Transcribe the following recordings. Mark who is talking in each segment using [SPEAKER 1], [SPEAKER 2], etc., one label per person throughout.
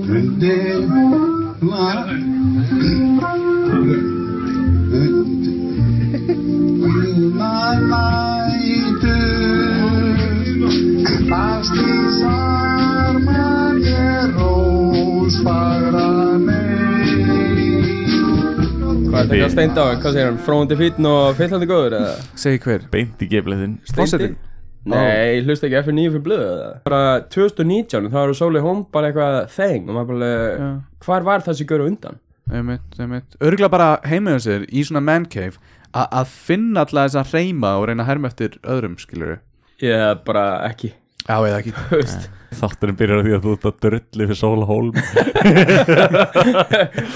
[SPEAKER 1] Önde var.
[SPEAKER 2] Hvað er þetta að steinda á? Hvað segir hann? Fróðandi fýtn og fyllandi góður eða?
[SPEAKER 3] Segir hver?
[SPEAKER 4] Beint í gefleðin
[SPEAKER 3] Fossetinn?
[SPEAKER 2] Nei, ég hlusta ekki F9 fyrir blöðu eða? Bara 2019, þá eru Sóli Hóm bara eitthvað þeng og maður bara,
[SPEAKER 3] Já.
[SPEAKER 2] alveg, hvar var það sem görur undan?
[SPEAKER 3] Einmitt, einmitt Örgla bara heimiðu sér í svona man cave a- að finna alltaf þess að reyma og reyna að herma eftir öðrum, skilur
[SPEAKER 2] Ég bara ekki,
[SPEAKER 3] Já, eða ekki
[SPEAKER 2] þú veist,
[SPEAKER 4] Þátturinn byrjar á því að þú ert að drulli fyrir Sóla Hólm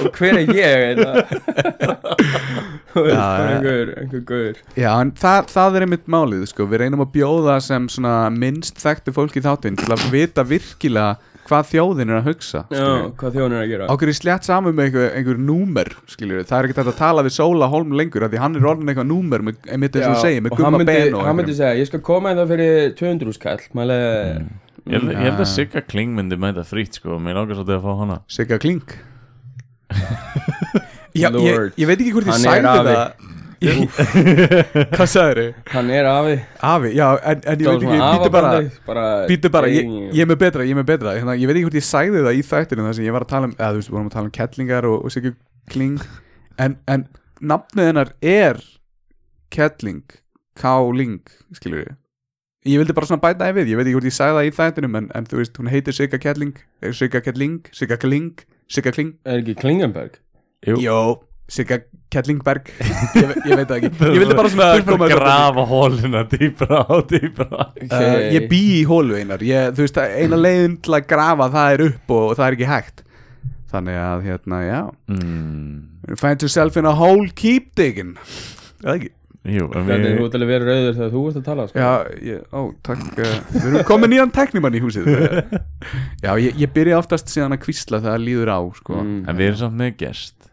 [SPEAKER 2] og hver er ég eða? Þú veist,
[SPEAKER 3] Já,
[SPEAKER 2] bara
[SPEAKER 3] já.
[SPEAKER 2] einhver, einhver góður.
[SPEAKER 3] Já, en það, það er einmitt málið, sko Við reynum að bjóða sem svona minnst þekktu fólk í þáttinn til að vita virkilega hvað þjóðin er að hugsa
[SPEAKER 2] Já,
[SPEAKER 3] skilurðu.
[SPEAKER 2] hvað þjónur er að gera?
[SPEAKER 3] Okkur er slétt saman með einhver, einhver númer skilur, það er ekki þetta að tala við Sóla Holm lengur af því hann er orðin eitthvað númer með, einmitt eins
[SPEAKER 2] Já,
[SPEAKER 3] og þú segir, með
[SPEAKER 2] og hann
[SPEAKER 3] gumma
[SPEAKER 2] myndi-
[SPEAKER 3] ben og
[SPEAKER 2] Hann myndi
[SPEAKER 3] einhverjum.
[SPEAKER 2] segja, ég skal koma eða fyrir 200 skall, maður
[SPEAKER 3] Mm.
[SPEAKER 4] Ég held- ég held að
[SPEAKER 3] Ja.
[SPEAKER 4] Sigga Kling myndi mæta frýtt sko Mér langar svolítið að fá hana
[SPEAKER 3] Sigga Kling Já, ég,
[SPEAKER 2] Lord.
[SPEAKER 3] ég veit ekki hvort ég
[SPEAKER 2] Hann
[SPEAKER 3] sæði
[SPEAKER 2] er afi.
[SPEAKER 3] það Ég- Hvað sagður þið?
[SPEAKER 2] hann er afi
[SPEAKER 3] Afi, já, en, en
[SPEAKER 2] Það
[SPEAKER 3] ég
[SPEAKER 2] var
[SPEAKER 3] veit ekki,
[SPEAKER 2] svona
[SPEAKER 3] býtu bara
[SPEAKER 2] afabandið,
[SPEAKER 3] Býtu bara, ég,
[SPEAKER 2] Ding.
[SPEAKER 3] ég er með betra, ég er með betra Þannig, að Ég veit ekki hvort ég sæði það í þættinu þar sem ég var að tala um, eða þú veist, við vorum að tala um kettlingar og, og Sigga Kling en, en nafnið hennar er kettling, K-ling skilur ég Ég vildi bara svona bæta það við, ég veit ekki hvort ég sæði það í þættinum en, en þú veist, hún heitir Sigga Kettling eh, Sigga Kettling, Sigga Kling Sigga Kling,
[SPEAKER 2] Er ekki Klingenberg?
[SPEAKER 4] Jú.
[SPEAKER 3] jó Sigga Kettlingberg ég, ve- ég veit það ekki, ég vildi bara svona
[SPEAKER 4] Þú ert
[SPEAKER 3] koma
[SPEAKER 4] að
[SPEAKER 3] þessu á fótinn.
[SPEAKER 4] grafa hólina dýbra og dýbra
[SPEAKER 3] Uh, ég bý í hólu einar ég, þú veist, eina leiðin til að grafa það er upp og, og það er ekki hægt þannig að hérna, já
[SPEAKER 4] mm,
[SPEAKER 3] find yourself in a hole keep digging eða ekki
[SPEAKER 4] Jú, en
[SPEAKER 2] Þetta er
[SPEAKER 4] við
[SPEAKER 2] þú til að vera rauður þegar þú ert að tala sko.
[SPEAKER 3] já, ég, ó, takk uh, við erum komin nýjan teknimann í húsið já, ég, ég byrja oftast síðan að kvísla þegar líður á, sko
[SPEAKER 2] Mm.
[SPEAKER 4] En við erum samt með gest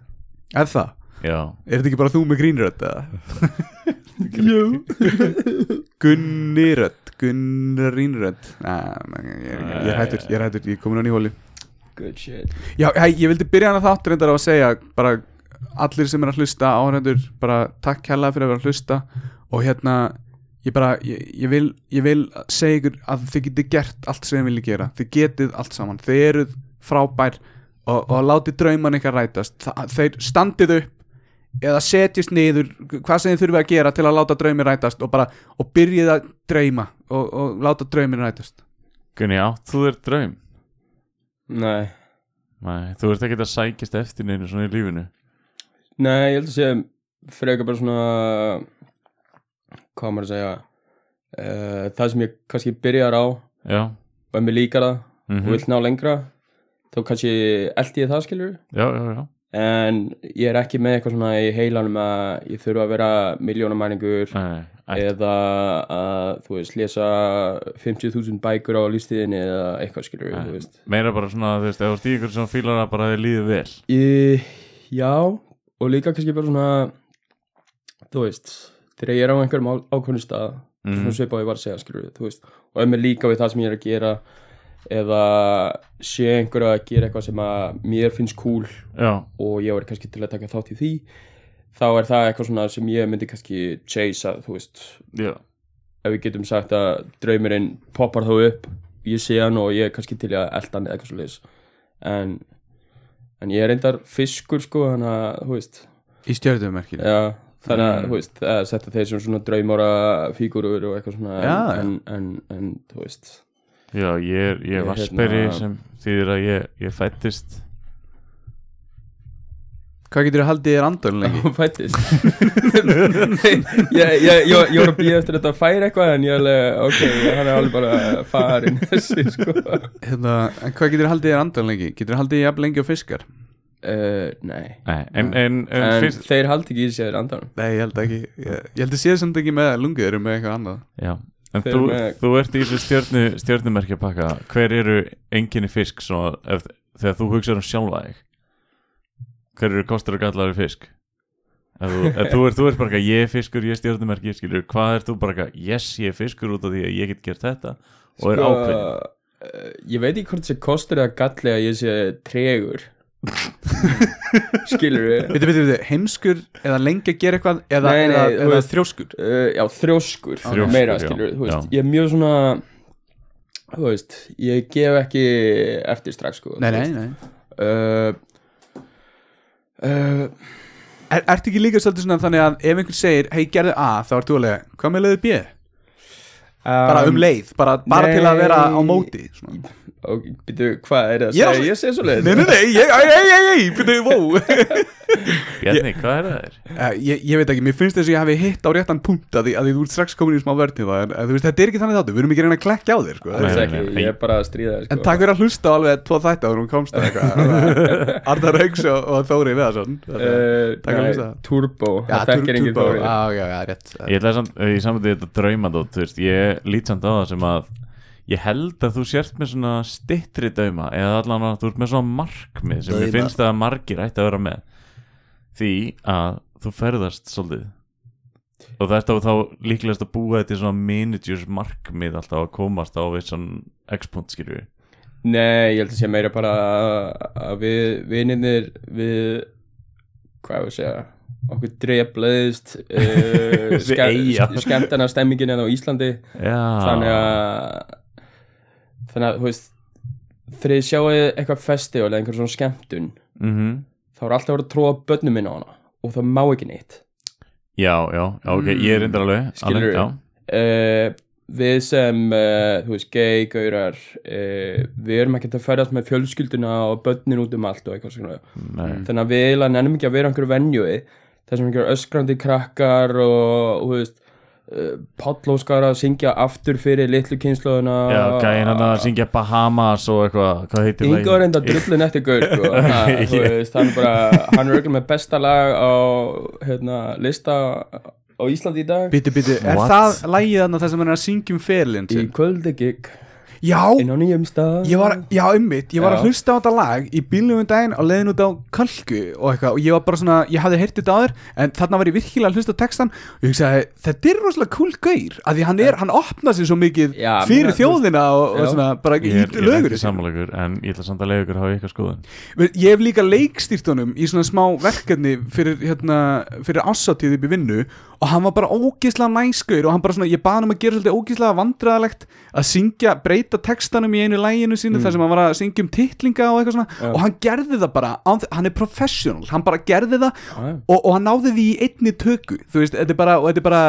[SPEAKER 3] er það,
[SPEAKER 4] Já,
[SPEAKER 3] er þetta ekki bara þú með grínrödd eða? já Gunnirödd Gunnrínrödd Nei, ég er ekki- ég er hættur, ég er hættur, ég er komin á ný hóli
[SPEAKER 2] Good shit
[SPEAKER 3] Já, hei, ég vildi byrja hana þáttur reyndar á að segja bara allir sem er að hlusta áhrendur bara takk hella fyrir að vera að hlusta og hérna ég bara, ég, ég, vil, ég vil segja ykkur að þið getið gert allt sem þið viljið gera þið getið allt saman, þið eruð frábær og, og látið drauman ykkar rætast Þa, þeir standið upp eða setjist niður hvað sem þið þurfið að gera til að láta draumi rætast og bara, og byrjið að drauma og, og láta draumin rætast
[SPEAKER 4] Gunni, átt þú þér draum?
[SPEAKER 2] Nei,
[SPEAKER 4] Nei, þú ert ekkert að sækjast eftir neinu svona í lífinu
[SPEAKER 2] nei, ég held að segja frekar bara svona hvað á maður að segja uh, það sem ég kannski byrjar á og
[SPEAKER 4] Já,
[SPEAKER 2] ef mér líkar það
[SPEAKER 4] mhm,
[SPEAKER 2] og vill ná lengra þá kannski eldi ég það skilur
[SPEAKER 4] já, já, já
[SPEAKER 2] en ég er ekki með eitthvað svona í heilanum að ég þurfa að vera miljónamæningur
[SPEAKER 4] Nei, ætti
[SPEAKER 2] eða að þú veist lesa 50.000 bækur á lífstíðinni eða eitthvað skilur
[SPEAKER 4] Nei.
[SPEAKER 2] þú veist
[SPEAKER 4] meira bara svona, þú veist, ef þú ert í ykkur sem fílar að bara þið líði vel
[SPEAKER 2] Í, já, og líka kannski bara svona, þú veist, þegar ég er á einhverjum á- ákveðnum stað,
[SPEAKER 4] Mhm.
[SPEAKER 2] svona svipa og ég var að segja, skilur þú veist, og ef mér líka við það sem ég er að gera, eða sé einhverju að gera eitthvað sem að mér finnst cool
[SPEAKER 4] Já,
[SPEAKER 2] og ég var kannski til að taka þátt í því, þá er það eitthvað svona sem ég myndi kannski chase að, þú veist,
[SPEAKER 4] já,
[SPEAKER 2] ef við getum sagt að draumurinn poppar þá upp ég sé hann og ég er kannski til í að elda hann eða eitthvað svo en, en ég er reyndar fiskur sko þannig að, þú veist
[SPEAKER 3] í stjörnumerkinu
[SPEAKER 2] já, þannig að,
[SPEAKER 4] Mm.
[SPEAKER 2] þú veist, að setja þeir sem svona draumóra fígurur og eitthvað svona
[SPEAKER 3] Já, já.
[SPEAKER 2] en, en, en, en, þú veist
[SPEAKER 4] já, ég er, ég
[SPEAKER 2] Ég,
[SPEAKER 4] er vassberi
[SPEAKER 2] hérna-
[SPEAKER 4] sem þýðir að ég, ég fættist
[SPEAKER 3] hvað getur þið haldið þér andan lengi?
[SPEAKER 2] hún fættist ég, ég, ég, ég var að býja eftir þetta að færa eitthvað en ég alveg, ok, hann er alveg bara farin þessi sko
[SPEAKER 3] Hérna, en hvað getur þið haldið þér andan lengi? Getur þið haldið þér jafn lengi og fiskar?
[SPEAKER 2] uh, nei,
[SPEAKER 4] Nei, en, en, en,
[SPEAKER 2] en
[SPEAKER 4] fyrst
[SPEAKER 2] þeir haldi ekki í sér andan
[SPEAKER 3] Nei, ég held ekki Ég, ég held að séð samt ekki með lungið eru með eitthvað annað
[SPEAKER 4] Já, en
[SPEAKER 2] Þeir
[SPEAKER 4] þú,
[SPEAKER 2] með-
[SPEAKER 4] þú ert í þessu stjörnu, stjörnumerkja pakka Hver eru enginni fisk svona, ef, þegar þú hugsaður um sjálfa þig? Hver eru kostur og gallar við fisk? Ef þú, ef þú, er, þú ert bara eitthvað, ég er fiskur, ég er stjörnumerki skilur, Hvað ert þú bara eitthvað, yes, ég er fiskur út af því að ég get gert þetta og er ákveðin
[SPEAKER 2] Sko, eh, ég veit ekki hvort þessi kostur eða galli að ég sé tregur skilur við
[SPEAKER 3] Viti, viti, viti, heimskur eða lengi að gera eitthvað eða,
[SPEAKER 2] Nei, nei,
[SPEAKER 3] eða,
[SPEAKER 2] þú
[SPEAKER 3] eða
[SPEAKER 2] veist-
[SPEAKER 3] þrjóskur
[SPEAKER 2] Eh, já, þrjóskur,
[SPEAKER 4] Þrjóskur,
[SPEAKER 2] meira
[SPEAKER 4] já,
[SPEAKER 2] skilur þú veist,
[SPEAKER 4] já.
[SPEAKER 2] ég er mjög svona þú veist, ég gef ekki eftir strax sko
[SPEAKER 3] Nei, nei, nei
[SPEAKER 2] Uh, uh,
[SPEAKER 3] er, Ertu ekki líka svolítið svona þannig að ef einhver segir hei, gerðu A, þá ert þú alveg hvað með leiðu B? Bara um leið, bara, bara til að vera á
[SPEAKER 2] nei.
[SPEAKER 3] móti svona.
[SPEAKER 2] og býtu, hvað er það að
[SPEAKER 3] Ég er
[SPEAKER 2] segja,
[SPEAKER 3] á-
[SPEAKER 2] ég sé svo leiðis
[SPEAKER 3] Nei, nei, nei, ég, ei, ei, ei, ei, byrju, vó
[SPEAKER 4] Bjarni, hvað er það þér?
[SPEAKER 3] Eh, ég, ég veit ekki, mér finnst þess að ég hafi hitt á réttan punkt að því, að því þú ert strax komin í smá vörni það, en, en þú veist, þetta er ekki þannig þáttu, við erum ekki að reyna að klekja á þér, sko
[SPEAKER 4] Nei, nei,
[SPEAKER 2] ekki,
[SPEAKER 4] nei.
[SPEAKER 2] ég er bara að stríða þér, sko.
[SPEAKER 3] En takk fyrir að hlusta á alveg tvo þætti áður hún komst að eitthvað Arnar Hauks og, og Þóri Veðarsson
[SPEAKER 2] uh,
[SPEAKER 3] Takk fyrir
[SPEAKER 2] nei,
[SPEAKER 3] það.
[SPEAKER 2] Turbo, það þekkir enginn
[SPEAKER 3] Þóri
[SPEAKER 2] Þórir
[SPEAKER 3] Já, Ah, já, já, rétt
[SPEAKER 4] Ég ætlaði samt, eh, í samvændi þetta draumadót, þú veist, ég lít samt á það sem að ég held að þú sért með svona stittri dauma eða allan að þú ert með svona markmið sem ég
[SPEAKER 3] Dauma.
[SPEAKER 4] finnst að margir ætti að vera með því að þú ferðast svolítið og það er þá líklegast að búa þetta í svona managers markmið alltaf að komast á við svona x-punkt skilju
[SPEAKER 2] Nei, ég held að sé meira bara að- að við vinirnir við, hvað ég að segja okkur dreflaðist uh,
[SPEAKER 4] Við eyja. Ah.
[SPEAKER 2] skemmtana stemmingin en á Íslandi þannig
[SPEAKER 4] Já,
[SPEAKER 2] að þannig að, þú veist þegar ég sjáu eitthvað festival eða einhver svona skemmtun
[SPEAKER 4] mhm
[SPEAKER 2] þá er alltaf verið að tróa börnum minna á hana og það má ekki neitt
[SPEAKER 4] Já, já, já, ok, ég er reyndar alveg
[SPEAKER 2] Skilurðu?
[SPEAKER 4] alveg, já.
[SPEAKER 2] uh, við sem uh, þú veist, gay, gaurar uh, við erum ekkert að ferðast með fjölskylduna og börnin út um allt og eitthvað svona
[SPEAKER 4] Nei.
[SPEAKER 2] Mm. þannig að við eiginlega nennum ekki að vera einhverju venjui þar sem einhverju öskrandi krakkar og, þú veist uh, pállóskar að syngja aftur fyrir litlu kynnslóðuna
[SPEAKER 4] Já, gæðin hann að syngja Bahamas og eitthvað, hvað heitir lagið?
[SPEAKER 2] Ingo er enda drullin eftir gaur sko. ha, þú
[SPEAKER 4] Ég-
[SPEAKER 2] veist, hann, er bara, hann er örugglega með besta lag á hérna, lista á Íslandi í dag
[SPEAKER 3] Bíti, bíti, er
[SPEAKER 4] What?
[SPEAKER 3] það lægið þarna það sem hann er að syngjum ferilinn
[SPEAKER 2] í
[SPEAKER 3] sinn?
[SPEAKER 2] kvöldegik
[SPEAKER 3] Já,
[SPEAKER 2] inn á nýjum stað
[SPEAKER 3] ég var, já, ummitt, ég
[SPEAKER 2] Já.
[SPEAKER 3] var að hlusta á þetta lag í bílum um daginn á leiðin út á kalku og eitthvað og ég var bara svona, ég hafði heyrt þetta áður en þarna var ég virkilega að hlusta á textan og ég hugsaði, þetta er rosalega cool gaur að því hann er, hann opna sér svo mikið
[SPEAKER 2] Já,
[SPEAKER 3] fyrir
[SPEAKER 2] meina, þú
[SPEAKER 3] þjóðina og,
[SPEAKER 2] já.
[SPEAKER 3] og svona, bara
[SPEAKER 4] Ég er, ég
[SPEAKER 3] ítti
[SPEAKER 4] er
[SPEAKER 3] lögur
[SPEAKER 4] ekki sammálegur en ég ætla samt að leiða ykkur að hafa ykkar skoðun
[SPEAKER 3] Ég hef líka leikstýrt honum í svona smá verkefni fyrir, hérna, fyrir ásatíð upp í vinnu og hann var bara ógislega næskur og hann bara svona, ég baði hann um að gera svolítið ógislega vandræðalegt að syngja, breyta textanum í einu læginu sínu þar sem hann var að syngja um titlinga og eitthvað svona og hann gerði það bara, án þe- hann er professional, hann bara gerði það
[SPEAKER 2] Já, já.
[SPEAKER 3] og, og hann náði því í einni töku, þú veist, þetta er bara, og þetta er bara,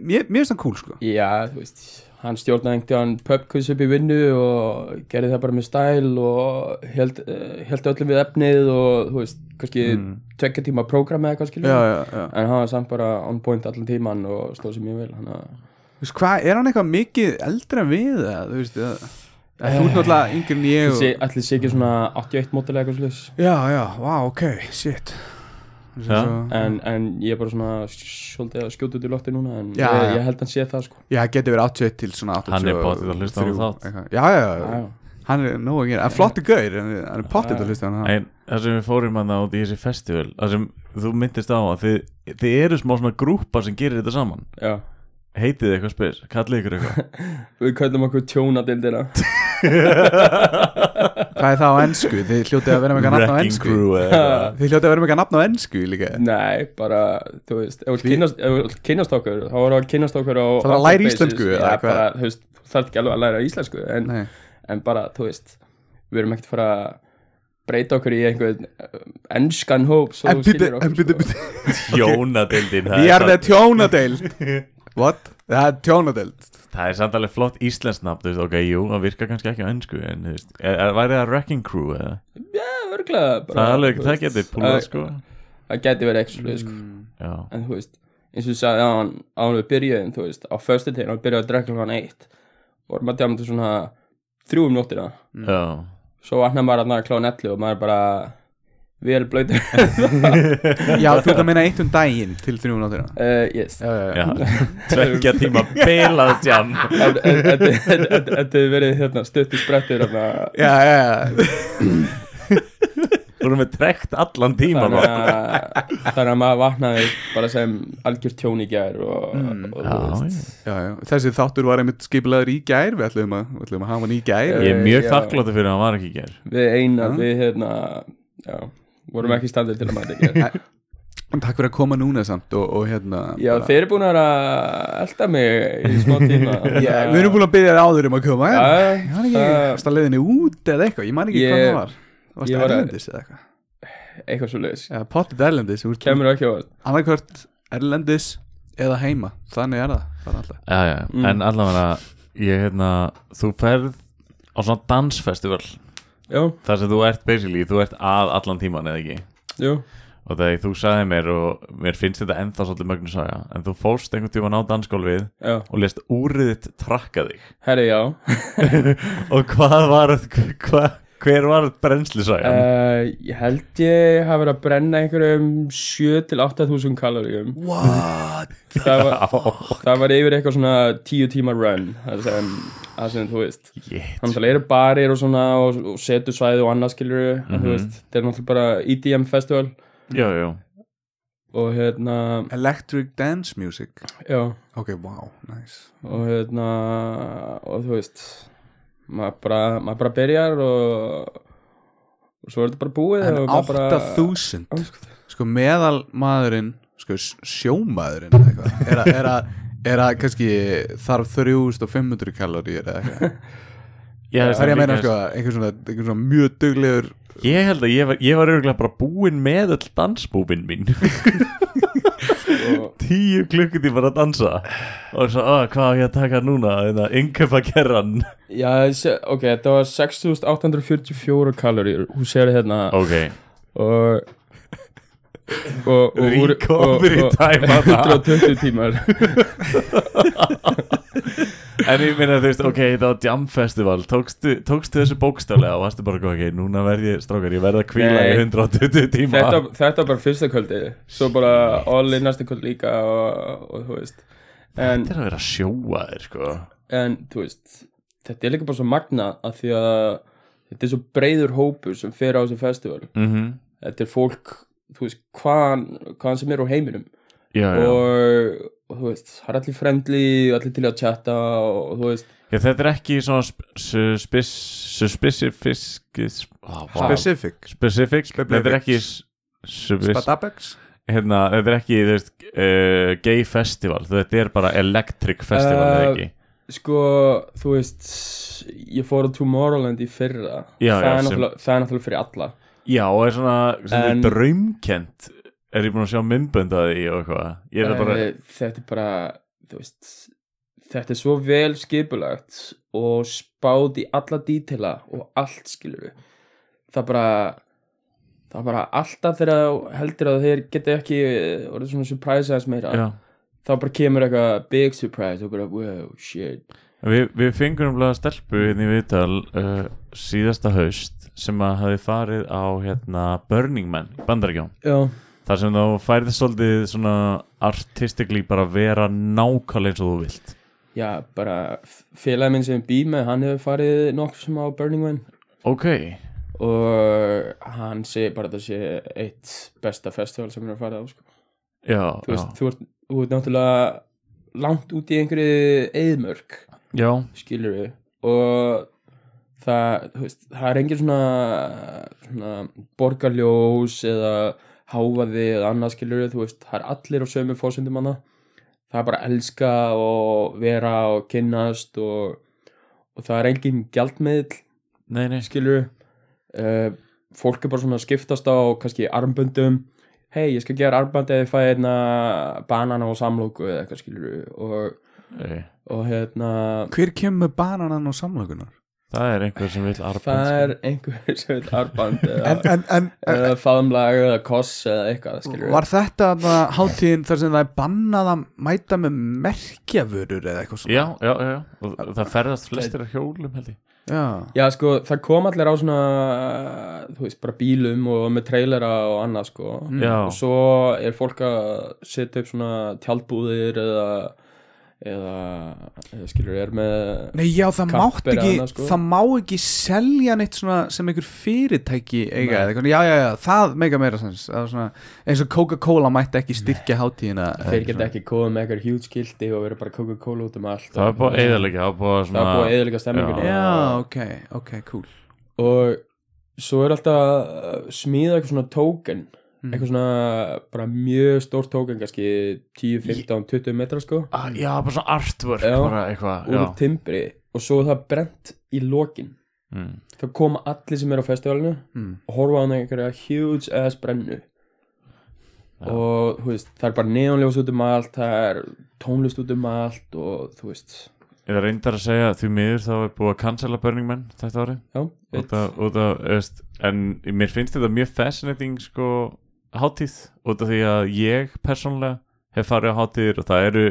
[SPEAKER 3] mér, mér finnst það cool sko.
[SPEAKER 2] Já, þú veist, hann stjórnaði einhvern veginn pubquiz upp í vinnu og gerði það bara með stæl og held, eh, held öllum við efnið og þú veist, kannski mm. tvekja tíma prógram eða eitthvað skilur
[SPEAKER 3] Já, já, já.
[SPEAKER 2] en hann var samt bara on point allan tíman og stóð sér mjög vel hann að
[SPEAKER 3] Þú veist, hvað, er hann eitthvað mikið eldra en við, eða, þú veist, eða, eða, þú ert náttúrulega yngri en ég og...
[SPEAKER 2] Þessi- ætli sé ekki svona 81 mótilega eitthvað slags
[SPEAKER 3] Já, já, vá, ok, shit
[SPEAKER 4] Já.
[SPEAKER 3] Svo-
[SPEAKER 2] en, en ég er bara svona svolítið að skjóta út í lofti núna en
[SPEAKER 3] Já,
[SPEAKER 2] ég,
[SPEAKER 3] já.
[SPEAKER 2] ég held hann sé það sko
[SPEAKER 3] Já, hann getur verið 81 til svona 83
[SPEAKER 4] Hann er pottþétt að hlusta á þátt.
[SPEAKER 3] eitthvað. Já, já,
[SPEAKER 2] Já, já.
[SPEAKER 3] já, hann er nóg að gera En flottu gaur, en hann er pottið að hlusta á hann
[SPEAKER 4] En það sem við fórum hann át í þessi festival það sem þú myndist á að þið, þið eru smá svona grúpa sem gerir þetta saman
[SPEAKER 2] já
[SPEAKER 4] Heitið þið eitthvað spes, kallið ykkur eitthvað
[SPEAKER 2] Við kallum okkur tjónadildina
[SPEAKER 3] Hvað er það á ennsku? Þið hljótið að vera með eitthvað nafn á
[SPEAKER 4] Wrecking
[SPEAKER 3] ennsku
[SPEAKER 4] crew eða eitthvað.
[SPEAKER 3] Þið hljótið að vera með eitthvað nafn á ennsku líka
[SPEAKER 2] Nei, bara, þú veist, ef þú kynnast- ef þú vilt kynnast okkur, þá voru að kynnast okkur á
[SPEAKER 3] Það var að
[SPEAKER 2] okkar
[SPEAKER 3] læra
[SPEAKER 2] basis.
[SPEAKER 3] íslensku,
[SPEAKER 2] Já,
[SPEAKER 3] eða hvað?
[SPEAKER 2] bara, þú veist, þarf ekki alveg að læra íslensku en,
[SPEAKER 3] Nei.
[SPEAKER 2] en bara, þú veist, við erum ekkert að fara að breyta okkur í einhvern eh, enskan hóp svo
[SPEAKER 3] En
[SPEAKER 2] þú
[SPEAKER 3] byrju,
[SPEAKER 2] skilur
[SPEAKER 3] en
[SPEAKER 2] okkur
[SPEAKER 3] byrju,
[SPEAKER 2] sko.
[SPEAKER 3] byrju
[SPEAKER 4] Tjónadildin það,
[SPEAKER 3] Ég er
[SPEAKER 4] samt-
[SPEAKER 3] með tjónadeild What? Það er tjónadeild
[SPEAKER 4] það er samt alveg flott íslensnafn þú veist, Ok, jú, það virkar kannski ekki á ennsku en, þú veist, er, er, Væri það Wrecking Crew eða?
[SPEAKER 2] Já, örglega
[SPEAKER 4] Það er alveg, það getur
[SPEAKER 2] uh,
[SPEAKER 4] púlað sko
[SPEAKER 2] Það geti verið ekki svolítið, sko
[SPEAKER 3] Mm.
[SPEAKER 4] Já,
[SPEAKER 2] en þú veist, eins og þú sagði að hann á hann við byrjuðum, þú veist, á föstutegin og byrjuði að drekka hann eitt vorum að djáma til svona þrjúum nóttina
[SPEAKER 4] já
[SPEAKER 2] svo vatnar maður að klána 11 og maður er bara vel blöytur
[SPEAKER 3] Já, þú ert að meina eitt um daginn til þrjúna áttina
[SPEAKER 2] uh, yes
[SPEAKER 3] Já, já, já
[SPEAKER 4] Já, tvekja tíma bilað jam
[SPEAKER 2] En- en- en- en- en- en- Þetta hefur verið hérna, stutt í sprettur hérna.
[SPEAKER 3] Já, já, já
[SPEAKER 4] Þú erum með trekt allan tíma
[SPEAKER 2] þannig að, þannig að maður vaknaði bara sem algjör tjón í gær og, og,
[SPEAKER 4] Já,
[SPEAKER 2] þú veist,
[SPEAKER 3] Mm, já, já. þessi þáttur var einmitt skipilaður í gær við ætlum að, við ætlum að hafa hann í gær
[SPEAKER 4] Ég er mjög
[SPEAKER 2] Já.
[SPEAKER 4] þakkláttur fyrir að hann var ekki í ger
[SPEAKER 2] við eina,
[SPEAKER 3] Já. Mm.
[SPEAKER 2] við hérna já, vorum ekki standið til að mæta í gær
[SPEAKER 3] En takk fyrir að koma núna samt og, og hérna
[SPEAKER 2] já, þeir eru búin að vera að elda mig í smá tíma
[SPEAKER 3] Já, við erum búin að byrja þér áður um að koma
[SPEAKER 2] Já, já,
[SPEAKER 3] en Ég man ekki,
[SPEAKER 2] það-
[SPEAKER 3] varst að leiðinni út eða eitthvað, ég man ekki hvað
[SPEAKER 2] Ég-
[SPEAKER 3] það var Varst
[SPEAKER 2] ég
[SPEAKER 3] það
[SPEAKER 2] var að-
[SPEAKER 3] erlendis eða eitthvað
[SPEAKER 2] eitthvað svo leiðis
[SPEAKER 3] Já, pottit erlendis, þú ert
[SPEAKER 2] kemur ekki á orð
[SPEAKER 3] annarkvört erlendis eða heima Þannig er það, bara alltaf
[SPEAKER 4] já, já.
[SPEAKER 2] Mm.
[SPEAKER 4] En allavega ég, hérna, Þú ferð á svona dansfestival
[SPEAKER 2] já,
[SPEAKER 4] Þar sem þú ert basically, þú ert að allan tíman eða ekki
[SPEAKER 2] já,
[SPEAKER 4] Og þegar þú sagði mér og mér finnst þetta ennþá svolítið mögnu saga En þú fórst einhvern tíman á dansgólfið
[SPEAKER 2] já
[SPEAKER 4] og lest úrið þitt trakka þig
[SPEAKER 2] herri, já
[SPEAKER 4] Og hvað var, hva, hver var brennslisagan?
[SPEAKER 2] uh, ég held ég hafa verið að brenna einhverjum 7 til 8000 kaloríum
[SPEAKER 3] Eh, What?
[SPEAKER 2] það var,
[SPEAKER 4] Uh,
[SPEAKER 2] það var yfir eitthvað svona 10 tíma run það sem, það sem þú veist
[SPEAKER 4] Jétt
[SPEAKER 2] þannig að það eru barir og svona og, og setu svæði og annað skilur mm þú veist, þetta er náttúrulega bara EDM festival
[SPEAKER 4] Jú, jú
[SPEAKER 2] og hérna,
[SPEAKER 3] Electric Dance Music
[SPEAKER 2] já
[SPEAKER 3] Ok, wow, nice
[SPEAKER 2] og hérna og þú veist maður bara, maður bara byrjar og, og svo er þetta bara búið
[SPEAKER 3] En
[SPEAKER 2] og maður bara-
[SPEAKER 3] 8000 Sko meðal maðurinn sko, s- sjómaðurinn eða eitthvað er að, er að, er að kannski þarf 3500 kaloríur eða eitthvað
[SPEAKER 4] Já,
[SPEAKER 3] Það er ég að meina sko einhver svona, einhver svona mjög duglegur
[SPEAKER 4] Ég held að ég var, ég var örgulega bara búinn með all dansbúbinn mín
[SPEAKER 2] og,
[SPEAKER 4] Tíu klukkutímar að dansa Og svo, að, hvað á ég að taka núna Hérna, Þetta yngöpa kerran
[SPEAKER 2] já, þessi- ok, þetta var 6844 kaloríur hún sér hérna
[SPEAKER 4] Ok,
[SPEAKER 2] og og, og,
[SPEAKER 4] Recovery time að það.
[SPEAKER 2] 120 tímar
[SPEAKER 4] en ég meina þú veist, ok, þetta var Jam Festival Tókstu, tókstu þessu bókstaflega og varstu bara, ok, núna verð ég, strókar, ég verð að kvíla í
[SPEAKER 2] Nei.
[SPEAKER 4] 120 tíma
[SPEAKER 2] þetta, þetta var bara fyrsta kvöldi svo bara all in næsta kvöld líka og, og þú veist en,
[SPEAKER 4] Þetta er að vera sjóaðir, sko
[SPEAKER 2] en þú veist þetta er líka bara svo magna að því að þetta er svo breyður hópur sem fer á þessu festival
[SPEAKER 4] mm
[SPEAKER 2] þetta er fólk, þú veist, hvaðan hvaðan sem er á heiminum
[SPEAKER 4] Já, já,
[SPEAKER 2] og, og þú veist, það er allir friendly allir til í að chatta og, og þú veist
[SPEAKER 4] já þetta er ekki svona sp- su- spis- suspicifiskis oh, wow.
[SPEAKER 3] Specific
[SPEAKER 4] Specific, þetta er ekki s- subvis-
[SPEAKER 3] Spatabex
[SPEAKER 4] hérna, þetta er ekki þú veist, uh, gay festival þetta er bara electric festival
[SPEAKER 2] Eh,
[SPEAKER 4] eða ekki
[SPEAKER 2] sko, þú veist ég fór á Tomorrowland í fyrra það,
[SPEAKER 4] Já, já,
[SPEAKER 2] er
[SPEAKER 4] sem-
[SPEAKER 2] náttúrulega- það er náttúrulega fyrir alla
[SPEAKER 4] já og er svona, svona
[SPEAKER 2] En-
[SPEAKER 4] draumkent er ég búin að sjá myndböndaði og eitthvað ég er það bara,
[SPEAKER 2] Eh, þetta er bara þú veist, þetta er svo vel skipulagt og spáð í alla dítila og allt skilur við það bara það er bara alltaf þegar þú heldur að þeir geta ekki eh, orðið svona surprise aðeins meira
[SPEAKER 4] já
[SPEAKER 2] þá bara kemur eitthvað big surprise og bara wow shit
[SPEAKER 4] Við, við fengum umlega stelpu hérna í viðtal uh, síðasta haust sem að hafi farið á hérna, Burning Man, bandaríkjón
[SPEAKER 2] já,
[SPEAKER 4] þar sem þá færði svolítið svona artistikli bara að vera nákvæmlega eins og þú vilt
[SPEAKER 2] já bara félagi minn sem bý með hann hefur farið nokkuð sem á Burning Man
[SPEAKER 4] Ok,
[SPEAKER 2] og hann segir bara að það sé eitt besta festival sem hann er að fara á sko
[SPEAKER 4] já,
[SPEAKER 2] þú veist,
[SPEAKER 4] já,
[SPEAKER 2] þú ert, þú ert náttúrulega langt út í einhverju eðmörk,
[SPEAKER 4] já.
[SPEAKER 2] skilur við og það, þú veist, það er engin svona, svona borgarljós eða háfaði eða annað skilur við, þú veist, það er allir á sömu fósundum hana, það er bara að elska og vera og kynnast og, og það er engin gjaldmiðl,
[SPEAKER 4] Nei, nei,
[SPEAKER 2] skilur við uh, fólk er bara svona að skiptast á kannski armböndum hei, ég skal gera armbandi eða ég fæ hérna banana og samlóku eða eitthvað skilur og,
[SPEAKER 4] Nei,
[SPEAKER 2] og hérna
[SPEAKER 3] Hver kemur með bananan og samlökunar?
[SPEAKER 4] það er einhver sem vil arbund
[SPEAKER 2] það er einhver sem vil arband
[SPEAKER 3] En,
[SPEAKER 2] eða,
[SPEAKER 3] en, en, en
[SPEAKER 2] eða faðumlag eða koss eða eitthvað Eh, skilur
[SPEAKER 3] var þetta þarna hátíðin þar sem það er bannað að mæta með merkjavörur eða eitthvað svona?
[SPEAKER 4] Já, já, já, já, og það ferðast flestir á hjólum held ég
[SPEAKER 3] Já,
[SPEAKER 2] Já, sko, það kom allir á svona, þú veist, bara bílum og með trailera og annað, sko.
[SPEAKER 4] Mm. Já.
[SPEAKER 2] Og svo er fólk að setja upp svona tjaldbúðir eða eða, eða skilur er með
[SPEAKER 3] Nei, já, það
[SPEAKER 2] Kapp
[SPEAKER 3] mátt
[SPEAKER 2] er
[SPEAKER 3] ekki,
[SPEAKER 2] annað, sko.
[SPEAKER 3] það má ekki selja neitt svona sem einhver fyrirtæki eiga eða eitthvað, já, já, já, það mega meira sens, eða svona, eins og Coca-Cola mætti ekki styrkja hátíðina.
[SPEAKER 2] þeir geta ekki komið með eitthvað huge skildi og vera bara Coca-Cola út um allt
[SPEAKER 4] það er búið að eðalega það er búið að
[SPEAKER 2] það er búið að
[SPEAKER 4] svona
[SPEAKER 2] eðalega stemmingunni
[SPEAKER 3] Já, ok, ok, cool.
[SPEAKER 2] og svo er alltaf að smíða eitthvað svona token
[SPEAKER 3] Mm.
[SPEAKER 2] eitthvað svona bara mjög stórt token kannski 10, 15, 20 metra sko
[SPEAKER 4] Ah, já, bara svona artwork
[SPEAKER 2] Já.
[SPEAKER 4] bara eitthvað já.
[SPEAKER 2] úr timbri og svo er það brent í lokin
[SPEAKER 4] Mm.
[SPEAKER 2] þá koma allir sem er á festivalinu
[SPEAKER 3] Mm.
[SPEAKER 2] og horfa á hann einhverja huge ass brennu
[SPEAKER 4] Já.
[SPEAKER 2] og þú veist, það er bara neonljós út um allt það er tónlist út um allt og þú veist,
[SPEAKER 4] ég er reyndar að segja að því miður þá er búið að cancela Burning Man þetta árið
[SPEAKER 2] já
[SPEAKER 4] út af, út af, veist, en mér finnst þetta mjög fascinating sko hátíð út af því að ég persónlega hef farið á hátíðir og það eru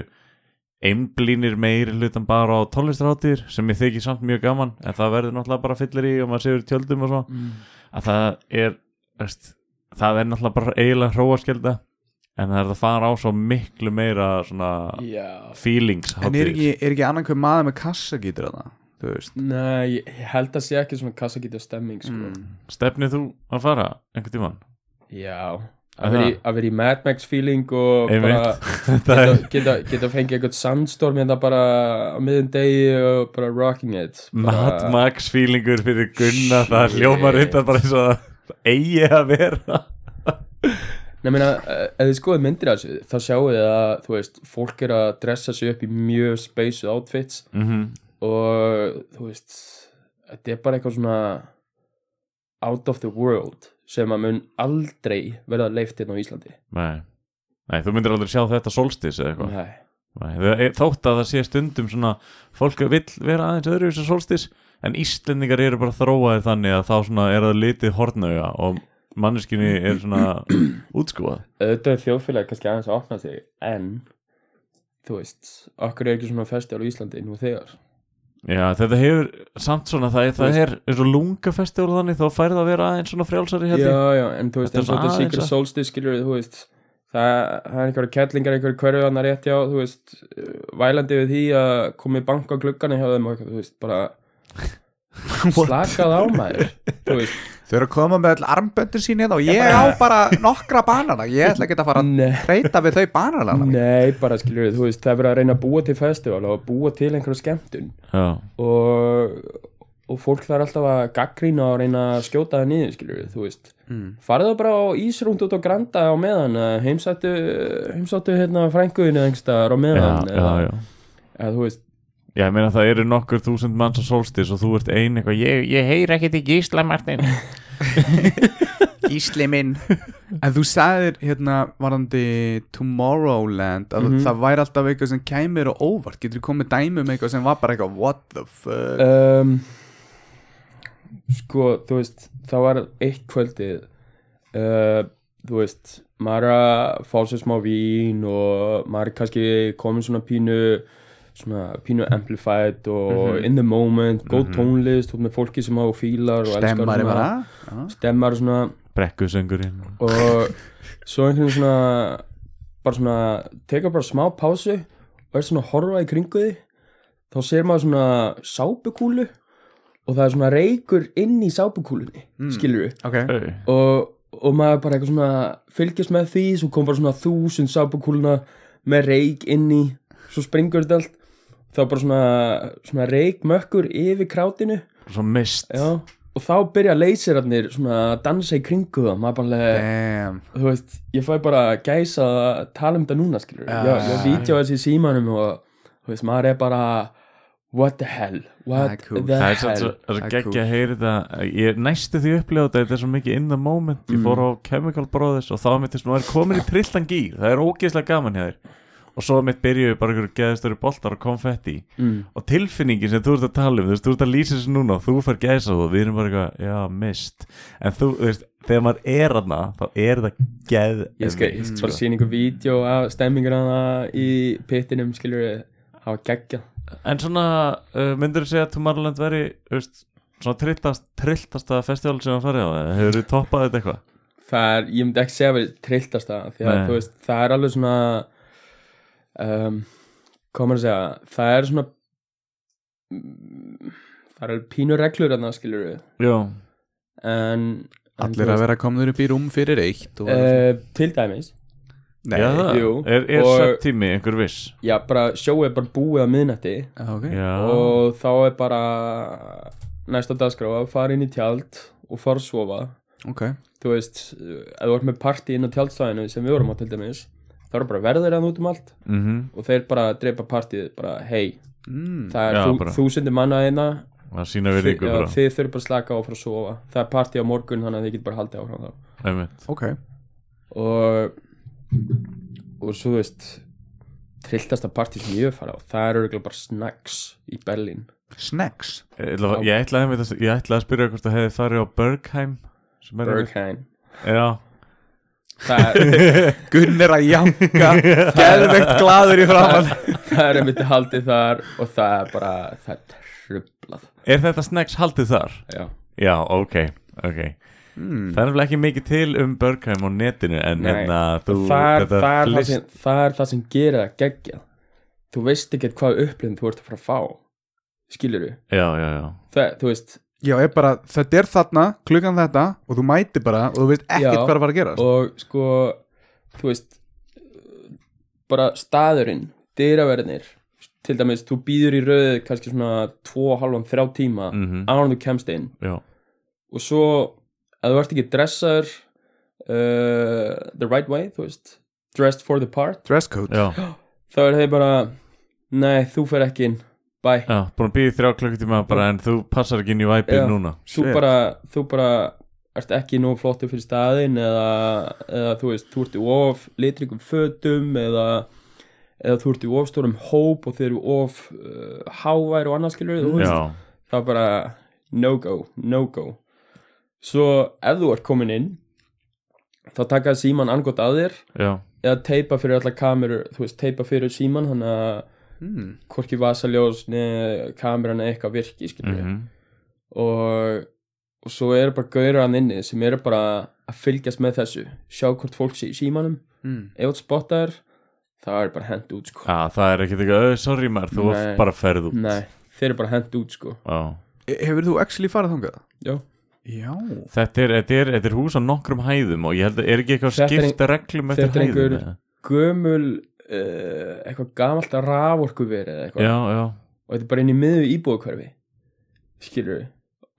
[SPEAKER 4] einblínir meiri hlutan bara á tónlistarhátíðir sem ég þykir samt mjög gaman en það verður náttúrulega bara fyllir í og maður séur tjöldum og svo
[SPEAKER 2] Mm.
[SPEAKER 4] að það er veist, það er náttúrulega bara eiginlega hróaskjelda en það er að fara á svo miklu meira svona
[SPEAKER 2] já,
[SPEAKER 4] feelings
[SPEAKER 3] En er
[SPEAKER 4] hátíðir
[SPEAKER 3] ekki, er ekki annan hver maður með kassa gítur að það, þú veist?
[SPEAKER 2] nei, ég held að sé ekki svona kassakítið stemming sko.
[SPEAKER 3] Mm.
[SPEAKER 4] stefnið þú að fara einhvern tímann?
[SPEAKER 2] já,
[SPEAKER 4] Aha.
[SPEAKER 2] að vera, í, að vera í Mad Max feeling og bara
[SPEAKER 4] Hérna- Einmitt, þetta er
[SPEAKER 2] geta, geta, geta fengið eitthvað sandstorm hérna bara á miðum degi og bara rocking it
[SPEAKER 4] Mad
[SPEAKER 2] bara,
[SPEAKER 4] Max feelingur fyrir Gunna það
[SPEAKER 2] Shit.
[SPEAKER 4] hljómar þetta bara eins og það eigi að vera
[SPEAKER 2] Nei, meina, eh, ef þið skoðið myndir af þessu, þá sjáu þið að, þú veist, fólk er að dressa sig upp í mjög speysu outfits
[SPEAKER 4] mm -hmm.
[SPEAKER 2] og, þú veist, þetta er bara eitthvað svona out of the world sem að mun aldrei verða leift hérna á Íslandi.
[SPEAKER 4] Nei. Nei, þú myndir aldrei sjá þetta solstis eða eitthvað
[SPEAKER 2] Nei.
[SPEAKER 4] Nei, þau- þótt að það sé stundum svona fólk vil vera aðeins öðru sem solstis en Íslendingar eru bara þróaðir þannig að þá svona er það litið hornauga og manneskinni er svona útskúað
[SPEAKER 2] Auðvitað er þjóðfélagi kannski aðeins að opna sig, en, þú veist, okkur er ekki svona festival á Íslandi nú þegar.
[SPEAKER 4] Já, þetta hefur samt svona það, er- það
[SPEAKER 2] veist-
[SPEAKER 4] er eins og lungafestival og þannig þá færð að vera aðeins svona frjálsari hérna. held ég.
[SPEAKER 2] Já, já, en þú veist,
[SPEAKER 4] Þetta er
[SPEAKER 2] eins og
[SPEAKER 4] svona
[SPEAKER 2] þetta
[SPEAKER 4] aðeins
[SPEAKER 2] Secret
[SPEAKER 4] að-
[SPEAKER 2] Solstice skilur þú veist, það, það er einhverja kettlingar einhverju hverjuðanar rétt hjá, þú veist uh, vælandi við því að komið bank á gluggana hjá þeim og eitthvað, þú veist, bara slakað á maður þú veist,
[SPEAKER 3] Þau eru að koma með all armböndur sín hérna og ég á bara nokkra banana, ég ætla ekki að fara að
[SPEAKER 2] nei
[SPEAKER 3] treyta við þau banana.
[SPEAKER 2] Nei, bara skilur þú veist, það er verið að reyna að búa til festival og búa til einhverju skemmtun
[SPEAKER 4] Já.
[SPEAKER 2] og, og fólk þarf alltaf að gaggrína og reyna að skjóta það niður, skilur þú veist
[SPEAKER 3] Mm.
[SPEAKER 2] farðu bara á ísrúnd út á Granda á meðan, eh, heimsættu heimsættu hérna frænguðinu engstaðar á
[SPEAKER 4] Já,
[SPEAKER 2] meðan
[SPEAKER 4] já, já.
[SPEAKER 2] eða þú veist
[SPEAKER 4] Já, ég meina það eru nokkur þúsund manns á solstis og þú ert ein eitthvað, ég, ég heyr ekkert í gísla Martin.
[SPEAKER 3] Gísli minn En þú sagðir hérna varandi Tomorrowland að það væri alltaf eitthvað sem kæmir og óvart getur þú komið dæmi um eitthvað sem var bara eitthvað what the fuck
[SPEAKER 2] um, sko, þú veist það var eitt kvöldið uh, þú veist maður er að fá sér smá vín og maður er kannski komin svona pínu svona pínu amplified og
[SPEAKER 3] Mhm.
[SPEAKER 2] in the moment, góð tónlist út með fólki sem á fílar og elskar
[SPEAKER 3] Stemmari
[SPEAKER 2] svona-
[SPEAKER 3] bara
[SPEAKER 2] stemmar og svona
[SPEAKER 4] Brekkusöngurinn.
[SPEAKER 2] og svo einhvern veginn svona bara svona, teka bara smá pásu og er svona að horfa í kringu því þá sér maður svona sápukúlu og það er svona reykur inn í sápukúlunni mm. skilur við
[SPEAKER 3] Ok
[SPEAKER 4] Hey.
[SPEAKER 2] og, og maður bara eitthvað svona fylgjast með því, svo kom bara svona þúsund sápukúluna með reyk inn í svo springur þetta allt þá bara svona, svona reyk mökkur yfir krátinu
[SPEAKER 4] Svo mist.
[SPEAKER 2] Já. og þá byrja leysirarnir svona að dansa í kringu það maður bara alveg
[SPEAKER 3] Damn
[SPEAKER 2] þú veist, ég fæ bara gæsa að tala um þetta núna, skilur
[SPEAKER 3] Já,
[SPEAKER 2] já, ég
[SPEAKER 3] já,
[SPEAKER 2] ég vídeo þessi í símanum og þú veist, maður er bara what the hell,
[SPEAKER 3] Það
[SPEAKER 2] what
[SPEAKER 3] er cool.
[SPEAKER 2] the
[SPEAKER 4] Það
[SPEAKER 2] hell
[SPEAKER 4] er svo- svo- það er svo
[SPEAKER 3] Það er
[SPEAKER 4] geggja að heyra þetta. Ég næstu því upplifa þetta, þetta er svo mikið in the moment.
[SPEAKER 2] Mm.
[SPEAKER 4] Ég fór á Chemical Brothers og þá mitt, þú er komin í trilltan gýr. Það er ógeðslega gaman hjá þér. Og svo mitt byrjuðu bara einhverju geðstöru boltar og konfetti.
[SPEAKER 2] Mm.
[SPEAKER 4] Og tilfinningin sem þú ert að tala um, þú veist, þú ert að lýsa þessu núna og þú fær gæsa og við erum bara eitthvað, já, mist. En þú, þú veist, þegar maður er aðna, þá er það geð.
[SPEAKER 2] ég skal, ég
[SPEAKER 3] Mm.
[SPEAKER 2] skal bara sína einhver vídeo af stemmingur hana í pittinum, skilur það var geggja
[SPEAKER 4] En svona, uh, myndur þú segja að Tomorrowland veri, þú veist, svona trilltast, trilltasta festival sem það farið á eða hefur þú toppað þetta eitthvað?
[SPEAKER 2] það er, ég myndi ekki segja að vera trilltast það því að
[SPEAKER 4] Nei.
[SPEAKER 2] þú veist, það er alveg svona um, hvað á maður að segja, það er svona mm, það er pínur reglur að það skilur við
[SPEAKER 4] já,
[SPEAKER 2] en
[SPEAKER 3] Allir að vera komnur upp í rúm fyrir eitt og,
[SPEAKER 2] uh, til dæmis,
[SPEAKER 3] Nei,
[SPEAKER 4] já það
[SPEAKER 2] jú,
[SPEAKER 4] er, er
[SPEAKER 2] og-
[SPEAKER 4] og... tími einhver viss
[SPEAKER 2] já bara sjóið er bara búið að miðnætti
[SPEAKER 3] Já, ok
[SPEAKER 4] já,
[SPEAKER 2] og þá er bara næsta dagskrá að fara inn í tjald og fara að sofa
[SPEAKER 3] Ok,
[SPEAKER 2] þú veist, eh, ef þú ert með partí inn á tjaldstæðinu sem við vorum á til dæmis þá eru bara verður að út um allt
[SPEAKER 4] mhm
[SPEAKER 2] og þeir bara dreipa partíð bara hei,
[SPEAKER 3] mm,
[SPEAKER 2] það
[SPEAKER 4] Já,
[SPEAKER 2] er
[SPEAKER 4] bara.
[SPEAKER 2] þúsundir manna eina
[SPEAKER 4] það sína
[SPEAKER 2] þið,
[SPEAKER 4] virðingu
[SPEAKER 2] já,
[SPEAKER 4] bara,
[SPEAKER 2] þið þurfum bara að slaka á og fara að sofa það er partí á morgun þannig að þið getur bara haldið áfram þá
[SPEAKER 4] einmitt
[SPEAKER 3] ok
[SPEAKER 2] og og svo þú veist trilltasta partí sem ég hef farið á það eru örugglega bara snacks í Berlín
[SPEAKER 3] Snacks
[SPEAKER 4] ég ætla, ég, ætla, einmitt að- ég ætla að spyrja hvort það hefði farið á Bergheim sem er einmitt-
[SPEAKER 2] Berghain
[SPEAKER 4] já,
[SPEAKER 2] það, er-
[SPEAKER 3] Gunnar að janka Geðvegt glaður í framann
[SPEAKER 2] það er einmitt haldið þar og það er bara það er trublað
[SPEAKER 4] er þetta snacks haldið þar?
[SPEAKER 2] já,
[SPEAKER 4] já, ok, ok
[SPEAKER 3] mm,
[SPEAKER 4] Það er nefnilega ekki mikið til um Bergheim á netinu en
[SPEAKER 2] Hmm. Nei.
[SPEAKER 4] hérna þú
[SPEAKER 2] það, er-
[SPEAKER 4] þetta
[SPEAKER 2] það, er það,
[SPEAKER 4] flist-
[SPEAKER 2] sem, það er það sem gerir það geggjað þú veist ekki hvað upplifn þú ert að fara að fá skilur þú
[SPEAKER 4] Já, já, já
[SPEAKER 2] það, þú veist,
[SPEAKER 3] Já, er bara, þetta er þarna, klukkan þetta og þú mæti bara og þú veist ekkert
[SPEAKER 2] Já.
[SPEAKER 3] hvað er að fara að gerast
[SPEAKER 2] og sko þú veist bara staðurinn, dyraverðinir til dæmis, þú býður í röðu kannski svona 2,5-3 tíma mm.
[SPEAKER 4] mhm,
[SPEAKER 2] án þú kemst inn
[SPEAKER 4] Já,
[SPEAKER 2] og svo, að þú ert ekki dressaður uh, the right way, þú veist dressed for the part,
[SPEAKER 3] Dress code
[SPEAKER 4] já,
[SPEAKER 2] þá er þeir bara nei, þú fer ekki inn, bye
[SPEAKER 4] já Búin að býða þrjá klukkutíma bara en þú passar ekki inn í væpið
[SPEAKER 2] Já.
[SPEAKER 4] núna
[SPEAKER 2] þú
[SPEAKER 3] Shit.
[SPEAKER 2] bara, þú bara ert ekki nóg flottur fyrir staðin eða, eða þú veist, þú ert í of litringum fötum eða, eða þú ert í of stórum hóp og þeir eru of uh, hávær og annarskilur mm.
[SPEAKER 4] Já,
[SPEAKER 2] það er bara no go, no go svo ef þú ert komin inn þá taka síman angott að þér
[SPEAKER 4] já,
[SPEAKER 2] eða teipa fyrir alla kamerur þú veist, teipa fyrir síman hann að
[SPEAKER 3] mm,
[SPEAKER 2] hvorki vasaljós neða kameran eða eitthvað virki skilur
[SPEAKER 4] mhm
[SPEAKER 2] og, og svo eru bara gaurar hann inni sem eru bara að fylgjast með þessu sjá hvort fólk sé í símanum
[SPEAKER 3] mm.
[SPEAKER 2] ef þú spottar það er bara hent út sko
[SPEAKER 4] Já, það er ekkert eitthvað, "Ö, sorry maður, þú
[SPEAKER 2] Nei.
[SPEAKER 4] bara ferð út
[SPEAKER 2] Nei, þeir eru bara hent út sko
[SPEAKER 4] Já
[SPEAKER 3] E- Hefur þú actually farið þangað?
[SPEAKER 2] Já.
[SPEAKER 3] Já
[SPEAKER 4] Þetta er, þetta, er, þetta er hús á nokkrum hæðum og ég held að er ekki eitthvað
[SPEAKER 2] Þetta er ein-
[SPEAKER 4] skipta reglum eftir
[SPEAKER 2] þetta er
[SPEAKER 4] hæðum
[SPEAKER 2] einhver-
[SPEAKER 4] eða?
[SPEAKER 2] gömul uh, eitthvað gamalt að raforku verið eða eitthvað
[SPEAKER 4] Já, já,
[SPEAKER 2] og þetta er bara inn í miðu íbúðkvarfi skilur við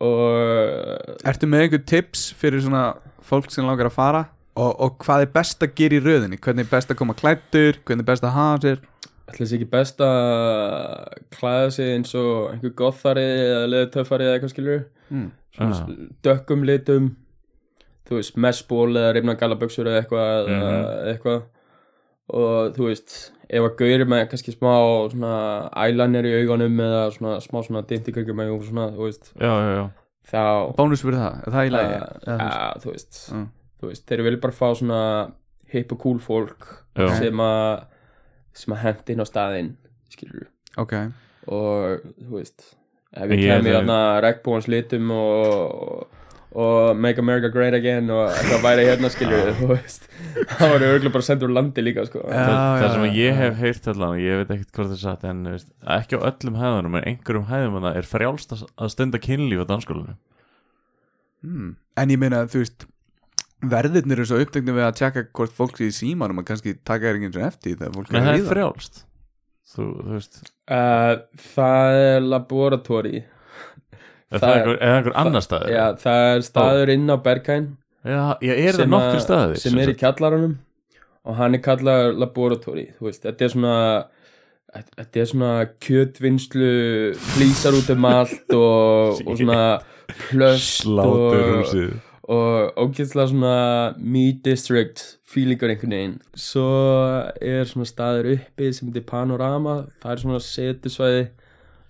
[SPEAKER 2] og
[SPEAKER 3] Ertu með einhver tips fyrir svona fólk sem langar að fara og, og hvað er best að gera í röðinni hvernig er best að koma klættur, hvernig er best að hafa sér
[SPEAKER 2] ætla þessi ekki best að klæða sig eins og einhver gothari eða leðutöfari eða eitthvað skilur
[SPEAKER 3] mm.
[SPEAKER 2] svona
[SPEAKER 4] Ah.
[SPEAKER 2] s- dökkum litum þú veist, messból eða reyfna galaböksur eða eitthvað mm
[SPEAKER 4] Mhm.
[SPEAKER 2] eitthvað og þú veist, ef að gauri með kannski smá svona eyeliner í augunum eða svona smá svona dintikörgjum með og svona, þú veist,
[SPEAKER 4] já, já, já
[SPEAKER 2] þá
[SPEAKER 3] Bónus fyrir það, er það í lagi?
[SPEAKER 4] Uh,
[SPEAKER 2] að,
[SPEAKER 3] Eða
[SPEAKER 2] að,
[SPEAKER 3] þú veist?
[SPEAKER 2] þú veist
[SPEAKER 3] Mm.
[SPEAKER 2] þú veist, þeir vilja bara fá svona hip og cool fólk
[SPEAKER 4] Já.
[SPEAKER 2] sem að sem að hendi inn á staðinn, skilur
[SPEAKER 3] Ok,
[SPEAKER 2] og þú veist ef ég
[SPEAKER 4] Ég
[SPEAKER 2] kemur
[SPEAKER 4] er-
[SPEAKER 2] þarna regnbúans litum og, og Make America Great Again og eitthvað væri hérna skilur við, þú veist það var örgulega bara sendur úr landi líka sko.
[SPEAKER 3] Já,
[SPEAKER 4] það, það
[SPEAKER 3] já,
[SPEAKER 4] sem
[SPEAKER 3] já,
[SPEAKER 4] ég
[SPEAKER 3] já.
[SPEAKER 4] hef heyrt allan og ég veit ekkert hvort það er satt en þú veist, ekki á öllum hæðunum en einhverjum hæðum að það er frjálst að- að stunda kynlíf á danskólanum
[SPEAKER 3] mm. en ég meina þú veist verðirnir eru svo uppteknir við að tjekka hvort fólk sé í símanum og kannski taka er einhvern veginn eftir því þegar fólk
[SPEAKER 4] Nei, það
[SPEAKER 3] í
[SPEAKER 4] er frjálst þú, þú veist,
[SPEAKER 2] uh, það er laboratóri
[SPEAKER 4] er það
[SPEAKER 2] Það-
[SPEAKER 4] einhver, eða einhver annar staður
[SPEAKER 2] já, það er staður inn á Berghain
[SPEAKER 4] já, já er
[SPEAKER 2] sem
[SPEAKER 4] það
[SPEAKER 2] að-
[SPEAKER 4] nokkur staðir
[SPEAKER 2] sem er í kjallarunum og hann er kallað laboratóri þú veist, þetta er svona þetta þetta er svona kjötvinnslu flýsar út um allt og, og svona plöst
[SPEAKER 4] slátur
[SPEAKER 2] og,
[SPEAKER 4] húsið
[SPEAKER 2] og ógæslega svona meat district feelingur einhvern veginn svo er svona staður uppi sem þetta er panorama það er svona setusvæði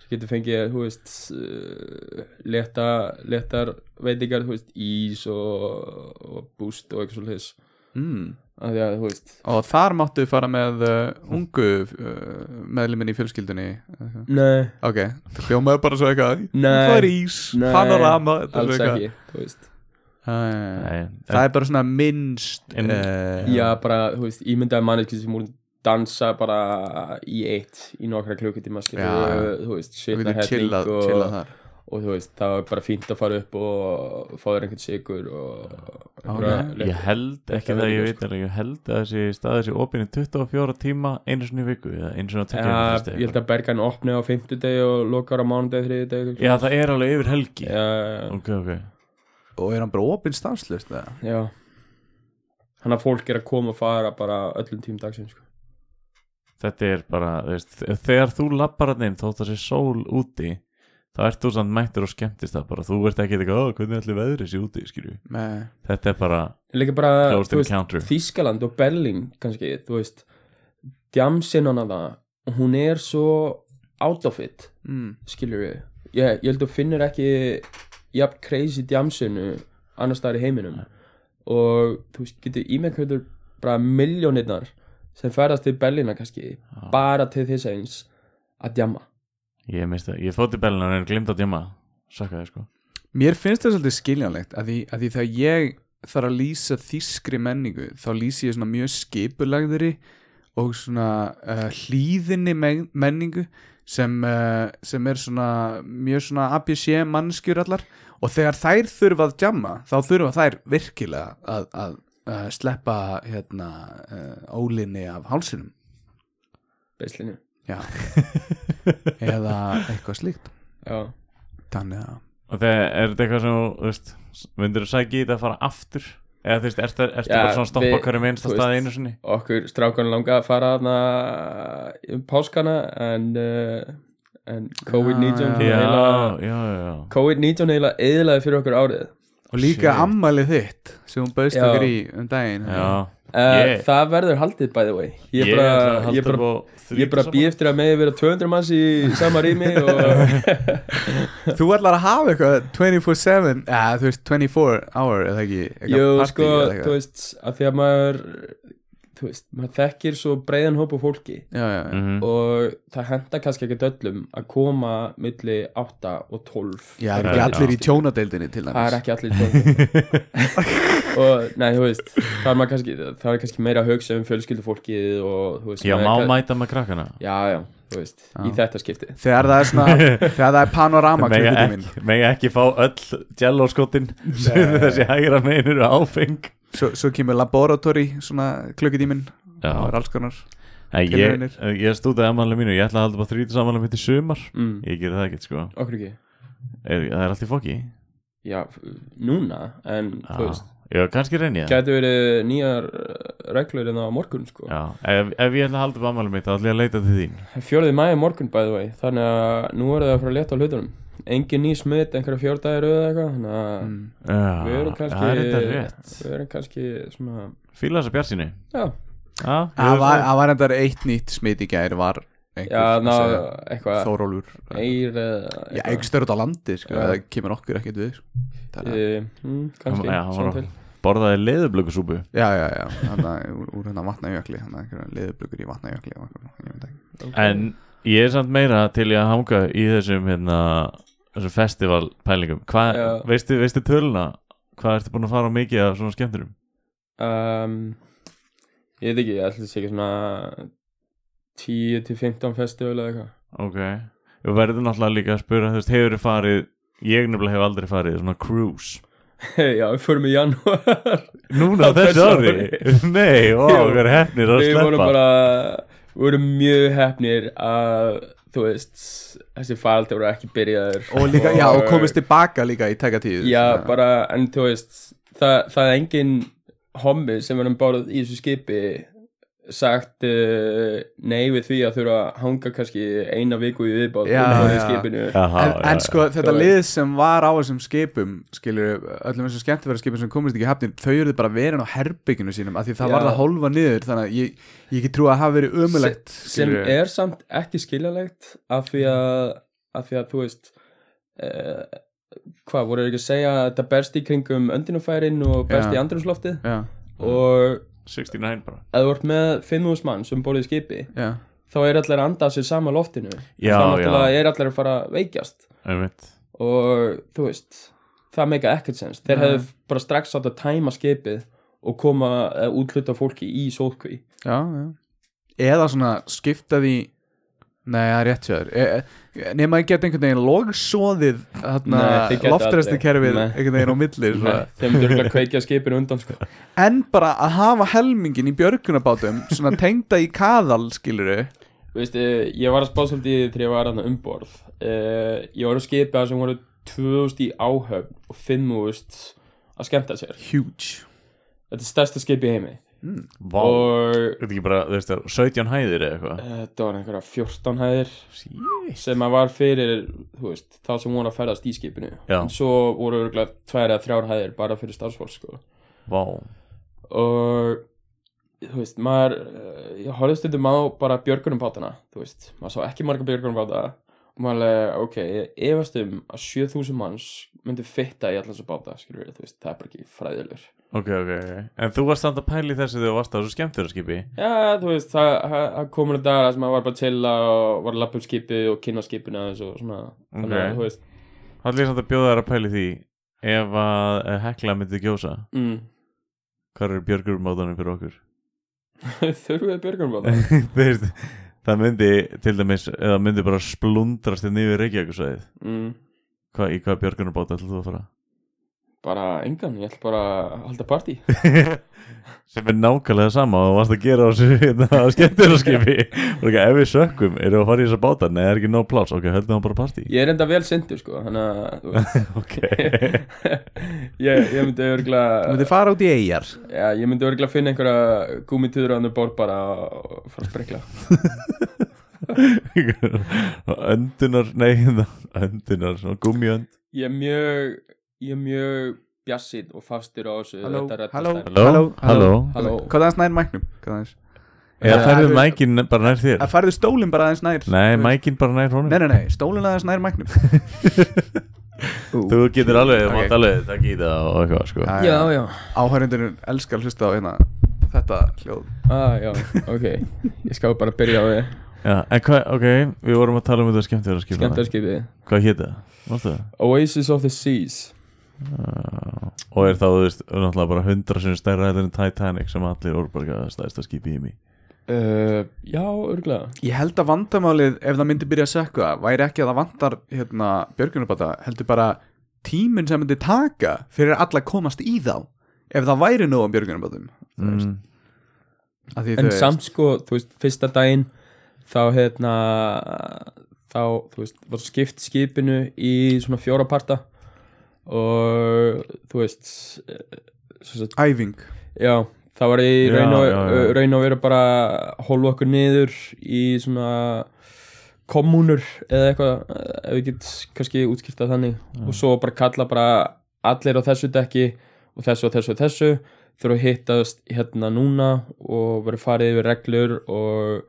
[SPEAKER 2] svo getur fengið, þú veist uh, leta, letar veitingar, þú veist, ís og, og búst og eitthvað svolítið
[SPEAKER 3] mm.
[SPEAKER 2] af því að, þú veist
[SPEAKER 3] og þar máttu fara með uh, ungu uh, meðluminni í fjölskyldunni Eh,
[SPEAKER 2] nei,
[SPEAKER 3] ok, þú hljómaði bara svo eitthvað
[SPEAKER 2] Nei.
[SPEAKER 3] það er ís, Ah,
[SPEAKER 2] Nei,
[SPEAKER 3] panorama þetta er svo
[SPEAKER 2] alls
[SPEAKER 3] eitthvað.
[SPEAKER 2] ekki, þú veist
[SPEAKER 3] Æ,
[SPEAKER 4] Nei,
[SPEAKER 3] það er bara svona minnst
[SPEAKER 4] En-
[SPEAKER 3] eh,
[SPEAKER 2] já, bara, þú veist, ímyndaði manneski sem úr dansa bara í eitt í nokkra klukkutíma skilur
[SPEAKER 3] Já, já.
[SPEAKER 2] þú veist,
[SPEAKER 3] Við
[SPEAKER 2] sitna
[SPEAKER 3] getum
[SPEAKER 2] helling
[SPEAKER 3] chillað,
[SPEAKER 2] og,
[SPEAKER 3] chillað þar
[SPEAKER 2] og þú veist, það var bara fínt að fara upp og fá þér einhvern sigur og
[SPEAKER 3] ok.
[SPEAKER 2] okay.
[SPEAKER 4] Ég held, ekki
[SPEAKER 2] Þetta
[SPEAKER 4] það
[SPEAKER 2] veit
[SPEAKER 4] ég
[SPEAKER 2] ég,
[SPEAKER 4] veit alveg, ég held að þessi staðið sé opinni 24 tíma einu sinni í viku eða einu sinni á
[SPEAKER 2] ja,
[SPEAKER 4] tökja
[SPEAKER 2] ég held að Bergan opni á fimmtudegi og lokar á mánudegi, þriðudegi
[SPEAKER 4] Já, það er alveg yfir helgi
[SPEAKER 2] já,
[SPEAKER 4] Ok, ok
[SPEAKER 3] Og er hann bara opinn stanslust eða?
[SPEAKER 2] já þannig að fólk er að koma og fara bara öllum tím dagsins sko.
[SPEAKER 4] Þetta er bara, þú veist, þegar þú lappar hann inn þótt að sé sól úti þá ert þú samt mættur og skemmtist það bara þú ert ekki eitthvað, "Ó, hvernig ætli veðrið sé úti skilju,
[SPEAKER 3] Nei,
[SPEAKER 4] þetta er bara
[SPEAKER 2] líka bara,
[SPEAKER 4] closed
[SPEAKER 2] þú veist,
[SPEAKER 4] encounter
[SPEAKER 2] Þískaland og Berlín kannski, þú veist djamsinn hana það hún er svo out of it
[SPEAKER 3] mm.
[SPEAKER 2] skilur við ég, ég held að þú finnir ekki jafn crazy djamsinu annars staðar í heiminum og þú veist, getur ímengkvöldur bara miljónirnar sem ferðast til Berlína kannski, bara til þess eins að djamma
[SPEAKER 4] Ég misti það, ég fótt í Berlín en glimt að djama Sakkaði sko
[SPEAKER 3] Mér finnst það svolítið skiljanlegt að því, að því þegar ég þarf að lýsa þýskri menningu þá lýsi ég svona mjög skipulagðri og svona uh, hlýðinni men- menningu sem, uh, sem er svona mjög svona ABC mannskjur allar og þegar þær þurfa að djamma þá þurfa þær virkilega að, að uh, sleppa hérna uh, ólinni af hálsinum
[SPEAKER 2] beislinu
[SPEAKER 3] Já. eða eitthvað slíkt
[SPEAKER 2] Já.
[SPEAKER 3] þannig að
[SPEAKER 4] Og það er þetta eitthvað sem, þú veist myndir þú sækja í þetta að fara aftur eða þú veist, ertu er, er,
[SPEAKER 2] Já,
[SPEAKER 4] bara svona að stoppa
[SPEAKER 2] við-
[SPEAKER 4] við, hverjum einsta
[SPEAKER 2] þú
[SPEAKER 4] staði
[SPEAKER 2] veist.
[SPEAKER 4] einu sinni
[SPEAKER 2] okkur strákan langa að fara þarna um páskana en, uh, en COVID-19
[SPEAKER 3] Já,
[SPEAKER 4] Ah, Já,
[SPEAKER 2] eiginlega-
[SPEAKER 4] já, já
[SPEAKER 2] COVID-19 eiginlega eðlaði fyrir okkur árið
[SPEAKER 3] og líka
[SPEAKER 4] Shit.
[SPEAKER 3] ammalið þitt sem hún baust
[SPEAKER 2] Já.
[SPEAKER 3] okkur í um daginn
[SPEAKER 4] Já,
[SPEAKER 2] uh,
[SPEAKER 4] Ég-
[SPEAKER 2] það verður haldið by the way ég,
[SPEAKER 4] ég
[SPEAKER 2] bara,
[SPEAKER 4] ætla að halda
[SPEAKER 2] ég bara
[SPEAKER 4] upp á
[SPEAKER 2] Ég bara
[SPEAKER 4] þrítugsafmæli.
[SPEAKER 2] býð eftir að meði vera 200 manns í sama rými og
[SPEAKER 3] Þú ætlar að hafa eitthvað 24-7 eða þú veist 24 hour eða ekki eitthvað
[SPEAKER 2] jú,
[SPEAKER 3] partí
[SPEAKER 2] sko,
[SPEAKER 3] eða
[SPEAKER 2] þú
[SPEAKER 3] eitthvað.
[SPEAKER 2] veist, að því að maður þú veist, maður þekkir svo breiðan hóp á fólki
[SPEAKER 3] Já, já,
[SPEAKER 2] Mm.
[SPEAKER 3] já.
[SPEAKER 4] Mhm.
[SPEAKER 2] og það henda kannski ekki öllum að koma milli 8 og 12
[SPEAKER 3] Já, það er
[SPEAKER 4] Já.
[SPEAKER 3] ekki allir í tjónadeildinni til
[SPEAKER 2] það er
[SPEAKER 3] dæmis
[SPEAKER 2] ekki allir tjónum og, nei, þú veist það er, maður kannski, það er kannski meira að hugsa um fjölskyldufólkið og, þú veist
[SPEAKER 4] Já,
[SPEAKER 2] maður
[SPEAKER 4] má
[SPEAKER 2] er kann-
[SPEAKER 4] mæta með krakkana
[SPEAKER 2] já, já, þú veist,
[SPEAKER 3] Já.
[SPEAKER 2] í þetta skipti
[SPEAKER 3] Þegar það er svona, þegar það er panorama
[SPEAKER 4] Mega
[SPEAKER 3] klukkutíminn
[SPEAKER 4] ekki, mega ekki fá öll jellóskotin sem þessi hægra megin eru áfeng
[SPEAKER 3] svo, svo kemur laboratory svona klukkutíminn
[SPEAKER 4] Já.
[SPEAKER 3] og er alls konar
[SPEAKER 4] Nei, ég,
[SPEAKER 3] Tilraunir.
[SPEAKER 4] ég stútaði ammæli mínu, ég ætla að halda bara þrítið sammæli mitt í sumar
[SPEAKER 2] mm.
[SPEAKER 4] Ég gerði það ekkert sko
[SPEAKER 2] okkur ekki,
[SPEAKER 4] er, Það er allt í fokki
[SPEAKER 2] já, f- núna en, þú veist
[SPEAKER 4] Já, kannski reyni ég það
[SPEAKER 2] Gæti verið nýjar uh, reglur en á morgun sko
[SPEAKER 4] Já, ef, ef ég ætla að halda upp ammæli mitt þá ætla ég að leita til þín
[SPEAKER 2] Fjörði mæði morgun by the way Þannig að nú er það að fara að leta á hlutunum Engin ný smitt, einhverja fjórdagar eða eitthvað Þannig að
[SPEAKER 3] mm.
[SPEAKER 4] Já,
[SPEAKER 2] við erum kannski
[SPEAKER 4] Það er þetta rétt
[SPEAKER 2] Við erum kannski svona
[SPEAKER 4] Fýla þessa bjarsinu
[SPEAKER 2] Já,
[SPEAKER 4] Já,
[SPEAKER 3] Það var, það var endar eitt nýtt smit í gær var einhver
[SPEAKER 2] já
[SPEAKER 3] að
[SPEAKER 2] ná,
[SPEAKER 3] segja,
[SPEAKER 2] eitthvað
[SPEAKER 3] Þórólfur
[SPEAKER 2] Eir eða
[SPEAKER 3] Já, einhver stöður út á landi sko,
[SPEAKER 2] Já.
[SPEAKER 3] það kemur okkur ekkert við sko. Þannig að-
[SPEAKER 2] e, mm, Kannski,
[SPEAKER 4] Já, hann var
[SPEAKER 2] svona
[SPEAKER 4] að-
[SPEAKER 2] til
[SPEAKER 4] Borðaði leðublökussúpu
[SPEAKER 3] Já, já, já, þannig að úr, úr hérna vatnajökli þannig að einhverjum leðublugur í vatnajökli og eitthvað, ég veit ekki.
[SPEAKER 2] Ok.
[SPEAKER 4] En ég er samt meira til í að hanga í þessum hérna, þessum festival pælingum Hvað,
[SPEAKER 2] Já.
[SPEAKER 4] veistu, veistu töluna? Hvað ertu búin að fara á mikið af svona skemmturum?
[SPEAKER 2] um, Ég veit ekki, ég ætla að segja svona 10 til 15 festival eða eitthvað
[SPEAKER 4] Ok Við verðum náttúrulega líka að spura, þú veist, hefur þið farið Ég nefnilega hef aldrei farið, svona cruise
[SPEAKER 2] Já, við förum í janúar
[SPEAKER 4] Núna
[SPEAKER 2] Á
[SPEAKER 4] þessu
[SPEAKER 2] þessu
[SPEAKER 4] ári Nei, ó,
[SPEAKER 2] Jú.
[SPEAKER 4] hvað er hefnir að
[SPEAKER 2] við vorum
[SPEAKER 4] sleppa
[SPEAKER 2] bara við vorum mjög hefnir að þú veist þessi faraldur voru ekki byrjaður
[SPEAKER 3] og líka, já, og komist tilbaka líka í teka tíð
[SPEAKER 2] já, bara, en þú veist það, það er engin hommi sem verðum bárað í þessu skipi sagt uh, nei við því að þurfa að hanga kannski eina viku í viðbátt
[SPEAKER 3] Já,
[SPEAKER 2] í
[SPEAKER 3] já.
[SPEAKER 2] skipinu
[SPEAKER 4] Jaha,
[SPEAKER 3] en, en sko, þetta
[SPEAKER 2] Þú
[SPEAKER 3] lið sem var á þessum skipum skilur, öllum þessum skemmtifæra skipum sem komist ekki í hafnin, þau eru bara verin á herbygginu sínum, af því
[SPEAKER 2] Já.
[SPEAKER 3] það var það hólfa niður þannig að ég, ég ekki trú að hafa verið ömulegt
[SPEAKER 2] sem er samt ekki skiljalegt af því að, af því að þú veist uh, hvað voru þeir ekki að segja að þetta berst í kringum öndinufærin og berst
[SPEAKER 3] Já.
[SPEAKER 2] í andrumsloftið
[SPEAKER 3] já,
[SPEAKER 2] og
[SPEAKER 4] 69 bara
[SPEAKER 2] að þú ert með 5.000 mann sem borðið um skipi
[SPEAKER 3] já,
[SPEAKER 2] þá er allir að anda af sér sama loftinu þá
[SPEAKER 4] Já, já.
[SPEAKER 2] náttúrulega er allir að fara að veikjast
[SPEAKER 4] Einmitt.
[SPEAKER 2] og þú veist það meika ekkert sens, þeir
[SPEAKER 3] Nei.
[SPEAKER 2] hefðu bara strax eh, átt að tæma skipið og koma að útluta fólki í sótkví
[SPEAKER 3] já, já eða svona skipta því nei, það er rétt hjá þér e, e- nema ég get einhvern veginn logsoðið
[SPEAKER 2] Nei, þið geta
[SPEAKER 3] loftræstu kerfið
[SPEAKER 2] aldrei. Nei.
[SPEAKER 3] einhvern veginn á milli svona.
[SPEAKER 2] Nei, þeim myndur ekki að kveikja skipinu undan sko.
[SPEAKER 3] en bara að hafa helmingin í björgunabátum svona tengda í kaðal skiluru
[SPEAKER 2] Veistu, eh, ég var að spá svolítið í því þegar ég var aðna umborð uh, Ég var að skipa sem voru 2000 í áhöfn og 5000 að skemmta sér
[SPEAKER 3] huge
[SPEAKER 2] Þetta er stærsta skip í heimi
[SPEAKER 4] Vá,
[SPEAKER 2] Og eh,
[SPEAKER 4] þetta er ekki bara, þú veist það, 17 hæðir eða eitthvað
[SPEAKER 2] þetta var einhverja 14 hæðir
[SPEAKER 4] Shit.
[SPEAKER 2] sem að var fyrir þú veist, þá sem voru að ferðast í skipinu
[SPEAKER 4] Já.
[SPEAKER 2] en svo voru örgulega tvær eða þrjár hæðir bara fyrir starfsfólk sko.
[SPEAKER 4] Vá,
[SPEAKER 2] og þú veist, maður eh, ég horfði stundum á bara björgunum bátana þú veist, maður sá ekki marga björgunum báta og maður alveg, ok, ég efast um að 7000 manns myndu fitta í allan svo báta, skilur við, þú veist, það er bara ekki fræðilegur
[SPEAKER 4] ok, ok, ok En þú varst samt að pæli þessu þegar þú varst á þessu skemmtjörnskipi
[SPEAKER 2] Já, þú veist, það, það, það komur þetta að sem maður var bara til að var að lappa upp skipið og kynna skipinu aðeins og svona, þannig
[SPEAKER 4] Ok.
[SPEAKER 2] að, þú veist
[SPEAKER 4] Það er samt að bjóða þær að pæli því Ef að eh, Hekla myndi gjósa
[SPEAKER 2] mm,
[SPEAKER 4] Hvað eru björgurmátanum fyrir okkur?
[SPEAKER 2] þurfum við björgunum um báta
[SPEAKER 4] Þú veist, það myndi til dæmis Eða myndi bara splundrast inn yfir Reykjavíkusvæðið
[SPEAKER 2] mm,
[SPEAKER 4] Hva, Í hvað björgunarbáta ætlum þú að fara?
[SPEAKER 2] bara engan, ég ætla bara að halda partí
[SPEAKER 4] sem er nákvæmlega sama og þú varst að gera á þessu hérna, á skemmtilegskipi og ekki, ef við sökkum, erum við að fara í þessa báta nei, það er ekki nóg pláts, ok, höldum það bara partí
[SPEAKER 2] Ég er enda vel sindur sko Þannig að þú veist,
[SPEAKER 4] ok,
[SPEAKER 2] ég, ég myndi
[SPEAKER 3] þú
[SPEAKER 2] örgulega
[SPEAKER 3] myndir fara út í eigjar
[SPEAKER 2] já, Ég myndi örgulega finna einhverja gúmitúður á andur borð bara og fara að sprekla
[SPEAKER 4] öndunar nei, hérna, öndunar, svona gummiönd
[SPEAKER 2] Ég er mjög Ég er mjög bjassinn og fastur á þessu
[SPEAKER 3] Halló,
[SPEAKER 2] þetta reddast
[SPEAKER 3] halló.
[SPEAKER 2] þær.
[SPEAKER 4] halló, halló
[SPEAKER 2] Halló.
[SPEAKER 3] hvað aðeins nær mæknum hvað aðeins
[SPEAKER 4] eða
[SPEAKER 3] Eh,
[SPEAKER 4] færðu
[SPEAKER 3] eh,
[SPEAKER 4] mækin bara nær þér
[SPEAKER 3] að færðu stólinn bara aðeins nær
[SPEAKER 4] nei, mækin bara nær honum
[SPEAKER 3] nei, nei, nei, stólinn aðeins nær mæknum
[SPEAKER 4] þú getur alveg, þú
[SPEAKER 3] Ok.
[SPEAKER 4] mátt alveg það gíta og eitthvað, sko
[SPEAKER 3] Já,
[SPEAKER 2] Já, já,
[SPEAKER 3] áhærendurinn elskar að hlusta á hérna þetta hljóð
[SPEAKER 2] ah, já, ok Ég skal bara byrja á því
[SPEAKER 4] Já, en hvað, ok, við vorum að tala um þetta skemmtilegskipi
[SPEAKER 2] Skemmtarskipið
[SPEAKER 4] hvað hétt það, varstu það?
[SPEAKER 2] Oasis of the Seas
[SPEAKER 4] Já, og er þá, þú veist, náttúrulega bara hundra sem stærra heldur en Titanic sem allir orðbarga stærsta skipi í mig
[SPEAKER 2] uh, Já, örgulega
[SPEAKER 3] ég held að vandamálið ef það myndi byrja að sökka væri ekki að það vandar hérna, björgunarbáta heldur bara tíminn sem myndi taka fyrir alla að komast í þá ef það væri nóg um björgunarbátum
[SPEAKER 4] mm.
[SPEAKER 3] Af því
[SPEAKER 2] en
[SPEAKER 3] þau-
[SPEAKER 2] samt sko, þú veist, fyrsta daginn þá hérna þá, þú veist, var skipt skipinu í svona fjóra parta og þú veist eh, sem sagt,
[SPEAKER 3] æfing
[SPEAKER 2] já, það var í
[SPEAKER 4] Já,
[SPEAKER 2] raun og,
[SPEAKER 4] já, já.
[SPEAKER 2] eh, raun og vera bara að hólfa okkur niður í svona kommunur eða eitthvað, eh, ef við get kannski útskiptað þannig og svo bara kalla bara allir á þessu dekki og þessu og þessu og þessu þurfa að hittast hérna núna og verið farið yfir reglur og,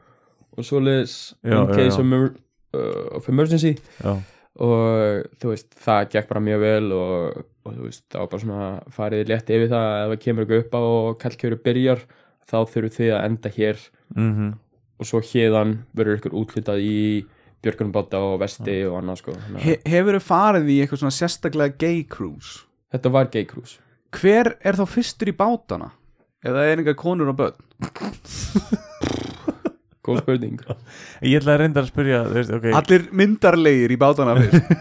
[SPEAKER 2] og svoleiðis
[SPEAKER 4] Já,
[SPEAKER 2] in
[SPEAKER 4] já,
[SPEAKER 2] case
[SPEAKER 4] já.
[SPEAKER 2] of emer- uh, of emergency
[SPEAKER 4] já,
[SPEAKER 2] og þú veist, það gekk bara mjög vel og, og þú veist, þá bara svona farið létt yfir það ef það kemur eitthvað upp á og kallkjöru byrjar þá þurfum þið að enda hér
[SPEAKER 4] mm
[SPEAKER 2] Mhm. og svo hérðan verður ykkur útlitað í Björgunbáta og Vesti og annað sko Þannig að-
[SPEAKER 3] He, hefur þau farið í eitthvað svona sérstaklega gay cruise
[SPEAKER 2] Þetta var gay cruise
[SPEAKER 3] hver er þá fyrstur í bátana ef það er einhver konur og börn
[SPEAKER 2] Góð spurning
[SPEAKER 4] ég ætla að reynda að spyrja þú veist, ok,
[SPEAKER 3] allir myndarlegir í bátana fyrst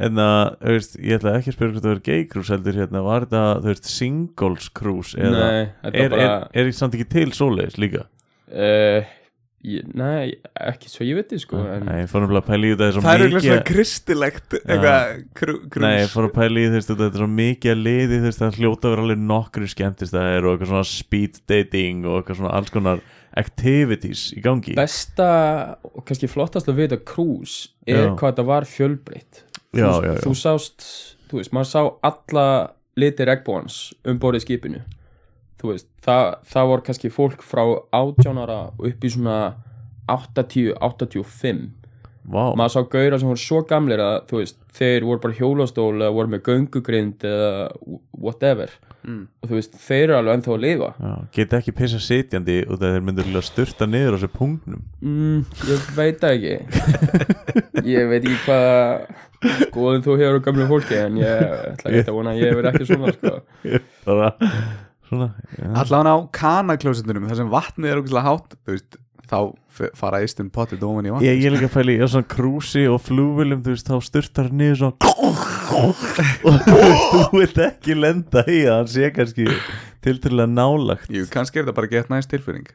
[SPEAKER 4] en að, hérna, þú veist, ég ætla ekki að spyrja hvort það er gay cruise heldur hérna, var þetta, þú veist, singles cruise eða,
[SPEAKER 2] Nei, þetta
[SPEAKER 4] er,
[SPEAKER 2] var bara
[SPEAKER 4] er, er, samt ekki til svoleiðis líka
[SPEAKER 2] Uh, ég, nei, ekki svo ég veit þið sko en,
[SPEAKER 4] nei, ég fór nefnilega að pæla í þetta er svo
[SPEAKER 3] það er eitthvað
[SPEAKER 4] mikið
[SPEAKER 3] svona kristilegt eitthvað krú- cruise
[SPEAKER 4] Nei, ég fór að pæla í þú veist, þetta er svo mikið að liði þú veist, það hljóta að vera alveg nokkru skemmtist það og eitthvað svona speed dating og eitthvað svona alls konar activities í gangi
[SPEAKER 2] besta og kannski flottast að vita krús er
[SPEAKER 4] Já.
[SPEAKER 2] hvað þetta var fjölbreytt
[SPEAKER 4] já,
[SPEAKER 2] þú,
[SPEAKER 4] já, já.
[SPEAKER 2] þú sást, þú veist, maður sá alla liti regnbóans um borðið í skipinu þú veist, það, það var kannski fólk frá 18 ára og upp í svona 80-85
[SPEAKER 4] Vá,
[SPEAKER 2] maður sá gauðra sem voru svo gamlir að þú veist, þeir voru bara í hjólastól eða voru með göngugrind eða whatever
[SPEAKER 3] Mm.
[SPEAKER 2] og þú veist, þeir eru alveg ennþá að lifa
[SPEAKER 4] já, geta ekki pissa sitjandi út af þeir myndur að styrta niður á þessu punktnum
[SPEAKER 2] Mm, ég veit það ekki Ég veit ekki hvaða skoðum þú hefur á gamlu fólki en ég ætla ekki að vona að ég verð ekki svona sko.
[SPEAKER 4] bara svona já.
[SPEAKER 2] Mm.
[SPEAKER 3] allan á kanaklósitunum þar sem vatnið er okkur hátt þú veist, þá f- fara eistun potið dóman í vatn
[SPEAKER 4] Ég, ég er líka að pæli, ég er svona krúsi og flúvilum, þú veist, þá styrtar hann niður svona og þú veist, þú vilt ekki lenda í að hann sé kannski tilturlega nálagt
[SPEAKER 3] Jú, kannski er þetta bara gett næst tilfyrring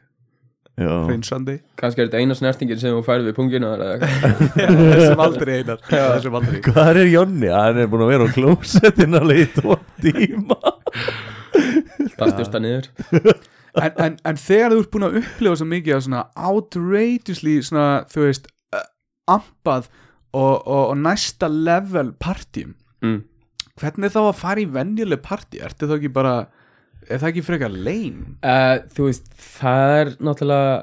[SPEAKER 4] Já,
[SPEAKER 3] hreinsandi
[SPEAKER 2] kannski er þetta eina snertingin sem þú færði við punginu eða eitthvað.
[SPEAKER 3] þessum aldrei einar þessum aldrei
[SPEAKER 4] hvað er Jonni? Hann er búin að vera á klósetin alveg í tvo tíma
[SPEAKER 2] það styrsta niður
[SPEAKER 3] en, en, en þegar þú ert búin að upplifa svo mikið af svona outrageously svona, þú veist, uh, ampað og, og, og næsta level partím,
[SPEAKER 2] mm.
[SPEAKER 3] hvernig þá að fara í venjuleg partí, ertu þá ekki bara er það ekki frekar lein
[SPEAKER 2] uh, þú veist, það er náttúrulega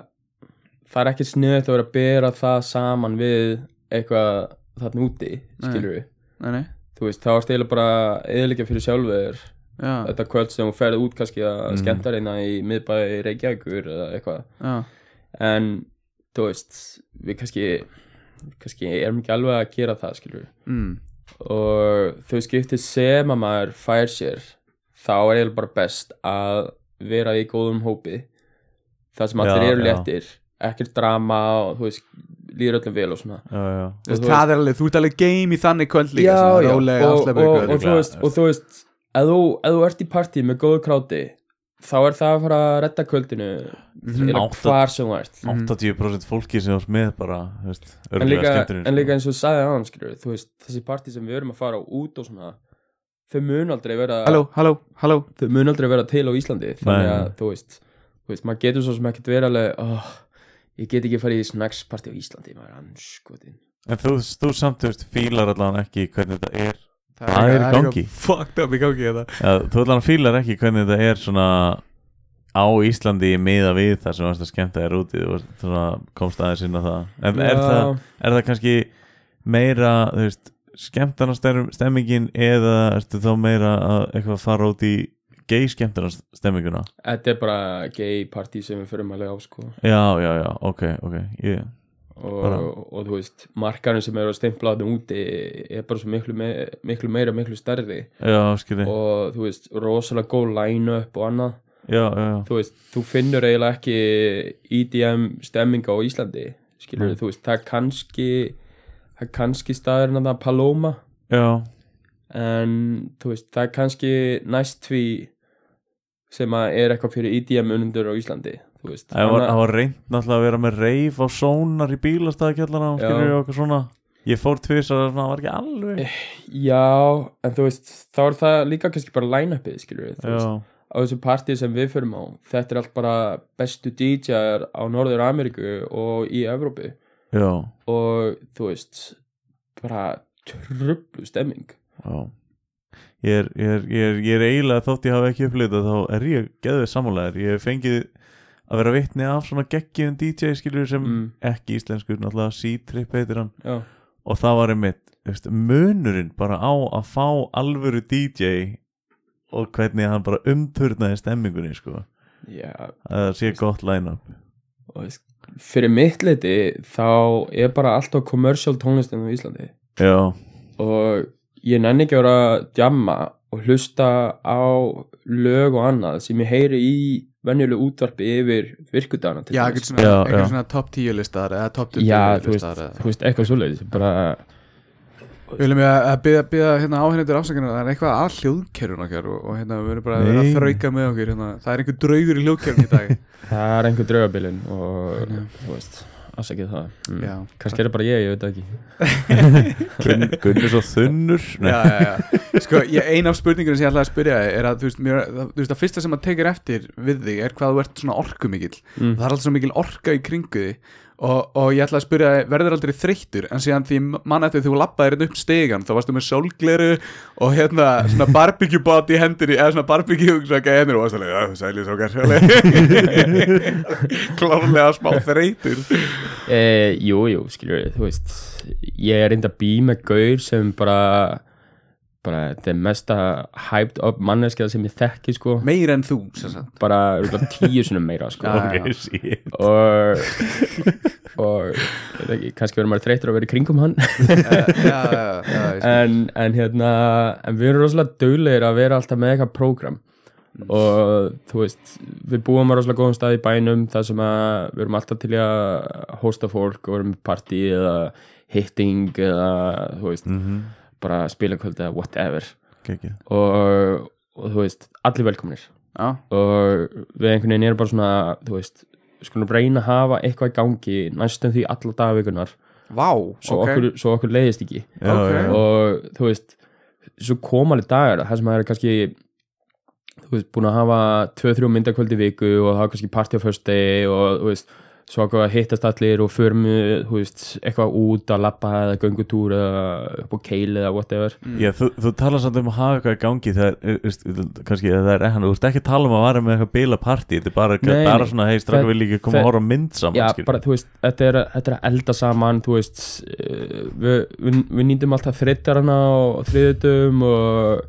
[SPEAKER 2] það er ekki sniðið að vera að bera það saman við eitthvað þarna úti, skilur við
[SPEAKER 3] nei, nei,
[SPEAKER 2] þú veist, þá er stila bara eðlika fyrir sjálfur
[SPEAKER 3] já,
[SPEAKER 2] þetta kvöld sem þú ferði út kannski að mm. skemmta reyna í miðbæði Reykjavíkur eða eitthvað
[SPEAKER 3] já,
[SPEAKER 2] en þú veist, við kannski kannski erum ekki alveg að gera það skilur
[SPEAKER 3] mm,
[SPEAKER 2] og þau skipti sem að maður fær sér þá er eiginlega bara best að vera í góðum hópi það sem allir
[SPEAKER 4] Já,
[SPEAKER 2] eru
[SPEAKER 4] já.
[SPEAKER 2] léttir ekkert drama og þú veist líður öllum vel og svona
[SPEAKER 4] Já, já
[SPEAKER 3] þú veist,
[SPEAKER 2] þú
[SPEAKER 3] það er alveg þú ert alveg game í þannig kvöld líka, svona rólega
[SPEAKER 2] og, og, og,
[SPEAKER 3] kvöld,
[SPEAKER 4] kvöld.
[SPEAKER 2] þú veist, og þú veist ef þú, ef þú ert í partí með góðu kráti þá er það að fara að redda kvöldinu eða
[SPEAKER 4] Mhm. Átta-
[SPEAKER 2] hvar sem þú ert
[SPEAKER 4] 80% fólki sem þú ert með bara, þú veist,
[SPEAKER 2] Mhm.
[SPEAKER 4] sko.
[SPEAKER 2] en
[SPEAKER 4] örgulega
[SPEAKER 2] líka,
[SPEAKER 4] skemmtunum
[SPEAKER 2] en líka eins og þú sagði aðan skilur þú veist, þessi partí sem við erum að fara á út og svona þau mun aldrei vera
[SPEAKER 3] halló, halló, halló
[SPEAKER 2] þau mun aldrei vera til á Íslandi þannig
[SPEAKER 4] Nei.
[SPEAKER 2] að þú veist, þú veist maður getur svo sem ekkert vera alveg oh, ég get ekki farið í snacksparti á Íslandi maður er anskotin
[SPEAKER 4] En þú, þú samt, þú veist, fílar allan ekki hvernig þetta er
[SPEAKER 3] eitthvað-
[SPEAKER 4] Það er í
[SPEAKER 3] eitthvað
[SPEAKER 4] gangi.
[SPEAKER 3] fucked up í gangi hérna. þetta
[SPEAKER 4] Já, Þú allan fílar ekki hvernig þetta er svona á Íslandi miða við það sem varst að skemmta þér úti þú varst svona komst aðeins inn á það en er það, er það kannski meira, þú veist, skemmtarnastemmingin eða ertu þá meira að eitthvað fara út í gei skemmtarnastemminguna?
[SPEAKER 2] þetta er bara gay partí sem við förum alveg á sko
[SPEAKER 4] Já, já, já, ok, ok yeah.
[SPEAKER 2] og,
[SPEAKER 4] Bara-
[SPEAKER 2] og, þú veist, markarinn sem eru að steimpla þetta úti er bara svo miklu, me miklu meira, miklu stærri
[SPEAKER 4] Já, skilji,
[SPEAKER 2] og þú veist, rosalega góð line-up og annað
[SPEAKER 4] já, já, já
[SPEAKER 2] þú veist, þú finnur eiginlega ekki E EDM stemminga á Íslandi skilur
[SPEAKER 4] Nei.
[SPEAKER 2] þú veist, það er kannski það er kannski staðurinn að það Paloma
[SPEAKER 4] Já,
[SPEAKER 2] en þú veist, það er kannski næst því sem að er eitthvað fyrir E EDM unnundur á Íslandi þú veist,
[SPEAKER 4] það var,
[SPEAKER 2] annað-
[SPEAKER 4] það var reynd náttúrulega að vera með reif á sónar í bílastæðakjallara og
[SPEAKER 2] Já.
[SPEAKER 4] skilju og eitthvað svona Ég fór tvisar að það var ekki alveg
[SPEAKER 2] Eh, já, en þú veist, þá er það líka kannski bara line-upið, skilur við, þú veist
[SPEAKER 4] Já,
[SPEAKER 2] á þessu partí sem við förum á þetta er allt bara bestu DJ-ar á Norður Ameríku og í Evrópu
[SPEAKER 4] já,
[SPEAKER 2] og þú veist bara trublu stemming
[SPEAKER 4] já Ég er, ég, er, ég, er, ég er eiginlega þótt ég hafi ekki upplýtað þá er ég geðið sammálaðir Ég hef fengið að vera vitni af svona geggjum DJ skilur sem
[SPEAKER 2] Mm.
[SPEAKER 4] ekki íslenskur náttúrulega C-Trip heitir hann
[SPEAKER 2] já,
[SPEAKER 4] og það var einmitt þú veist, munurinn bara á að fá alvöru DJ og hvernig hann bara umturnaði stemmingunni sko
[SPEAKER 2] já
[SPEAKER 4] að það sé gott line-up
[SPEAKER 2] og þú veist, fyrir mitt liti þá er bara alltaf commercial tónlistin á Íslandi
[SPEAKER 4] Já,
[SPEAKER 2] og ég nenni ekki að vera að djamma og hlusta á lög og annað sem ég heyri í venjulegu útvarpi yfir virkudagana til
[SPEAKER 3] já,
[SPEAKER 2] dæmis.
[SPEAKER 3] eitthvað svona,
[SPEAKER 4] Já,
[SPEAKER 3] eitthvað
[SPEAKER 4] já.
[SPEAKER 3] svona top 10 listar eða top 20
[SPEAKER 2] já þú, veist,
[SPEAKER 3] listar eða-
[SPEAKER 2] þú veist, eitthvað svoleiðis bara,
[SPEAKER 3] Við viljum að að biðja, biðja hérna áhengendur afsakinu það er eitthvað að hljóðkerfun okkar og, og hérna við erum bara að vera
[SPEAKER 4] Nei.
[SPEAKER 3] að þrauka með okkur hérna. það er einhver draugur í hljóðkerfun í dag
[SPEAKER 2] það er einhver draugabilin og þú veist, afsakið það mm.
[SPEAKER 3] Já.
[SPEAKER 2] kannski er það bara ég, ég veit það ekki
[SPEAKER 4] Gunn, Gunn er svo þunnur Nei,
[SPEAKER 3] já, já, já. Sko, ég, ein af spurningunum sem ég ætlaði að spyrja þig er að þú veist, mér, það, þú veist, það fyrsta sem maður tekir eftir við þig er hvað þú ert svona orkumikill
[SPEAKER 2] Mm.
[SPEAKER 3] það er alltaf svo mikil orka í kringu þig og, og ég ætlaði að spyrja þig, verður aldrei þreyttur en síðan því mann eftir því þú lappaðir hérna upp stegan þá varstu með sólgleru og hérna svona barbecue bát í hendinni eða svona barbecue hugsa í hendur og varst alveg, "Ah, sælir sókar klárlega smá þreytur
[SPEAKER 2] Eh, jú, jú, skilur við, þú veist ég er reynda bí með gaur sem bara bara þetta er mesta hyped up manneskja sem ég þekki sko
[SPEAKER 3] meir en þú, sem sagt
[SPEAKER 2] bara örugglega tíu sinum meira sko
[SPEAKER 3] Já,
[SPEAKER 4] ok, sí
[SPEAKER 2] og og ég veit ekki, kannski verður maður þreyttur að vera í kringum hann
[SPEAKER 3] Eh, já, já,
[SPEAKER 2] Eh,
[SPEAKER 3] já, já, ég skil.
[SPEAKER 2] en, en hérna en við erum rosalega döglegir að vera alltaf með eitthvað prógram og þú veist við búum á rosalega góðum stað í bænum þar sem að við erum alltaf til í að hosta fólk og erum með partí eða hitting eða þú veist bara spilakvöld eða whatever
[SPEAKER 4] Kekið
[SPEAKER 2] og, og þú veist allir velkomnir
[SPEAKER 3] já,
[SPEAKER 2] og við einhvern veginn erum bara svona þú veist við skulum reyna að hafa eitthvað í gangi næstum því alla dagavikunar
[SPEAKER 3] vá,
[SPEAKER 2] svo,
[SPEAKER 3] ok
[SPEAKER 2] okkur, svo okkur leiðist ekki
[SPEAKER 4] Já,
[SPEAKER 3] Ok.
[SPEAKER 4] já,
[SPEAKER 2] og þú veist svo koma alveg dagar það sem maður er kannski þú veist, búin að hafa 2-3 myndakvöld í viku og hafa kannski party á föstu og þú veist, svo okkur að hittast allir og förum þú veist, eitthvað út að labba eða göngutúr eða upp á keil eða whatever
[SPEAKER 4] Já, þú, þú talar samt um að hafa eitthvað í gangi þegar, er, veist, kannski það er ehan, þú ert ekki að tala um að vara með eitthvað bila partí þetta er bara,
[SPEAKER 2] Nei,
[SPEAKER 4] bara
[SPEAKER 2] nei.
[SPEAKER 4] svona, hei, stráka
[SPEAKER 2] Það-
[SPEAKER 4] vil ekki koma
[SPEAKER 2] það-
[SPEAKER 4] að horfa á mynd saman
[SPEAKER 2] Já,
[SPEAKER 4] skilur.
[SPEAKER 2] bara þú veist, þetta er, þetta er að elda saman þú veist, eh, við, við, við nýndum alltaf þriðdarana og þriðutum og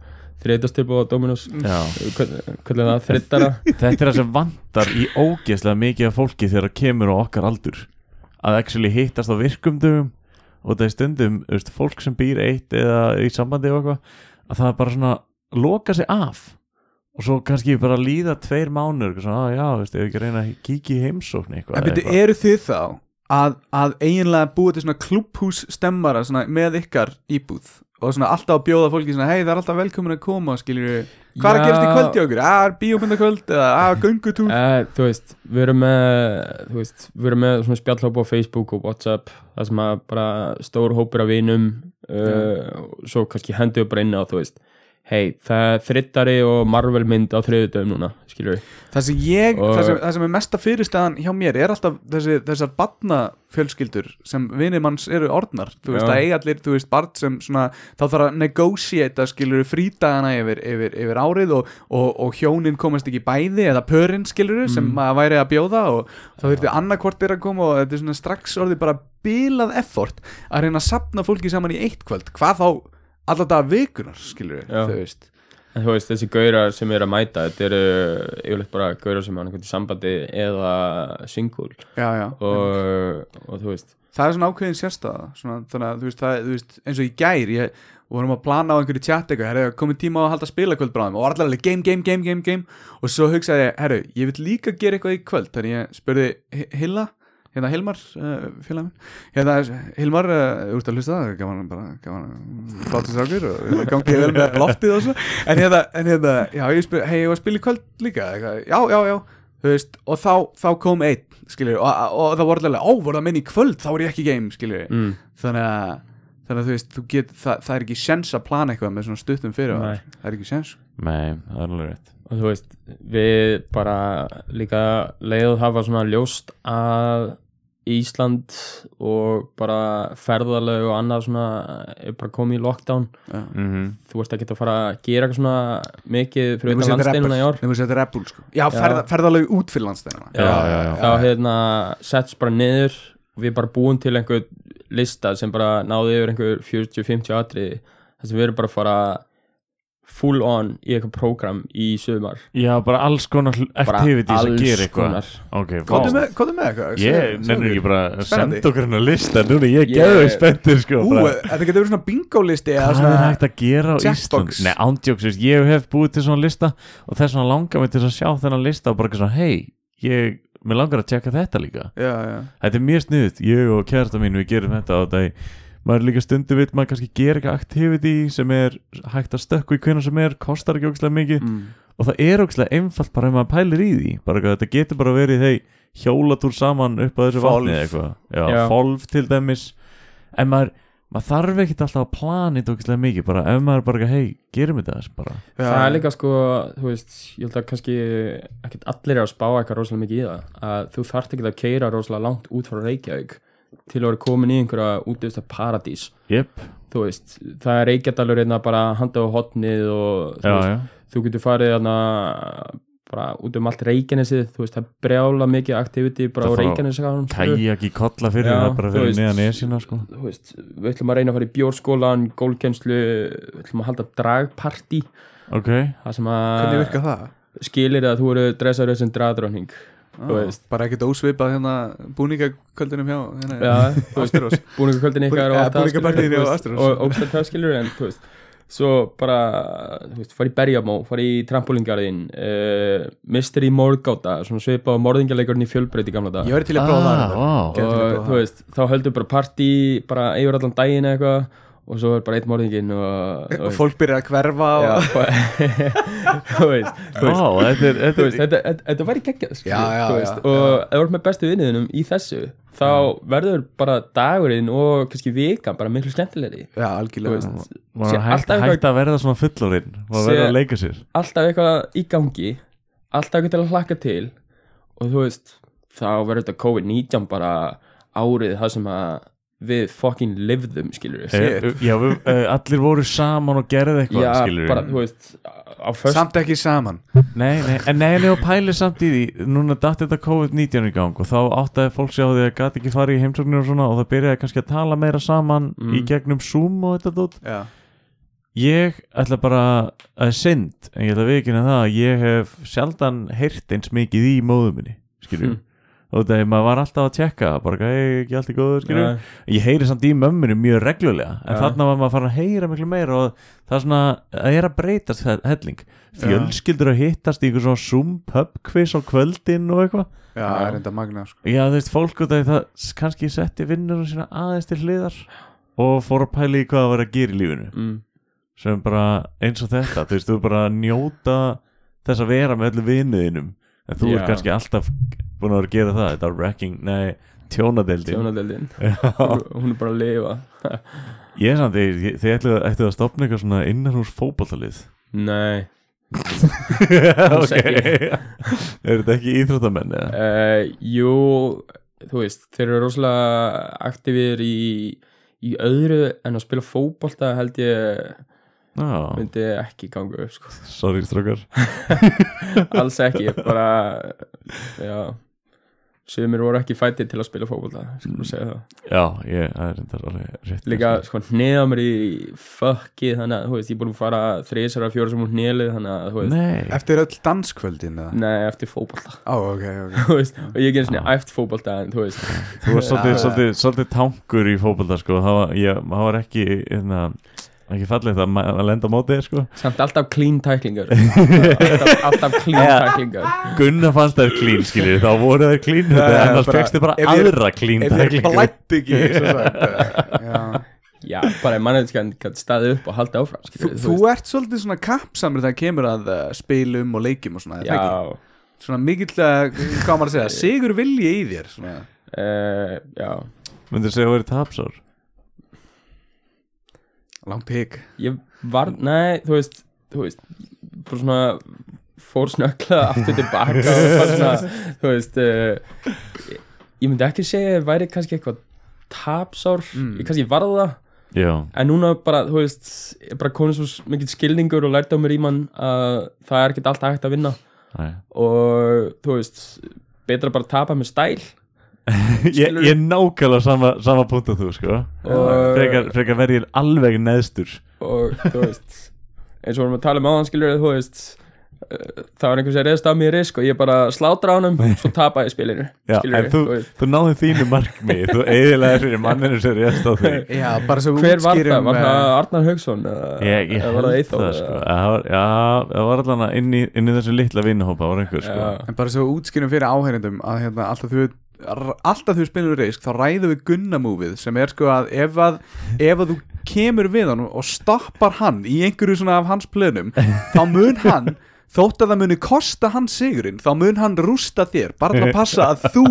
[SPEAKER 2] þriðdastilbú og Dominos
[SPEAKER 4] Já.
[SPEAKER 2] hvernig er það, þriðdara
[SPEAKER 4] Þetta er það sem vantar í ógeðslega mikið af fólki þegar það kemur á okkar aldur að actually hittast á virkum dögum og það er stundum, þú veist, fólk sem býr eitt eða í sambandi og eitthvað að það er bara svona, loka sig af og svo kannski bara líða tveir mánur og svona, "Á, já, þú veist, ef ekki að reyna að kíkja í heimsókn eitthvað
[SPEAKER 3] En byrju,
[SPEAKER 4] eitthvað."
[SPEAKER 3] eru þið þá að, að eiginlega búið til svona klubhús stemmara svona, með ykkar íbúð og svona alltaf að bjóða fólki svona hei það er alltaf velkomin að koma skiljur hvað er að
[SPEAKER 2] Já.
[SPEAKER 3] gerast í kvöld í okkur? Að bíómyndakvöld eða að göngutúr
[SPEAKER 2] Eh, þú veist, við erum með þú veist, við erum með svona spjallhópa á Facebook og Whatsapp, það sem að bara stór hópur af vinum uh, og svo kannski hendur við bara inn á þú veist, hei, það er þrittari og Marvel mynd á þriðutum núna skilur við,
[SPEAKER 3] það sem ég,
[SPEAKER 2] Og-
[SPEAKER 3] það sem, það sem er mesta fyrirstæðan hjá mér er alltaf þessi, þessar barnafjölskyldur sem vinir manns eru orðnar þú veist
[SPEAKER 2] Já.
[SPEAKER 3] það eigi allir, þú veist barn sem svona, þá þarf að negotiata skilur frítagana yfir, yfir, yfir árið og, og, og hjónin komast ekki bæði eða pörin skilur sem
[SPEAKER 2] Mm.
[SPEAKER 3] maður væri að bjóða og þá þurfti annarkvort þeirra að koma og þetta er svona strax orðið bara bilað effort að reyna að sapna fólki saman í eitt kvöld hvað þá alltaf daga vikunar skilur
[SPEAKER 2] Já.
[SPEAKER 3] þú veist
[SPEAKER 2] en þú veist, þessi gaurar sem eru að mæta, þetta eru yfirleitt bara gaurar sem er annað í sambandi eða singul
[SPEAKER 3] já, já.
[SPEAKER 2] og, og þú veist
[SPEAKER 3] það er svona ákveðin sérstaða svona, þannig að þú veist, það, þú veist eins og í gær ég við vorum að plana á einhverju tjátt eitthvað herru, komið tíma á að halda spilakvöld bráðum og var allir alveg game, game, game, game, game og svo hugsaði ég, herru, ég vil líka gera eitthvað í kvöld þannig ég spurði Hi- Hilla hérna Hilmar, uh, félagin hérna Hilmar, uh, úrst að hlusta það gaman bara, gaman flottis ákveður og gangi vel með loftið og svo en hérna, en hérna, já, ég spurði hei, ég var að spila í kvöld líka, eitthvað, já, já, já þú veist, og þá, þá kom einn skilur, og, og, og það voru alveg, ó, voru það minni í kvöld þá voru ég ekki í game, skilur mm. þannig að, þannig að þú veist, þú get það, það er ekki sens að plana eitthvað með svona stuttum fyrir
[SPEAKER 2] Nei.
[SPEAKER 3] það er ekki sens
[SPEAKER 4] Nei, það er alveg rétt
[SPEAKER 2] og þú veist, við bara líka leiðuð hafa svona ljóst að Ísland og bara ferðalög og annað svona er bara komið í lockdown
[SPEAKER 4] mm
[SPEAKER 2] þú veist ekki að fara að gera eitthvað svona mikið fyrir
[SPEAKER 3] Nema
[SPEAKER 2] utan
[SPEAKER 3] setja
[SPEAKER 2] landsteinuna í
[SPEAKER 3] rebel.
[SPEAKER 2] ár
[SPEAKER 3] Nema setja rebel, sko. já, ferða, ferðalegu út fyrir landsteinuna
[SPEAKER 4] Já, já, já,
[SPEAKER 2] þá hérna setts bara niður og við bara búum til einhver lista sem bara náði yfir einhver 40-50 atri þess að við erum bara að fara full on í eitthvað prógram í sumar
[SPEAKER 4] Já, bara alls konar hl-
[SPEAKER 2] Bara
[SPEAKER 4] activities að
[SPEAKER 2] alls
[SPEAKER 4] gera eitthvað
[SPEAKER 2] konar.
[SPEAKER 4] Ok,
[SPEAKER 3] Komdu
[SPEAKER 4] vá.
[SPEAKER 3] með, komdu með eitthvað
[SPEAKER 4] Ég nefnir ekki bara að
[SPEAKER 3] Spennandi.
[SPEAKER 4] senda okkur hennar lista Núna ég
[SPEAKER 2] Ég-
[SPEAKER 4] yeah. geðu spenntir sko
[SPEAKER 3] Ú,
[SPEAKER 4] bara-
[SPEAKER 3] þetta getur verið svona bingo-listi eða
[SPEAKER 4] Hvað er
[SPEAKER 3] svona-
[SPEAKER 4] hægt að gera á
[SPEAKER 3] Jackbox.
[SPEAKER 4] Ísland? Nei, ándjóks, veist, ég hef búið til svona lista og þess vegna langar mig til að sjá þennan lista og bara ekki svona, hei, ég, mér langar að tjekka þetta líka.
[SPEAKER 3] Já, já,
[SPEAKER 4] Þetta er mjög sniðut, ég og kærasta mín, við gerum þetta á þetta. Maður líka stundu vill, maður kannski gera eitthvað activity sem er hægt að stökku í hvernig sem er, kostar ekki ógislega mikið
[SPEAKER 3] mm.
[SPEAKER 4] og það er ógislega einfalt bara ef maður pælir í því. Bara eitthvað, þetta getur bara verið, hei, hjólatúr saman upp að þessu
[SPEAKER 3] Hvolf.
[SPEAKER 4] vatni eða eitthvað. Já,
[SPEAKER 2] Já.
[SPEAKER 4] fólf til dæmis. En maður, maður þarf ekkert alltaf að plana þetta ógislega mikið, bara ef maður bara, hei, gerum þetta þess bara.
[SPEAKER 3] Já,
[SPEAKER 2] það
[SPEAKER 3] já.
[SPEAKER 2] er líka sko, þú veist, ég held að kannski ekkert allir er að spá eitthvað rosalega mikið í það að þú þarft ekki að keira rosalega langt út frá Reykjavík til að vera komin í einhverja útvista paradís
[SPEAKER 4] Jep,
[SPEAKER 2] þú veist, það er Reykjadalur hérna bara handa á hotnið og þú,
[SPEAKER 4] já,
[SPEAKER 2] veist,
[SPEAKER 4] já.
[SPEAKER 2] þú getur farið hérna bara út um allt Reykjanesið þú veist, það er brjála mikið aktiviti bara á
[SPEAKER 4] Það fara á
[SPEAKER 2] Reykjanesið
[SPEAKER 4] Kæjak í kolla fyrir
[SPEAKER 2] Já,
[SPEAKER 4] það bara
[SPEAKER 2] þú
[SPEAKER 4] fyrir
[SPEAKER 2] veist.
[SPEAKER 4] neðan esina sko
[SPEAKER 2] þú veist, við ætlum að reyna að fara í bjórskólan gólkenslu, við ætlum að halda dragpartí,
[SPEAKER 4] Ok,
[SPEAKER 2] það sem að
[SPEAKER 3] Hvernig virka það?
[SPEAKER 2] skilir að þú eru dressaður sem dragdróning þú
[SPEAKER 3] Ah,
[SPEAKER 2] veist.
[SPEAKER 3] bara ekkert ósvipað hérna búningaköldunum hjá hérna,
[SPEAKER 2] Já, þú veist,
[SPEAKER 3] Astros
[SPEAKER 2] búningaköldin ykkar
[SPEAKER 3] Búning-
[SPEAKER 2] og
[SPEAKER 3] ja,
[SPEAKER 2] allt það,
[SPEAKER 3] búningapartíinu
[SPEAKER 2] skilur,
[SPEAKER 3] og
[SPEAKER 2] þú veist,
[SPEAKER 3] Astros.
[SPEAKER 2] og ógsta það skilur en þú veist svo bara, þú veist, fara í berjamó fara í trampolíngarðin uh, mystery morgáta, svona svipa á morðingjarleikurinn í fjölbreyt í gamla dag
[SPEAKER 3] Ég verði til að prófa það reyndar.
[SPEAKER 4] vá.
[SPEAKER 3] Ég væri til að
[SPEAKER 2] og
[SPEAKER 3] prófa
[SPEAKER 2] þú
[SPEAKER 3] það.
[SPEAKER 2] veist, þá höldum bara partí bara yfir allan daginn eða eitthvað og svo er bara eitt morðingin og, þú
[SPEAKER 3] Og
[SPEAKER 2] veist,
[SPEAKER 3] fólk byrjar að hverfa og...
[SPEAKER 2] já, og- þú veist, þú veist,
[SPEAKER 4] Vá, þetta er,
[SPEAKER 2] þú
[SPEAKER 4] þetta
[SPEAKER 2] veist
[SPEAKER 4] er
[SPEAKER 2] þetta, þetta, þetta væri geggjað sko,
[SPEAKER 3] Já, já,
[SPEAKER 2] þú veist,
[SPEAKER 3] já,
[SPEAKER 2] og ef þú ert með bestu vinniðinum í þessu þá verður bara dagurinn og kannski vikan bara miklu skemmtilegri
[SPEAKER 3] Já, algjörlega
[SPEAKER 2] Þú
[SPEAKER 4] maður
[SPEAKER 2] sé
[SPEAKER 4] er hægt,
[SPEAKER 2] alltaf
[SPEAKER 4] hægt að verða svona fullorinn maður
[SPEAKER 2] Sé-
[SPEAKER 4] verður að leika sér
[SPEAKER 2] alltaf eitthvað í gangi alltaf eitthvað til að hlakka til og þú veist, þá verður þetta COVID-19 bara árið það sem að við fucking lifðum, skilur við
[SPEAKER 4] Eh, já, við, eh, allir voru saman og gerði eitthvað
[SPEAKER 2] Já,
[SPEAKER 4] skilur
[SPEAKER 2] bara, þú veist, á föst
[SPEAKER 3] Samt ekki saman
[SPEAKER 4] Nei, nei, en nei, en ég var pælið samt í því Núna datt þetta COVID-19 í gang Og þá áttaði fólk sér á því að gæti ekki farið í heimsóknir og svona Og það byrjaði kannski að tala meira saman
[SPEAKER 2] Mm.
[SPEAKER 4] Í gegnum Zoom og þetta dót
[SPEAKER 3] Já,
[SPEAKER 4] Ég ætla bara að synd En ég ætla að vikina það að ég hef Sjaldan heyrt eins mikið í móðu minni Skilju
[SPEAKER 2] Mm.
[SPEAKER 4] Og það er maður var alltaf að tjekka Bara hey, ekki allt í góðu skilju Ég heyri samt í mömminu mjög reglulega En
[SPEAKER 2] Já.
[SPEAKER 4] þarna var maður að fara að heyra miklu meira Og það er svona, það er að breytast he- helling Fjölskyldur að hittast í einhver svona Zoom pub quiz á kvöldin og eitthvað
[SPEAKER 3] já, það er enda magna sko.
[SPEAKER 4] Já þú veist, fólk út af því það s- kannski setti vinnunum sína aðeins til hliðar Og fór að pæla í hvað það var að gera í lífinu
[SPEAKER 2] mm,
[SPEAKER 4] Sem bara eins og þetta, þú veist, þú er bara að njóta Þess að vera með öllu vinnuðinum En þú
[SPEAKER 2] Já.
[SPEAKER 4] ert kannski alltaf búin að vera að gera það Þetta er wrecking, nei, tjónadeildin
[SPEAKER 2] Sjónadeldin,
[SPEAKER 4] Já.
[SPEAKER 2] hún er bara að lifa
[SPEAKER 4] Ég er samt, þið, þið ætlu, ættu að stopna eitthvað svona innanhús fótballalið
[SPEAKER 2] Nei,
[SPEAKER 4] Ok
[SPEAKER 2] ekki.
[SPEAKER 4] Er þetta ekki íþróttamenn
[SPEAKER 3] Eh,
[SPEAKER 4] eða?
[SPEAKER 2] uh, jú þú veist, þeir eru rosalega aktífir í, í öðru en að spila fótbolta held ég
[SPEAKER 4] Já,
[SPEAKER 2] myndi ekki ganga upp sko.
[SPEAKER 4] sorry strókar
[SPEAKER 2] alls ekki, bara já sumir voru ekki fættir til að spila fótbolta skulum við segja það,
[SPEAKER 4] Já, ég, það er reyndar alveg rétt
[SPEAKER 2] líka sko hneða mér í fuckið þannig að þú veist, ég er búin að fara þrísara fjóra sem hún hnelið þannig að þú
[SPEAKER 3] sko,
[SPEAKER 2] veist,
[SPEAKER 4] Nei,
[SPEAKER 3] Eftir öll danskvöldin eða?
[SPEAKER 2] nei, eftir fótbolta
[SPEAKER 3] Ó, ok, ok
[SPEAKER 2] þú veist, og ég gerði svona æft fótbolta en þú veist,
[SPEAKER 4] þú var svolítið,
[SPEAKER 3] Já.
[SPEAKER 4] svolítið, svolítið tankur í fótballar sko Það var, ég, það var ekki, hérna, ekki fallið það að lenda á mótið sko
[SPEAKER 2] samt alltaf clean tæklingar alltaf, alltaf clean tæklingar
[SPEAKER 4] Gunnar fannst þær klín skilur, þá voru þær klín
[SPEAKER 3] Já, já,
[SPEAKER 4] Annars
[SPEAKER 3] bara-
[SPEAKER 4] fegstu bara
[SPEAKER 3] ef ég-
[SPEAKER 4] aðra klín
[SPEAKER 3] Ef ég blætt ekki svo sagt, eh, já.
[SPEAKER 2] já, bara mannæðiskan kann staðið upp og halda áfram
[SPEAKER 3] Þú,
[SPEAKER 2] skilur,
[SPEAKER 3] þú ert svolítið svona kappsamur þegar kemur að uh, spilum og leikjum og svona er það ekki?
[SPEAKER 2] já,
[SPEAKER 3] Svona mikill, uh, hvað á maður að segja, sigur vilji í þér svona.
[SPEAKER 2] uh, já
[SPEAKER 4] Myndir segja að vera tapsár
[SPEAKER 3] Lang pík
[SPEAKER 2] ég var, nei, þú veist þú veist, bara svona fór snöggla aftur tilbaka og bara svona, þú veist uh, ég myndi ekki segja að ég væri kannski eitthvað tapsár
[SPEAKER 3] Mm.
[SPEAKER 2] ég kannski varð það,
[SPEAKER 4] Já
[SPEAKER 2] en núna bara, þú veist er bara konið svo mikið skilningur og lært á mér í mann að það er ekki alltaf hægt að vinna
[SPEAKER 4] Æ.
[SPEAKER 2] og þú veist betra bara að tapa með stæl
[SPEAKER 4] ég, ég er nákvæmlega sama, sama punkt að þú sko
[SPEAKER 2] Og-
[SPEAKER 4] frekar, frekar verð ég alveg neðstur
[SPEAKER 2] og þú veist eins og vorum að tala með áðan skilur þú veist uh, það var einhvers að reyðast af mér í risk og ég bara slátra á honum svo tapa ég spilinu
[SPEAKER 4] Já, en
[SPEAKER 2] skilurðu, þú
[SPEAKER 4] þú,
[SPEAKER 2] veist.
[SPEAKER 4] þú náði þínu markmi þú eiginlega fyrir manninu sem réðst á því
[SPEAKER 3] Já, bara svo
[SPEAKER 2] hver var það?
[SPEAKER 3] útskýrum,
[SPEAKER 2] Var það
[SPEAKER 3] eh,
[SPEAKER 2] Arnar Haugsson?
[SPEAKER 4] ég, ég held það sko það var, já, það var allan að inn í, inn í þessu litla vinnuhópa var einhver sko
[SPEAKER 2] Já.
[SPEAKER 3] En bara svo útskýrum fyrir áheyrendum að hérna, alltaf þú r- alltaf þú spilur risk þá ræðum við Gunnamúfið sem er sko að ef, að ef að þú kemur við hann og stoppar hann í einhverju svona af hans plönum þá mun hann þótt að það muni kosta hann sigurinn þá mun hann rústa þér bara til að passa að þú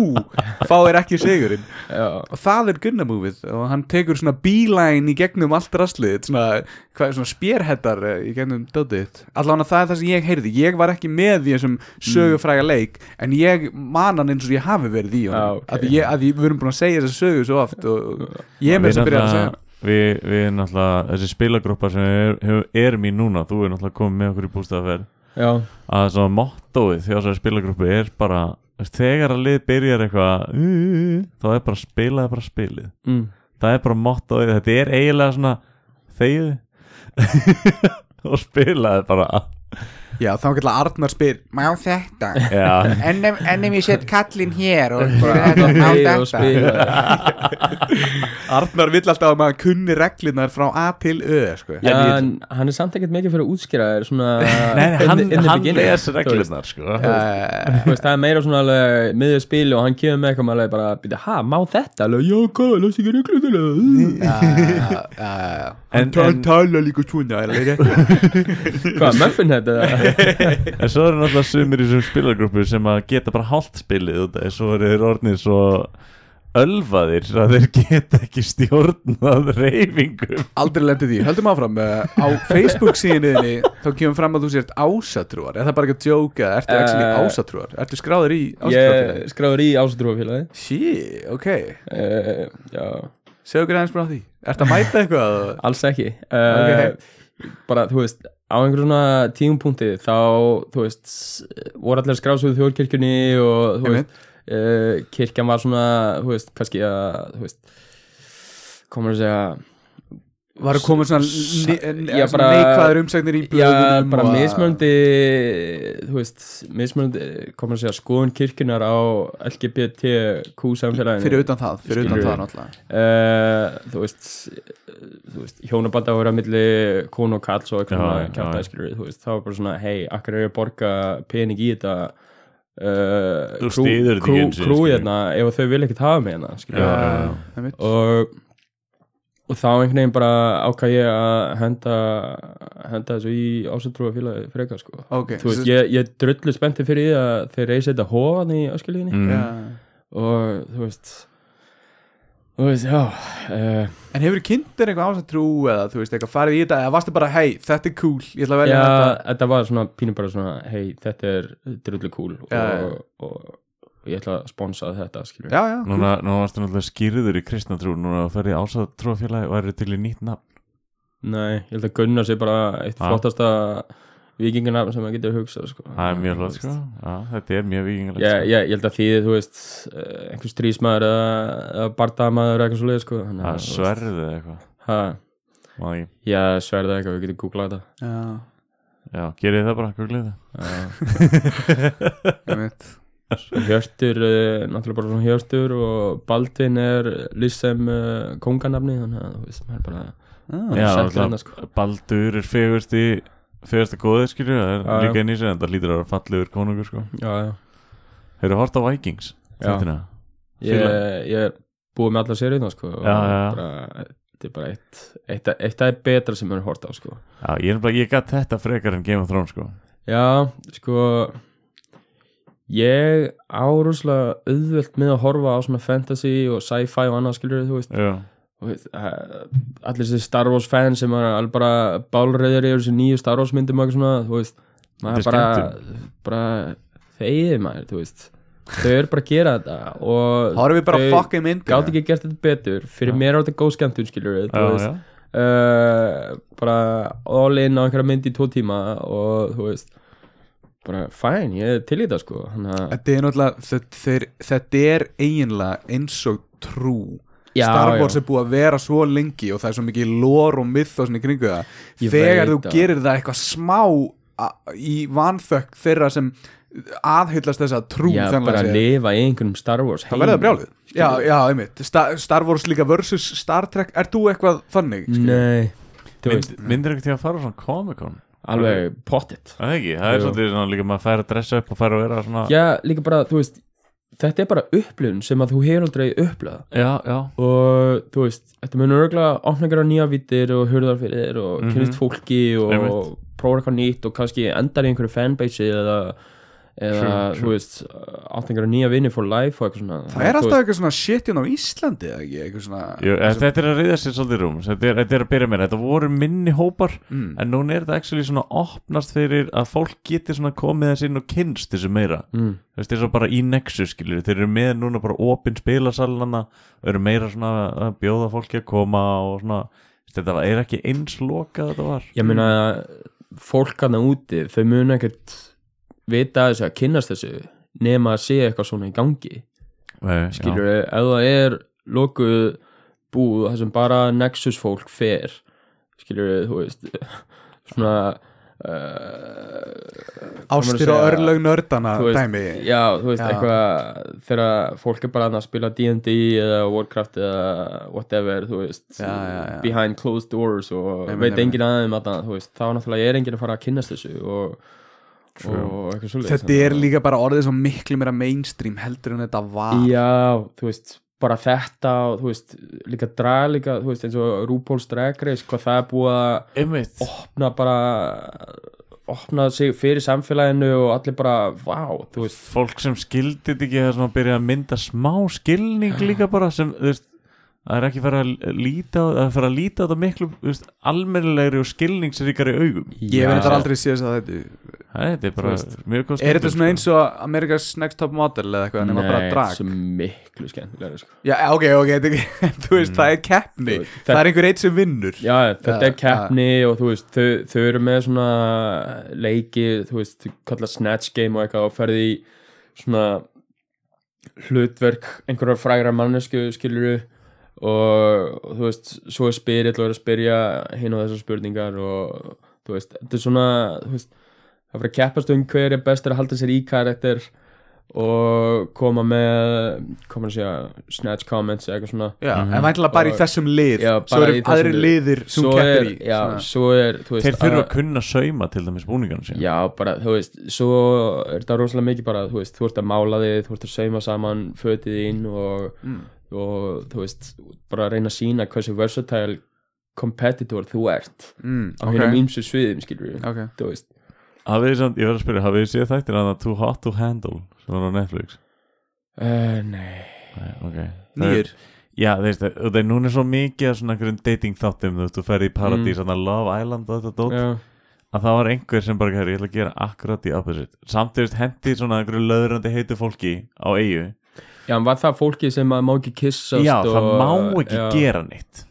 [SPEAKER 3] fáir ekki sigurinn
[SPEAKER 2] Já,
[SPEAKER 3] og það er Gunnamúfið og hann tekur svona bílæn í gegnum allt rastlið þitt, svona, hvað, er svona spérhettar eh, í gegnum döðið allavega það er það sem ég heyrði, ég var ekki með í
[SPEAKER 2] Mm.
[SPEAKER 3] þessum sögufræga leik en ég man hann eins og ég hafi verið
[SPEAKER 2] Ah,
[SPEAKER 3] í honum
[SPEAKER 2] ok. Ah,
[SPEAKER 3] að, ég, að ég, við erum búin að segja þessa sögu svo oft og ég er með
[SPEAKER 4] við
[SPEAKER 3] þess að byrja að segja
[SPEAKER 4] náttúrulega við, við náttúrulega, þessi spilagrúpa sem við er, hefur- erum í núna, þú er náttúrulega komið með okkur í bústaðaferð
[SPEAKER 2] já,
[SPEAKER 4] að svona mottóið því að þessari spilagrúpi er bara þegar að lið byrjar eitthvað þá er bara spilaði bara spilið
[SPEAKER 2] mm.
[SPEAKER 4] það er bara mottóið, þetta er eiginlega svona þegið og spilaði bara
[SPEAKER 3] já þá gætla Arnar spyr má þetta
[SPEAKER 4] Já,
[SPEAKER 3] ennum, ennum ég set kallin hér og
[SPEAKER 2] Bara heyra og spila.
[SPEAKER 3] Arnar vill alltaf að maður kunni reglunar frá A til Ö sko.
[SPEAKER 2] Já,
[SPEAKER 4] En ég-
[SPEAKER 2] en hann er samt ekkert mikið fyrir að útskýra þér svona
[SPEAKER 4] Nei, nei,
[SPEAKER 2] in-
[SPEAKER 4] hann,
[SPEAKER 2] in the
[SPEAKER 4] hann
[SPEAKER 2] beginning,
[SPEAKER 4] les
[SPEAKER 2] þú veist.
[SPEAKER 4] reglurnar sko
[SPEAKER 3] uh,
[SPEAKER 2] Þú veist, það er meira svona alveg miðjur spil og hann kemur með eitthvað maður alveg bara býta, ha, má þetta? Alveg, já, hvað, las ekki reglutinu
[SPEAKER 4] En, en,
[SPEAKER 3] tala líka svona er það ekki?
[SPEAKER 2] Hvað, möffin þetta?
[SPEAKER 4] en svo eru náttúrulega sumir í þessum spilagrúpu sem að geta bara hálft spilið út af því, Svo eru þeir orðnir svo ölvaðir að þeir geta ekki stjórnað reyfingum
[SPEAKER 3] aldrei lendi því, höldum áfram uh, á Facebook síðinni þá kemur fram að þú sért ásatrúar er það bara ekki að djóka, ertu ekki
[SPEAKER 2] Eh,
[SPEAKER 3] ásatrúar ertu skráður í ásatrúarfélagi
[SPEAKER 2] Ég skráður í ásatrúafélagi
[SPEAKER 3] sí, ok,
[SPEAKER 2] uh, Já,
[SPEAKER 3] segðu okkur aðeins frá því ertu að mæta eitthvað
[SPEAKER 2] alls ekki uh, Bara, þú veist, á einhverjum svona tímpunkti þá, þú veist, s- voru allir skráðsöðu þjóðkirkjunni og, þú
[SPEAKER 3] Einmitt.
[SPEAKER 2] veist, uh, kirkjan var svona, þú veist, kannski að, þú veist, komur að segja
[SPEAKER 3] var að koma svona,
[SPEAKER 2] S-
[SPEAKER 3] ne- ne-
[SPEAKER 2] já,
[SPEAKER 3] svona
[SPEAKER 2] bara-
[SPEAKER 3] neikvæður umsagnir í
[SPEAKER 2] Já,
[SPEAKER 3] blöðunum
[SPEAKER 2] bara
[SPEAKER 3] og að-
[SPEAKER 2] mismöndi þú veist, mismöndi komur að segja skoðun kirkjunar á LGBTQ samfélaginu
[SPEAKER 3] fyrir utan það, fyrir utan
[SPEAKER 2] Skilur.
[SPEAKER 3] það náttúrulega
[SPEAKER 2] Eh, þú veist, eh, þú veist hjónaband að vera milli konu og kalls og
[SPEAKER 4] Já,
[SPEAKER 2] eitthvað
[SPEAKER 4] já,
[SPEAKER 2] kjátt
[SPEAKER 4] já.
[SPEAKER 2] aðskilur þú veist, það var bara svona, hei, akkur er ég að borga pening í þetta uh,
[SPEAKER 4] Þú styður þetta ekki einu sinni, skilur.
[SPEAKER 2] krú hérna ef þau vil ekkert hafa mig hérna skilur
[SPEAKER 3] Einmitt.
[SPEAKER 2] og, og þá einhvern veginn bara ákvað ég að henda henda þessu í ásatrúa félagi frekar sko
[SPEAKER 3] ok,
[SPEAKER 2] þú veist, ég, ég drullu spennti fyrir því að þeir reysi þetta hóðan í öskilíðinni
[SPEAKER 4] mm.
[SPEAKER 3] Já.
[SPEAKER 2] og þú veist þú veist, já uh,
[SPEAKER 3] en hefur kynntir eitthvað ásatrú eða þú veist, eitthvað farið í þetta eða varstu bara, hei, þetta er cool ég ætla að
[SPEAKER 2] já,
[SPEAKER 3] velja þetta
[SPEAKER 2] þetta var svona pínu bara svona hei, þetta er drullu cool og,
[SPEAKER 3] Já, já.
[SPEAKER 2] og, og ég ætla að sponsa þetta, skilur
[SPEAKER 3] já, já, cool.
[SPEAKER 4] Núna, núna varstu náttúrulega skýrður í kristnatrú Núna ferði ásað trúafélagi og eru til í nýtt nafn
[SPEAKER 2] nei, ég held að Gunnar sé bara eitt
[SPEAKER 4] Já.
[SPEAKER 2] flottasta vikingunafn sem maður getur hugsað, sko
[SPEAKER 4] Það er mjög
[SPEAKER 2] Þú
[SPEAKER 4] hlóð
[SPEAKER 2] veist.
[SPEAKER 4] sko Já, Þetta er mjög vikingilegt
[SPEAKER 2] Já,
[SPEAKER 4] sko.
[SPEAKER 2] já, ég held að því, þú veist, eh, einhver strísmaður eða, eða bardamaður eða eitthvað svo leið, sko. Þannig
[SPEAKER 4] Það
[SPEAKER 2] að,
[SPEAKER 4] er
[SPEAKER 2] þú veist,
[SPEAKER 4] sverðið eða eitthvað
[SPEAKER 2] Ha,
[SPEAKER 4] Má ekki-
[SPEAKER 2] já, sverða eitthvað, við getum googlað þetta.
[SPEAKER 3] Já.
[SPEAKER 4] Já, gerið það bara, googlið það
[SPEAKER 2] Já.
[SPEAKER 3] Einmitt.
[SPEAKER 2] Hjörtur, eh, náttúrulega bara svona Hjörtur og Baldvin er lýst sem uh, konganafni, þannig að, þú veist, maður er bara,
[SPEAKER 3] Ah.
[SPEAKER 2] maður er
[SPEAKER 4] Já,
[SPEAKER 2] sættur
[SPEAKER 4] náttúrulega.
[SPEAKER 2] hérna, sko.
[SPEAKER 4] Baldur er fegurst í fegurst að góðið skilju það er
[SPEAKER 2] Já, já.
[SPEAKER 4] líka inn í sig en það lítur að vera fallegur konungur sko
[SPEAKER 2] Já, já.
[SPEAKER 4] Þeir eru hort á Vikings
[SPEAKER 2] Já.
[SPEAKER 4] þættina?
[SPEAKER 2] Ég,
[SPEAKER 4] Fíla.
[SPEAKER 2] ég er búið með alla sérið, sko. og
[SPEAKER 4] Já, já, já.
[SPEAKER 2] Bara, þetta er bara eitt, eitt, eitt að er betra sem maður er hort á, sko.
[SPEAKER 4] Já, ég er bara, ég gætt þetta frekar en Game of Thrones sko
[SPEAKER 2] Já, sko ég árúslega auðvelt með að horfa á svona fantasy og sci-fi og annað skilur þú veist,
[SPEAKER 4] Já,
[SPEAKER 2] þú veist eh, allir þessi Star Wars fans sem er alveg bara bálreiðir yfir þessi nýju Star Wars myndum og eitthvað svona, þú veist maður
[SPEAKER 4] Þetta er
[SPEAKER 2] bara, bara þegið maður, þú veist þau eru bara að gera þetta og
[SPEAKER 3] þá erum við bara
[SPEAKER 2] þau
[SPEAKER 3] að fucka í myndina
[SPEAKER 2] gátt ekki gert þetta betur fyrir
[SPEAKER 4] Já.
[SPEAKER 2] mér er þetta góð skemmtun skilur við, þú
[SPEAKER 4] já,
[SPEAKER 2] veist
[SPEAKER 4] já
[SPEAKER 2] uh, bara all in á einhverja mynd í tvo tíma og þú veist bara fæn, ég er til í þetta sko þannig að
[SPEAKER 3] þetta er náttúrulega þetta, þeir, þetta er eiginlega eins og trú
[SPEAKER 2] Já,
[SPEAKER 3] Star
[SPEAKER 2] já.
[SPEAKER 3] Wars er búið að vera svo lengi og það er svo mikið lor og myth og svona í kringu það
[SPEAKER 2] Ég
[SPEAKER 3] þegar
[SPEAKER 2] veit
[SPEAKER 3] þú
[SPEAKER 2] það.
[SPEAKER 3] gerir það eitthvað smá a- í vanþökk þeirra sem aðhyllast þessa trú
[SPEAKER 2] já,
[SPEAKER 3] þannig
[SPEAKER 2] bara
[SPEAKER 3] að
[SPEAKER 2] að
[SPEAKER 3] segja.
[SPEAKER 2] lifa í einhverjum Star Wars
[SPEAKER 3] það verður það brjálið já, já, einmitt, Star, Star Wars líka versus Star Trek, er þú eitthvað þannig? skilur?
[SPEAKER 2] nei, þú
[SPEAKER 4] Mynd,
[SPEAKER 2] veist,
[SPEAKER 4] Myndir ekki til að fara á svona Comic Con
[SPEAKER 2] alveg pottet
[SPEAKER 4] Það er ekki, það er
[SPEAKER 2] Jú.
[SPEAKER 4] svolítið svona líka maður fær að dressa upp og fær að vera svona
[SPEAKER 2] já, líka bara, þú veist þetta er bara upplifun sem að þú hefur aldrei upplöða
[SPEAKER 4] já, já.
[SPEAKER 2] og þú veist, þetta munur örgulega opna einhverja nýja vittir og hurðar fyrir þér og
[SPEAKER 4] Mhm.
[SPEAKER 2] kynnist fólki og
[SPEAKER 4] Einmitt.
[SPEAKER 2] prófa eitthvað nýtt og kannski endar í einhverju fanbase eða, eða
[SPEAKER 4] Sure, sure.
[SPEAKER 2] þú veist, átt einhverja nýja vinni for life og eitthvað svona
[SPEAKER 3] það er
[SPEAKER 2] Þú
[SPEAKER 3] alltaf eitthvað svona shit hérna á Íslandi eða ekki, eitthvað svona
[SPEAKER 4] Jú, en þetta er að riða sér svolítið rúm þetta er, þetta er að byrja mér, þetta voru minni hópar
[SPEAKER 3] Mm.
[SPEAKER 4] en núna er þetta actually svona opnast fyrir að fólk geti svona komið þess inn og kynst þessu meira
[SPEAKER 2] mm.
[SPEAKER 4] þú veist, þess að bara í Nexus skilur þeir eru með núna bara opinn spilasalana eru meira svona að bjóða fólki að koma og svona þú veist, þetta er ekki eins lokað þetta var
[SPEAKER 2] ég meina fólk hann úti þau munu ekkert vita þessu að kynnast þessu nema að sé eitthvað svona í gangi
[SPEAKER 4] Nei,
[SPEAKER 2] skilur við, ef það er lokuð búð þar sem bara Nexus fólk fer skilur við, þú veist svona uh,
[SPEAKER 3] Ástir og örlög nördana
[SPEAKER 2] þú veist,
[SPEAKER 3] Ah, dæmi
[SPEAKER 2] já, þú veist,
[SPEAKER 3] Já.
[SPEAKER 2] eitthvað þegar fólk er bara þarna að spila D&D eða Warcraft eða whatever þú veist,
[SPEAKER 3] Já, já, já.
[SPEAKER 2] behind closed doors og
[SPEAKER 3] Einmitt,
[SPEAKER 2] veit
[SPEAKER 3] einmitt.
[SPEAKER 2] enginn aðeim að það, þú veist, þá náttúrulega er enginn að fara að kynnast þessu og, og, eitthvað svolítið
[SPEAKER 3] Þetta er líka bara orðið svo miklu meira mainstream heldur en þetta var
[SPEAKER 2] já, þú veist, bara þetta og þú veist, líka draga líka þú veist, eins og RuPaul's Drag Race hvað það er búið að
[SPEAKER 4] Einmitt
[SPEAKER 2] opna bara opna sig fyrir samfélaginu og allir bara, vá, þú veist
[SPEAKER 4] Fólk sem skildi þetta ekki það er svona að byrja að mynda smá skilning líka bara sem, þú veist Það er ekki fara að líta á- það er fara að líta á þetta miklu þú veist, almennilegri og skilningsríkari augum
[SPEAKER 3] Ég veit
[SPEAKER 2] Já.
[SPEAKER 3] þetta aldrei síðast að þetta
[SPEAKER 4] Það er þetta er bara
[SPEAKER 2] veist, sko.
[SPEAKER 4] mjög góð sko.
[SPEAKER 3] Er þetta
[SPEAKER 4] skilning,
[SPEAKER 3] svona eins og Amerikas Next Top Model eða eitthvað nema bara drag
[SPEAKER 2] sem miklu skemmtilega sko.
[SPEAKER 3] Já, ok, ok, þetta er ekki- þú veist, það er keppni
[SPEAKER 2] Mm. Þú veist,
[SPEAKER 3] Það
[SPEAKER 2] þetta-
[SPEAKER 3] er einhver eitt sem vinnur
[SPEAKER 2] já, þetta
[SPEAKER 3] Já,
[SPEAKER 2] er keppni og þú veist þau, þau eru með svona leiki þú veist, þau kalla snatch game og eitthvað og ferði í svona hlutverk einhverjar frægra mannesku skiluru og, og þú veist, svo er spyrill og er að spyrja hinn og þessar spurningar og þú veist, þetta er svona þú veist, það fyrir að keppast um hver er best er að halda sér í karakter og koma með koma að segja snatch comments eða eitthvað svona
[SPEAKER 3] Já, en væntilega bara í
[SPEAKER 2] Mhm. Og-
[SPEAKER 3] þessum lið
[SPEAKER 2] Já,
[SPEAKER 3] Svo
[SPEAKER 2] bara
[SPEAKER 3] eru
[SPEAKER 2] í þessum
[SPEAKER 3] aðrir
[SPEAKER 2] lið.
[SPEAKER 3] liðir sem
[SPEAKER 2] svo er,
[SPEAKER 3] keppir í
[SPEAKER 2] já,
[SPEAKER 3] svona.
[SPEAKER 2] svo er þú veist,
[SPEAKER 4] Þeir þurfa að
[SPEAKER 2] að-
[SPEAKER 4] kunna sauma til dæmis búningarnu sín
[SPEAKER 2] já, bara, þú veist, svo er þetta rosalega mikið bara, þú veist, þú ert að mála þig þú ert að sauma saman fötið inn og,
[SPEAKER 3] Mm,
[SPEAKER 2] og þú veist bara að reyna að sína hversu versatile competitor þú ert
[SPEAKER 3] mm,
[SPEAKER 2] á
[SPEAKER 3] ok,
[SPEAKER 2] okay. hinnum ímsu sviðum, skilur við
[SPEAKER 3] ok
[SPEAKER 2] þú veist,
[SPEAKER 4] Hafið þið samt, ég verður að spyrja, hafið þið séð þættir að það Too Hot to Handle sem var á Netflix
[SPEAKER 2] uh, nei
[SPEAKER 4] Nei, ok
[SPEAKER 3] Nýjur
[SPEAKER 4] Já, þeir veist, og þeir núna er svo mikið af svona einhverjum dating þáttum, þú veist, þú ferði í Paradís, mm. Love Island og þetta dót
[SPEAKER 2] já,
[SPEAKER 4] að það var einhver sem bara, "Herri, ég ætla að gera akkurat í opposite samt, þú veist, hendi svona einhverju löðrandi heitu fólki á eigu
[SPEAKER 2] já, en var það fólkið sem að má ekki kissast
[SPEAKER 4] Já,
[SPEAKER 2] og,
[SPEAKER 4] það má ekki
[SPEAKER 2] já.
[SPEAKER 4] gera neitt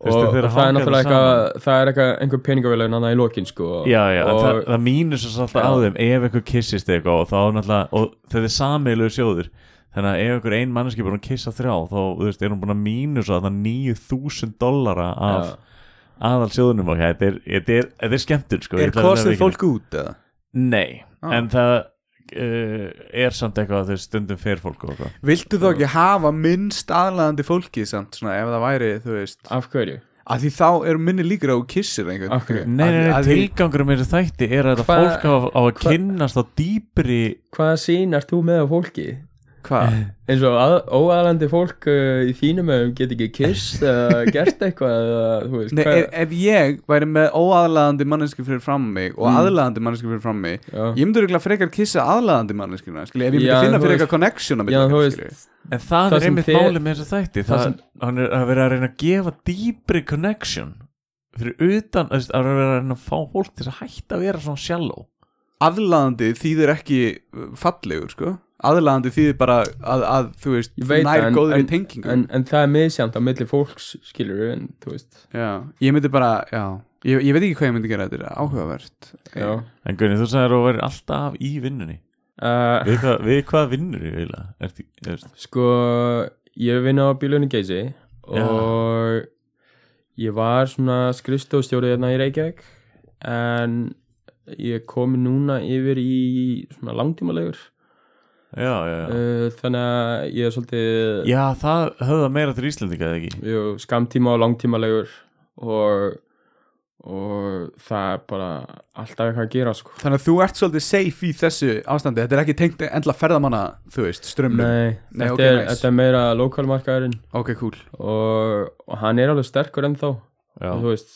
[SPEAKER 2] og, og það er náttúrulega eitthvað það er eitthvað einhver peningavélag annað í lokin sko
[SPEAKER 4] Já, já, og,
[SPEAKER 2] og,
[SPEAKER 4] það, það mínus þess
[SPEAKER 2] Já.
[SPEAKER 4] alltaf á þeim ef einhver kissist eitthvað og þá náttúrulega og þetta er sameilu sjóður þannig að ef einhver ein manneski búin að kissa þrjá þá, þú veist, er hún búin að mínus að það 9000 dollara af
[SPEAKER 2] Já.
[SPEAKER 4] aðal sjóðunum okkar þetta er, þetta er, þetta er skemmtun sko
[SPEAKER 3] Er
[SPEAKER 4] ég ætla að
[SPEAKER 3] kostið
[SPEAKER 4] vera
[SPEAKER 3] fólk út eða?
[SPEAKER 4] viðurkenna. Nei,
[SPEAKER 3] Ah.
[SPEAKER 4] en það uh, er samt eitthvað að þau stundum fer fólk og eitthvað
[SPEAKER 3] Viltu þá ekki hafa minnst aðlaðandi fólki samt svona ef það væri, þú veist
[SPEAKER 2] af hverju
[SPEAKER 3] að því þá eru minni líkur á að þú kissir einhvern
[SPEAKER 2] Af hverju?
[SPEAKER 4] Nei, nei, nei,
[SPEAKER 3] Að- að því-
[SPEAKER 4] tilgangur með þessu þætti er að þetta
[SPEAKER 2] Hva-
[SPEAKER 4] fólk á, á að
[SPEAKER 2] hva-
[SPEAKER 4] kynnast á dýpri
[SPEAKER 2] hvaða sín ert þú með á fólki?
[SPEAKER 3] Hvað?
[SPEAKER 2] eins og að, óaðlandi fólk uh, í þínum hefum get ekki kist eða gert eitthvað eða, þú veist,
[SPEAKER 3] Nei,
[SPEAKER 2] hvað-
[SPEAKER 3] ef, ef ég væri með óaðlaðandi manneski fyrir fram mig og
[SPEAKER 2] Mm.
[SPEAKER 3] aðlaðandi manneski fyrir fram mig
[SPEAKER 2] Já.
[SPEAKER 3] ég myndi röglega frekar kissa aðlaðandi manneskina skilji, ef ég myndi
[SPEAKER 2] Já,
[SPEAKER 3] finna
[SPEAKER 2] þú
[SPEAKER 3] fyrir
[SPEAKER 2] veist-
[SPEAKER 3] eitthvað connection á
[SPEAKER 2] Já,
[SPEAKER 3] milli
[SPEAKER 2] þú
[SPEAKER 3] okkar,
[SPEAKER 2] veist,
[SPEAKER 3] skilurðu.
[SPEAKER 4] En það,
[SPEAKER 2] Það
[SPEAKER 4] er
[SPEAKER 2] sem
[SPEAKER 4] einmitt
[SPEAKER 2] þið-
[SPEAKER 4] málið með þessu þætti
[SPEAKER 2] það
[SPEAKER 4] það
[SPEAKER 2] sem-
[SPEAKER 4] Hann er að vera að reyna að gefa dýpri connection fyrir utan, þú veist, að vera að reyna að fá fólk til að hætta að vera svona shallow
[SPEAKER 3] aðlaðandi þýðir ekki uh, fallegur sko aðlaðandi þýðir bara að, að þú veist
[SPEAKER 2] Ég veit
[SPEAKER 3] nær
[SPEAKER 2] það, en-
[SPEAKER 3] góður í
[SPEAKER 2] en-
[SPEAKER 3] tengingu
[SPEAKER 2] en, en það er misjant á milli fólks skilur en þú veist
[SPEAKER 3] já, ég myndi bara, já ég, ég veit ekki hvað ég myndi gera þetta, þetta er áhugavert
[SPEAKER 2] já.
[SPEAKER 4] En Gunni, þú sagðir að vera alltaf í vinnunni
[SPEAKER 2] Uh,
[SPEAKER 4] Við hvað, við hvað vinnur ég eiginlega? Ertu, þú veist,
[SPEAKER 2] sko ég vinna á bílunni geysi og ég var svona skrifstofstjórið hérna í Reykjavík en ég kom núna yfir í svona langtímalegur
[SPEAKER 4] já, já,
[SPEAKER 3] Eh,
[SPEAKER 4] já
[SPEAKER 2] uh, þannig að ég er svolítið
[SPEAKER 4] Já, það höfða meira til Íslendinga eða ekki
[SPEAKER 2] Jú, skamtíma og langtímalegur og, og það er bara alltaf eitthvað að gera sko.
[SPEAKER 3] þannig að þú ert svolítið safe í þessu ástandi þetta er ekki tengt endla ferðamanna þú veist, strömmum
[SPEAKER 2] Nei,
[SPEAKER 3] Nei,
[SPEAKER 2] þetta,
[SPEAKER 3] ok,
[SPEAKER 2] er,
[SPEAKER 3] nice.
[SPEAKER 2] þetta er meira lokalmarkaðurinn
[SPEAKER 3] ok, cool
[SPEAKER 2] og, og hann er alveg sterkur ennþá og,
[SPEAKER 4] Já,
[SPEAKER 2] þú veist,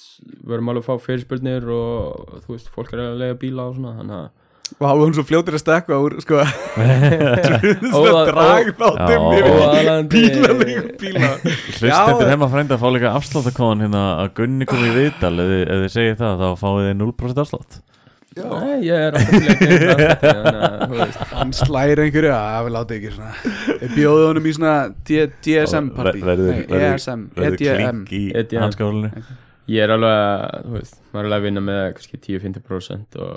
[SPEAKER 2] við erum alveg að fá fyrirspurnir og þú veist, fólk er að lega bíla og svona þannig að
[SPEAKER 3] og hafa hún svo fljótir að stekka úr sko
[SPEAKER 2] Óða-
[SPEAKER 3] dragnáttum
[SPEAKER 4] Já.
[SPEAKER 2] Óaðlaðandi-
[SPEAKER 3] bílalegum bíla
[SPEAKER 4] hlustendur
[SPEAKER 3] Já.
[SPEAKER 4] heima frænda fá líka afsláttakóðan hérna að Gunni kom í viðtal ef þið- ef þið segir það, þá fáið þið 0% afslátt
[SPEAKER 2] Nei, ég er alltaf til að gera þetta þannig að, þú veist,
[SPEAKER 3] hann slæri einhverju að við láta ekki svona bjóðu honum í svona D- DSM partí
[SPEAKER 4] Ver- verður-
[SPEAKER 3] Nei, E
[SPEAKER 4] verður-
[SPEAKER 3] ESM,
[SPEAKER 4] verður
[SPEAKER 3] EDM
[SPEAKER 4] klink í
[SPEAKER 2] EDM.
[SPEAKER 4] hanskálinu
[SPEAKER 2] ég er alveg að, þú veist, maður er alveg að vinna með kannski 10-50% og,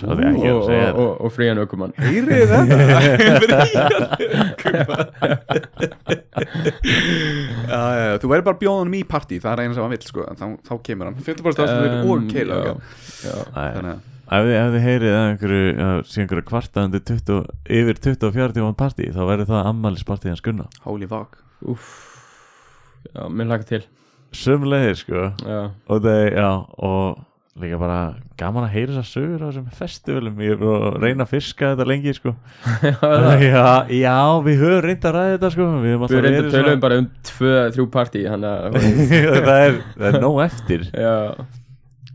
[SPEAKER 4] Það er ekki að
[SPEAKER 2] og,
[SPEAKER 4] segja
[SPEAKER 2] og, og, og frían aukumann
[SPEAKER 3] Heyrið þetta Já, já, já, Þú verður bara bjóðunum í partí Það er eina sem hann vill sko en Þá, þá kemur hann 50% afslutur um, og
[SPEAKER 2] já,
[SPEAKER 3] keila okay.
[SPEAKER 2] já.
[SPEAKER 4] það
[SPEAKER 3] Þannig að
[SPEAKER 4] Ef þið, ef þið heyrið að einhverju, að sé einhverju kvarta undir 20, yfir 24 tíman partí þá verður það ammælispartíð hans Gunna
[SPEAKER 3] Holy fuck
[SPEAKER 2] Úff, já, mér laka til
[SPEAKER 4] Sumlegir sko
[SPEAKER 2] já,
[SPEAKER 4] og það, já, og líka bara gaman að heyra þessar sögur á þessum festivalum ég er búin að reyna að fiska þetta lengi sko já, já, við höfum reynda að ræða þetta sko við höfum
[SPEAKER 2] við
[SPEAKER 4] alltaf
[SPEAKER 2] reyndum
[SPEAKER 4] verið
[SPEAKER 2] tölum
[SPEAKER 4] svona-
[SPEAKER 2] bara um 2-3 partí, þannig að
[SPEAKER 4] það er, það er nóg eftir
[SPEAKER 2] Já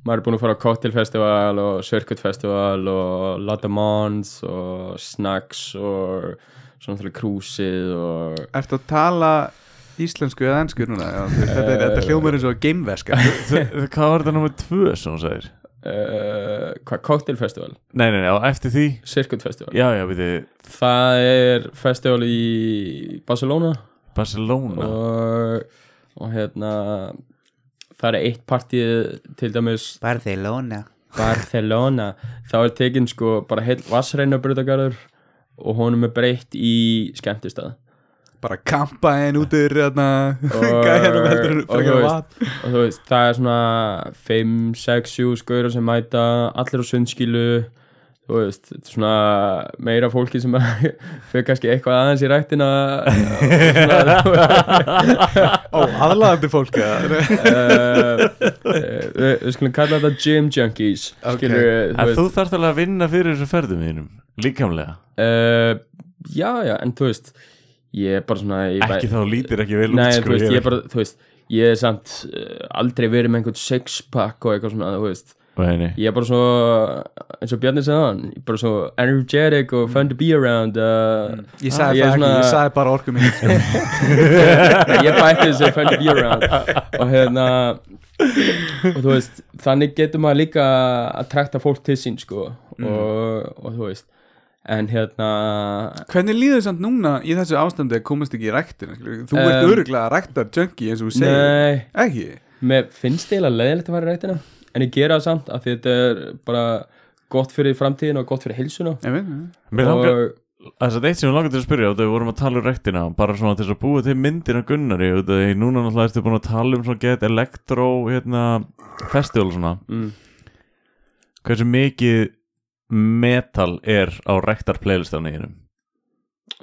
[SPEAKER 2] Maður er búin að fara á cocktailfestival og circuitfestival og Lotta Mons og Snacks og svona til krúsið og
[SPEAKER 3] Ertu að tala íslensku eða ennsku núna? Já, þú veist, þetta, er, þetta hljómar eins og gameveska
[SPEAKER 4] Þ- hvað var þetta nummer tvö sem hún sagðir?
[SPEAKER 2] uh, hvað, cocktailfestival,
[SPEAKER 4] Nei, nei, nei, á eftir því
[SPEAKER 2] circuitfestival
[SPEAKER 4] já, já, við þið,
[SPEAKER 2] Það er festival í Barcelona
[SPEAKER 4] Barcelona
[SPEAKER 2] og, og hérna það er eitt partíð til dæmis
[SPEAKER 3] Barcelona
[SPEAKER 2] Barcelona þá er tekin sko bara heil vassreinabrutagarður og honum er breytt í skemmtistað
[SPEAKER 3] Bara kampa en útur þarna,
[SPEAKER 2] Og-
[SPEAKER 3] Gæjanum hérna heldur
[SPEAKER 2] og þú
[SPEAKER 3] frekar
[SPEAKER 2] veist-
[SPEAKER 3] vat
[SPEAKER 2] og þú veist, það er svona 5, 6, 7 skauður sem mæta allir á sundskilu þú veist, þetta er svona meira fólki sem fyrir kannski eitthvað aðeins í rættina svona, þú
[SPEAKER 3] Ó, aðlaðandi fólk eða?
[SPEAKER 2] veist, eh, eh, við við skulum kalla þetta gym junkies
[SPEAKER 3] Ok.
[SPEAKER 2] skilur,
[SPEAKER 4] en þú þarft alveg að vinna fyrir þessu ferðum þínum líkamlega,
[SPEAKER 2] uh, já, já, en þú veist ég er bara svona ég væ-
[SPEAKER 4] ekki þá lítir ekki vel
[SPEAKER 2] Nei,
[SPEAKER 4] út
[SPEAKER 2] þú
[SPEAKER 4] sko,
[SPEAKER 2] veist, ég er bara, þú veist ég er samt uh, aldrei verið með einhvern sixpack og eitthvað svona, þú veist
[SPEAKER 4] Nei, nei.
[SPEAKER 2] ég er bara svo eins og Bjarni sagði hann, ég er bara svo energetic og fun to be around uh,
[SPEAKER 3] Ég sagði
[SPEAKER 2] er
[SPEAKER 3] það ekki,
[SPEAKER 2] svona-
[SPEAKER 3] ég sagði bara orku mín sko.
[SPEAKER 2] ég bætti þessu fun to be around og hérna og þú veist, þannig getur maður líka að trakta fólk til sín sko
[SPEAKER 3] Mm.
[SPEAKER 2] og, og þú veist en hérna
[SPEAKER 3] Hvernig líður þér samt núna í þessu ástandi að komast ekki í ræktin? Þú ert
[SPEAKER 2] Um,
[SPEAKER 3] um, öruglega ræktar junkie eins og þú segir
[SPEAKER 2] nei,
[SPEAKER 3] Ekki?
[SPEAKER 2] mér finnst eiginlega leiðilegt að fara í rættina en ég gera það samt af því þetta er bara gott fyrir framtíðin og gott fyrir heilsuna
[SPEAKER 3] Ég veit það.
[SPEAKER 4] Mér langar-
[SPEAKER 2] og
[SPEAKER 4] Þess að eitt sem ég langar til að spyrja út af við vorum að tala um rektina bara svona til þess að búa til myndir af Gunnari út af því núna náttúrulega ertu búin að tala um svona get elektro hérna festival og svona
[SPEAKER 2] Mm.
[SPEAKER 4] hversu mikið metal er á rektar playlistanum þínum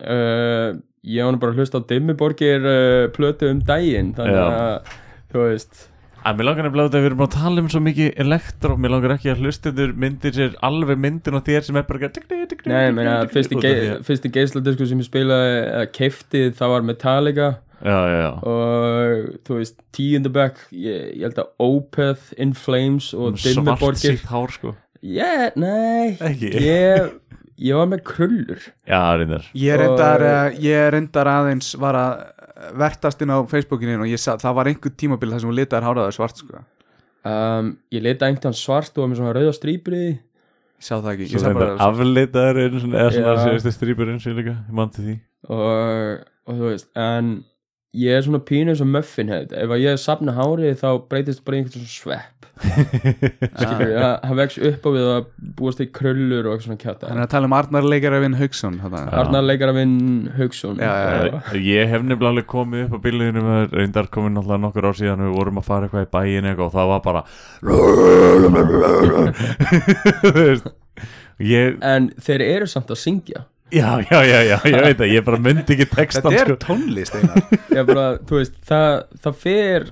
[SPEAKER 2] uh, ég var nú bara að hlusta á Dimmiborgir uh, plötu um daginn þannig
[SPEAKER 4] Já.
[SPEAKER 2] að þú veist
[SPEAKER 4] að mér langar nefnilega út af því við erum búin að tala um svo mikið elektro, mér langar ekki að hlustendur myndir sér alveg myndin á þér sem er bara
[SPEAKER 2] Nei, ég meina, fyrsti,
[SPEAKER 4] Út af
[SPEAKER 2] ge
[SPEAKER 4] því að-
[SPEAKER 2] fyrsti geisladisku sem ég spilaði eða keftið, það var Metallica
[SPEAKER 4] Já, já, já
[SPEAKER 2] og þú veist, tíundabæk ég, ég held að Opeth, In Flames og
[SPEAKER 4] svart
[SPEAKER 2] Dimmiborgir
[SPEAKER 4] sítt hár sko
[SPEAKER 2] yeah, Nei,
[SPEAKER 4] Ekki.
[SPEAKER 2] ég, ég var með krullur
[SPEAKER 4] Já, reyndar
[SPEAKER 3] Ég reyndar, uh, ég reyndar aðeins var að vertast inn á Facebookinu og ég sagði, það var einhver tímabil þar sem hún litaði háraðar svart sko. Ég
[SPEAKER 2] um, Ég leita einhvern veginn svart og var með svona rauða strípriði
[SPEAKER 3] sá það ekki,
[SPEAKER 4] Svo
[SPEAKER 3] ég sá
[SPEAKER 4] reyndar
[SPEAKER 3] bara af...
[SPEAKER 4] aflitaður einu svona- eða svona
[SPEAKER 2] Já.
[SPEAKER 4] síðustu strípurinn sem líka, ég mann til því
[SPEAKER 2] og, og þú veist en ég er svona pínu sem muffinhead ef að ég sapna hárið þá breytist bara í einhvern svona svepp
[SPEAKER 3] Ah.
[SPEAKER 2] skilur, það það vex upp á við að búast í krullur og eitthvað svona
[SPEAKER 3] Hann
[SPEAKER 2] kjáta
[SPEAKER 3] er að tala um Arnar Leikarafinn Hauksson þarna.
[SPEAKER 2] Arnar leikarafinn Hauksson
[SPEAKER 3] Já, já,
[SPEAKER 4] Eh, Ég hef nefnilega alveg komið upp á bílinu með reyndar komin alltaf nokkur ár síðan við vorum að fara eitthvað í bæin eitthvað og það var bara Þú veist, ég,
[SPEAKER 2] en þeir eru samt að syngja
[SPEAKER 4] já, já, já, já, ég veit það ég bara myndi ekki
[SPEAKER 3] Þetta
[SPEAKER 4] textan
[SPEAKER 3] er
[SPEAKER 4] sko.
[SPEAKER 3] tónlist einar
[SPEAKER 2] ég bara, þú veist, það, það fer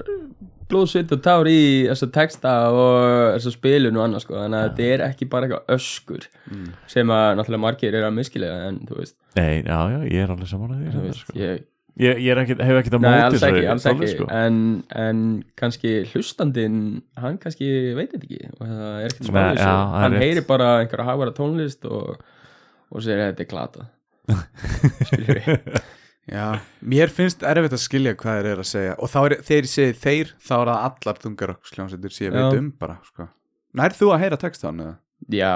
[SPEAKER 2] blóðsvitt og tár í þessa texta og þessa spilun og annað sko, þannig að þetta er ekki bara eitthvað öskur
[SPEAKER 4] Mm.
[SPEAKER 2] sem að náttúrulega margir eru að miskilega en þú veist,
[SPEAKER 4] Nei, já, já, ég er alveg saman að því
[SPEAKER 2] þú
[SPEAKER 4] reyndar,
[SPEAKER 2] veist
[SPEAKER 4] sko.
[SPEAKER 2] ég,
[SPEAKER 4] Ég, ég er ekki, hef ekkert að
[SPEAKER 2] Nei,
[SPEAKER 4] móti
[SPEAKER 2] alls
[SPEAKER 4] þessu,
[SPEAKER 2] ekki, alls
[SPEAKER 4] svolítið,
[SPEAKER 2] ekki
[SPEAKER 4] sko.
[SPEAKER 2] en, en kannski hlustandinn hann kannski veit þetta ekki og það er ekkert
[SPEAKER 4] Nei,
[SPEAKER 2] smáðis
[SPEAKER 4] já, það er
[SPEAKER 2] hann
[SPEAKER 4] rétt.
[SPEAKER 2] heyri bara einhverja hafara tónlist og, og segir að þetta er glata Skilur við.
[SPEAKER 3] Já, mér finnst erfitt að skilja hvað þeir eru að segja og þá er, þeir segir þeir, þá er það allar þungaroksljónsettur sem ég
[SPEAKER 2] Já.
[SPEAKER 3] veit um bara sko. Nær þú að heyra textan eða?
[SPEAKER 2] Já,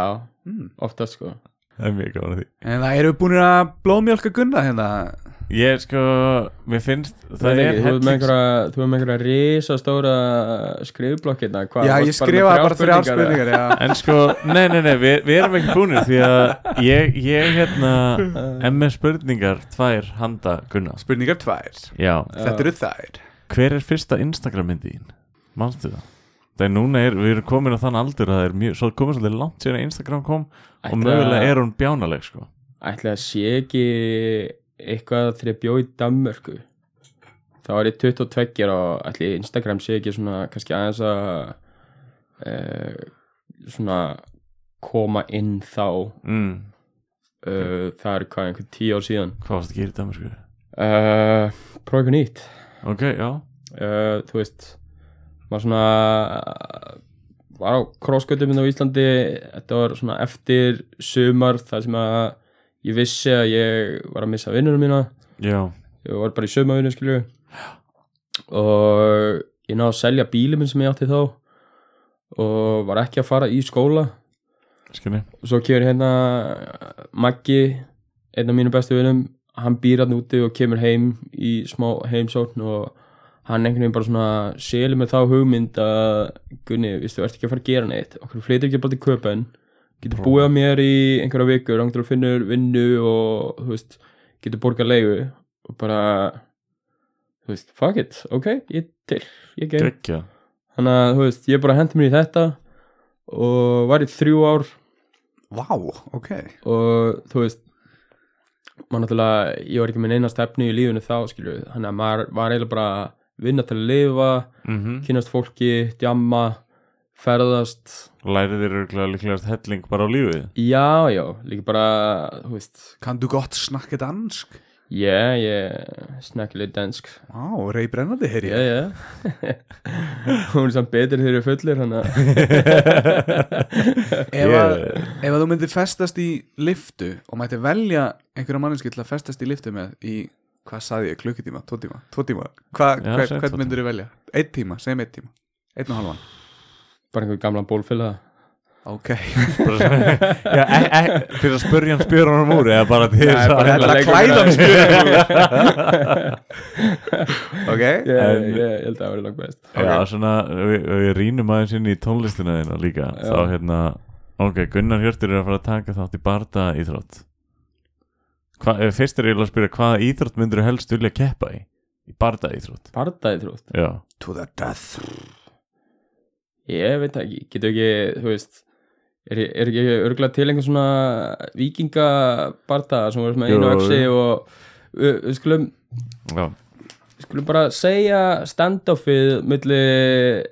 [SPEAKER 3] Mm.
[SPEAKER 2] oftast sko
[SPEAKER 4] Það er mjög gaman að því
[SPEAKER 3] En það eru búin að blóðmjölka gunna hérna
[SPEAKER 4] Ég sko, mér finnst
[SPEAKER 2] Það er, þú er með
[SPEAKER 4] helling-
[SPEAKER 2] einhverja, þú er með einhverja risastóra skrifblokkina Hvað,
[SPEAKER 3] Já,
[SPEAKER 2] varstu
[SPEAKER 3] ég
[SPEAKER 2] bara með
[SPEAKER 3] skrifaði bara þrjár spurningar já.
[SPEAKER 4] En sko, nei, nei, nei, við, við erum ekki búinir Því að ég, ég hérna MS spurningar tvær handa Gunnar
[SPEAKER 3] Spurningar tvær
[SPEAKER 4] Já,
[SPEAKER 3] Þetta eru þær
[SPEAKER 4] hver er fyrsta Instagram myndi þín? Manstu það? Það er núna, er, við erum komin á þann aldur að það er mjög, svo komið svolítið langt síðan að Instagram kom og
[SPEAKER 2] Ætli
[SPEAKER 4] mögulega
[SPEAKER 2] að-
[SPEAKER 4] er hún bjánaleg sko
[SPEAKER 2] Ætli að sé ekki eitthvað þegar ég bjó í Danmörku þá var ég 22 og ætli Instagram sé ekki svona kannski aðeins að e, svona koma inn þá
[SPEAKER 4] mm,
[SPEAKER 2] e, það er hvað einhvern tíu ár síðan
[SPEAKER 4] Hvað varst að gera í Danmarku?
[SPEAKER 2] e, prófa eitthvað nýtt
[SPEAKER 4] Ok, já,
[SPEAKER 2] e, þú veist maður svona eh, var á krossgöldum inn á Íslandi þetta var svona eftir sumar þar sem að ég vissi að ég var að missa vinnunum mína
[SPEAKER 4] já,
[SPEAKER 2] ég var bara í sömaðinu skilju og ég náði að selja bílið minn sem ég átti þá og var ekki að fara í skóla
[SPEAKER 4] skinni
[SPEAKER 2] og svo kemur hérna Maggi, einn af mínu bestu vinum hann býr hann úti og kemur heim í smá heimsókn og hann einhvern veginn bara svona selur með þá hugmynd að Gunni, viðstu, ertu ekki að fara að gera neitt okkur flytir ekki bara til köpen getur búið að mér í einhverja vikur hann getur að finna vinnu og þú veist, getur borgað leigu og bara þú veist, fuck it, ok, ég til ég geim
[SPEAKER 4] Gekkja,
[SPEAKER 2] þannig að þú veist, ég bara hendi mér í þetta og var í þrjú ár
[SPEAKER 3] Vá, ok
[SPEAKER 2] og þú veist maður náttúrulega, ég var ekki með neina stefnu í lífinu þá, skilju, þannig að maður var eiginlega bara að vinna til að lifa
[SPEAKER 4] mm -hmm.
[SPEAKER 2] kynast fólki, djamma ferðast,
[SPEAKER 4] lærið þér örgulega líklegast helling bara á lífið
[SPEAKER 2] já, já líka bara, þú veist
[SPEAKER 3] Kan du gott snakka dansk?
[SPEAKER 2] yeah, ég snakki lit dansk
[SPEAKER 3] Vá, rey brennandi heyri
[SPEAKER 2] já, já
[SPEAKER 3] ég
[SPEAKER 2] hún er samt betur þegar ég er fullir hann að
[SPEAKER 3] Ef að ef að þú myndir festast í liftu og mætti velja einhverja manninski til að festast í liftu með í, hvað saði ég, klukkutíma, tvo tíma, tvo tíma Hva,
[SPEAKER 4] Já,
[SPEAKER 3] hver,
[SPEAKER 4] segjum tvo
[SPEAKER 3] Hvern myndir þú velja? Eitt tíma, segjum eitt tíma Einn og halvan
[SPEAKER 2] bara einhver gamlan bólfélaga
[SPEAKER 3] Ok,
[SPEAKER 4] Bara svona- Já, e, e, til að spurja hann spjör hann um úr eða bara til
[SPEAKER 2] Nei,
[SPEAKER 4] þess
[SPEAKER 2] bara
[SPEAKER 4] að hérna-
[SPEAKER 3] ætla að
[SPEAKER 2] leikur-
[SPEAKER 3] klæða hann ok
[SPEAKER 2] ég,
[SPEAKER 4] En-
[SPEAKER 2] ég, ég held að það væri langt best
[SPEAKER 4] Já, svona, við, við rínum aðeins inn í tónlistina þína líka þá hérna, ok, Gunnar Hjörtur er að fara að taka þátt í barda íþrótt Hva, eh, Fyrst er ég að spyrja hvaða íþrótt myndur þú helst vilja keppa í? Í barda íþrótt
[SPEAKER 2] bardaði þrótt
[SPEAKER 4] Já,
[SPEAKER 3] To the death
[SPEAKER 2] Ég veit það ekki, getur ekki, þú veist Er, er ekki örgulega til einhver svona vikingabarta sem voru með einu
[SPEAKER 4] Jú,
[SPEAKER 2] öxi
[SPEAKER 4] jú.
[SPEAKER 2] og við, við skulum,
[SPEAKER 4] já,
[SPEAKER 2] við skulum bara segja standoffið milli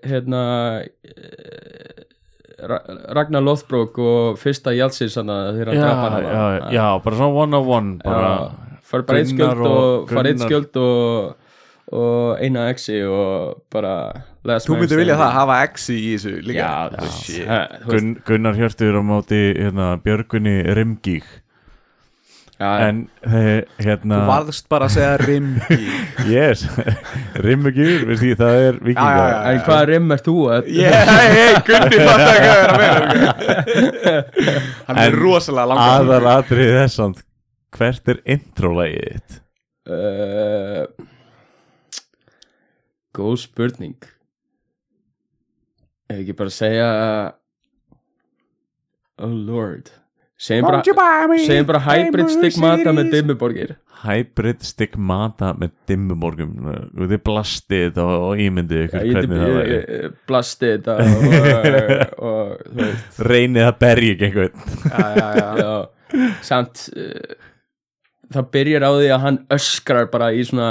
[SPEAKER 2] hérna eh, Ra- Ragnar Lothbrok og fyrsta Jalsis þegar
[SPEAKER 4] já,
[SPEAKER 2] hann drapa hann
[SPEAKER 4] já, já, bara svona one on one bara,
[SPEAKER 2] fara bara eitt
[SPEAKER 4] Gunnar
[SPEAKER 2] skjöld
[SPEAKER 4] og-
[SPEAKER 2] og fara eitt
[SPEAKER 4] Gunnar.
[SPEAKER 2] skjöld og, og eina öxi og bara last
[SPEAKER 3] Þú
[SPEAKER 2] man
[SPEAKER 3] myndir vilja
[SPEAKER 2] standing.
[SPEAKER 3] það, hafa exi í þessu líka
[SPEAKER 2] Já, þú veist, eh, þú veist
[SPEAKER 4] Gun, Gunnar Hjörtur á móti hérna, Björgunni Rimgík
[SPEAKER 2] já,
[SPEAKER 4] en eh,
[SPEAKER 3] Þú
[SPEAKER 4] hérna
[SPEAKER 3] varðst bara að segja rimgi
[SPEAKER 4] yes, Rimgík, veist ég, það er
[SPEAKER 3] Já,
[SPEAKER 4] vikingar
[SPEAKER 3] já, já.
[SPEAKER 2] En hvaða rimm ert þú að?
[SPEAKER 3] Yeah, hey, hey, Gunni fattar hvað það er að vera Hann er
[SPEAKER 4] En
[SPEAKER 3] rosalega langar
[SPEAKER 4] aðal atrið þessand hvert er intro-lægið þitt?
[SPEAKER 2] Uh, góð spurning. Ef ekki bara segja Oh lord. Segjum bara, segjum bara hybrid stigmata með dimmuborgir.
[SPEAKER 4] Hybrid stigmata með dimmumorgum og þið blastið þetta og, og ímyndið ykkur
[SPEAKER 2] Ég
[SPEAKER 4] hvernig það væri
[SPEAKER 2] ég- blasti þetta og, og þú veist,
[SPEAKER 4] reynið að berja ekki einhvern
[SPEAKER 3] dimmi
[SPEAKER 2] já, samt uh, það byrjar á því að hann öskrar bara í svona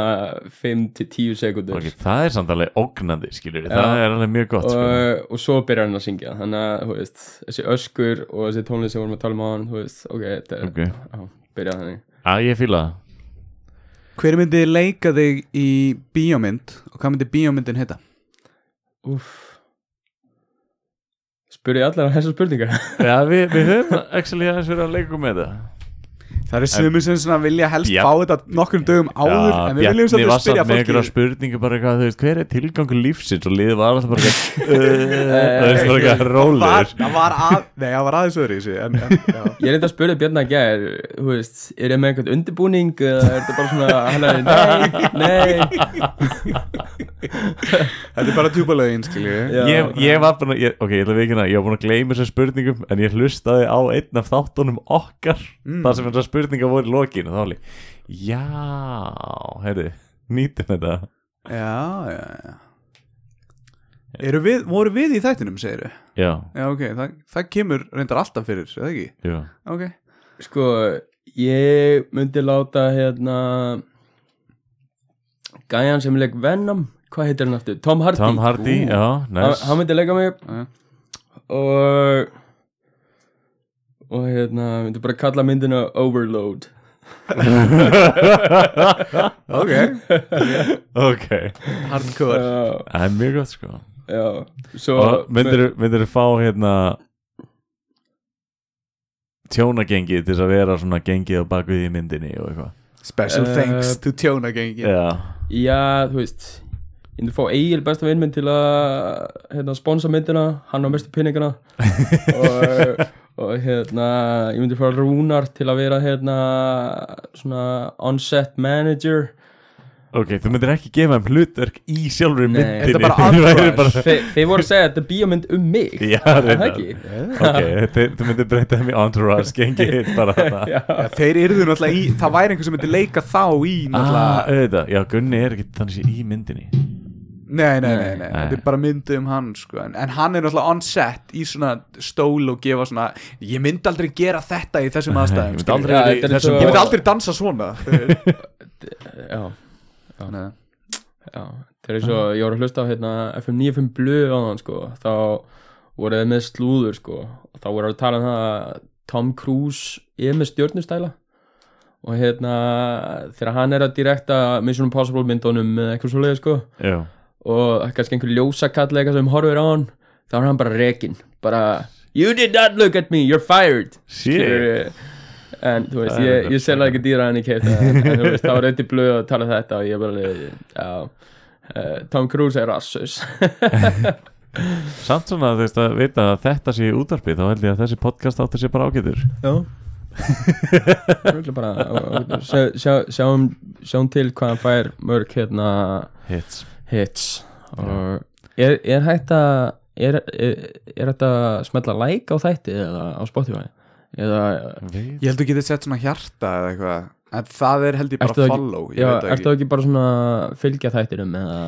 [SPEAKER 2] 5-10 sekundur.
[SPEAKER 4] okay, það er samt alveg ógnandi skilur
[SPEAKER 2] Já.
[SPEAKER 4] það er alveg mjög gott sko.
[SPEAKER 2] og, og svo byrjar hann að syngja þannig að þú veist, þessi öskur og þessi tónlist sem vorum að tala um á hann veist, ok, þetta er
[SPEAKER 4] Ok.
[SPEAKER 2] já, byrja þannig
[SPEAKER 4] að ég fíla það
[SPEAKER 3] Hver myndi leika þig í bíómynd og hvað myndi bíómyndin heita?
[SPEAKER 2] Úff spurði allar að þessar spurningar
[SPEAKER 4] Já, við, við höfum actually aðeins verið að leika okkur með það
[SPEAKER 3] það eru sumir sem svona vilja helst
[SPEAKER 4] Bjarn-
[SPEAKER 3] fá þetta nokkrum dögum áður en við viljum
[SPEAKER 4] Bjarni
[SPEAKER 3] svolítið
[SPEAKER 4] var
[SPEAKER 3] spyrja
[SPEAKER 4] samt með einhverja
[SPEAKER 3] fólki
[SPEAKER 4] spurningu bara eitthvað, þú veist, hver er tilgangur lífsins og liðið var alltaf bara eitthvað það er bara eitthvað
[SPEAKER 3] var,
[SPEAKER 4] rólegur
[SPEAKER 3] það var að, nei, það var aðeins öðru í sig en, en, já.
[SPEAKER 2] Ég reyndi að spyrja Björn að gær, þú veist, er það með einhvern undirbúning eða er þetta bara svona, hann er, nei, nei,
[SPEAKER 3] þetta er bara tjúbalögin skilju
[SPEAKER 2] Já.
[SPEAKER 4] Ég, ég var búin að, ég, ok, ég ætla að vikina Ég var búin að gleyma þessar spurningum En ég hlustaði á einn af þáttunum okkar þar sem þessar spurningar voru í lokin Og þá var ég, já, herri Nýtum þetta
[SPEAKER 3] Já, já, já Eru við, voru við í þættinum, segir þau?
[SPEAKER 4] Já,
[SPEAKER 3] Já, ok, það, það kemur reyndar alltaf fyrir, eða ekki?
[SPEAKER 4] já
[SPEAKER 3] Ok
[SPEAKER 2] sko, ég myndi láta, hérna, gæjan sem leik Venom, hvað heitir hann aftur, Tom Hardy,
[SPEAKER 4] Tom Hardy, já,
[SPEAKER 2] hann,
[SPEAKER 4] næs
[SPEAKER 2] hann myndi leika mig
[SPEAKER 3] Já.
[SPEAKER 2] og, og hérna, myndi bara kalla myndina Overload,
[SPEAKER 3] Ok,
[SPEAKER 4] Ok,
[SPEAKER 3] hardcore
[SPEAKER 2] já,
[SPEAKER 4] það er mjög gott sko
[SPEAKER 2] já, svo,
[SPEAKER 4] Og myndir þú fá hérna Tjónagengið til þess að vera svona gengið á bakvið í myndinni og eitthvað
[SPEAKER 3] Special
[SPEAKER 2] Eh,
[SPEAKER 3] thanks to tjónagengin
[SPEAKER 4] Já,
[SPEAKER 2] Já, þú veist Ég myndi fá Egil besta vinn minn til að hérna, sponsa myndina, hann á mestu pinningana og, og hérna ég myndi fá Rúnar til að vera hérna svona on-set manager
[SPEAKER 4] ok, þú myndir ekki gefa þeim hlutverk í sjálfur
[SPEAKER 2] Nei.
[SPEAKER 4] myndinni
[SPEAKER 3] Þetta er bara
[SPEAKER 4] Þú værir
[SPEAKER 3] entourage.
[SPEAKER 4] bara-
[SPEAKER 2] Þe, Þeir voru að segja að þetta er bíómynd um mig
[SPEAKER 4] Já,
[SPEAKER 2] Er það
[SPEAKER 4] reyndar.
[SPEAKER 2] ekki
[SPEAKER 4] Ok, þe- þú myndir breyta þeim í entourage Gengi hitt bara þetta
[SPEAKER 2] Já,
[SPEAKER 3] Þeir yrðu náttúrulega í, það væri einhver sem myndi leika þá í
[SPEAKER 4] Ah,
[SPEAKER 3] náttúrulega
[SPEAKER 4] auðvitað, já, Gunni er ekki þannig sé í myndinni
[SPEAKER 3] Nei, nei, nei, nei,
[SPEAKER 4] Nei.
[SPEAKER 3] þetta er bara myndi um hann sko. en, en hann er náttúrulega on set í svona stól og gefa svona Ég myndi aldrei gera þetta í þessum
[SPEAKER 4] Ég
[SPEAKER 3] aðstæðum
[SPEAKER 4] myndi
[SPEAKER 3] skilur.
[SPEAKER 4] aldrei
[SPEAKER 2] Já,
[SPEAKER 4] vera í
[SPEAKER 2] þetta er
[SPEAKER 4] þessum
[SPEAKER 2] svo-
[SPEAKER 3] Ég myndi
[SPEAKER 4] bor-
[SPEAKER 3] aldrei dansa svona Nei.
[SPEAKER 2] já, já Þegar ég svo, ég voru að hlusta á hérna FM 95 blöð á hann sko þá voru þeir með slúður sko og þá voru að tala um það að Tom Cruise er með stjörnustæla og hérna þegar hann er að direkta Mission Impossible myndunum eða eitthvað svo sko
[SPEAKER 4] Já,
[SPEAKER 2] og kannski einhver ljósakall eitthvað sem horfir á hann þá er hann bara rekin bara you did not look at me, you're fired
[SPEAKER 4] shit
[SPEAKER 2] Skilurðu? en þú veist,
[SPEAKER 4] Það er
[SPEAKER 2] ég,
[SPEAKER 4] þetta.
[SPEAKER 2] ég selða ekki dýra en ég keipta en, en þú veist, þá er eitthvað blöð að tala þetta og ég bara, já uh, Tom Cruise er rassus
[SPEAKER 4] Samt svona, þú veist að vita að þetta sé í útarpi Þá held ég að þessi podcast áttur sé bara ágætur
[SPEAKER 2] já bara, og, og, sjá, sjá, sjáum, sjáum til hvað hann fær mörg hérna
[SPEAKER 4] Hits
[SPEAKER 2] hits og er, er hægt að er, er, er hægt að smetla like á þætti eða á Spotify eða
[SPEAKER 4] Við
[SPEAKER 3] Ég held að þú getið sett svona hjarta eða eitthvað En það er held ég
[SPEAKER 2] Ertu
[SPEAKER 3] bara
[SPEAKER 2] það ekki-
[SPEAKER 3] follow ég
[SPEAKER 2] já,
[SPEAKER 3] veit það
[SPEAKER 2] ertu ekki bara svona fylgja þættinum eða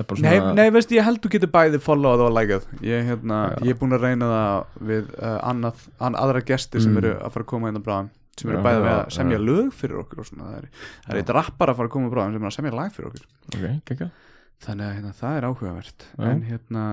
[SPEAKER 2] er bara
[SPEAKER 3] Nei,
[SPEAKER 2] svona
[SPEAKER 3] nei, veist, ég held þú getur bæði followað og likeað Ég, hérna, ég er búin að reyna það við uh, annað, an, aðra gesti sem eru að fara að koma hérna bráðum sem
[SPEAKER 4] Já,
[SPEAKER 3] eru bæði
[SPEAKER 4] já,
[SPEAKER 3] með að semja lög fyrir okkur og svona, það er, það er eitt rappar að fara að koma bráðum sem er að semja lag fyrir okkur
[SPEAKER 2] ok, gekkja
[SPEAKER 3] þannig að hérna, það er áhugavert
[SPEAKER 2] Já.
[SPEAKER 3] en hérna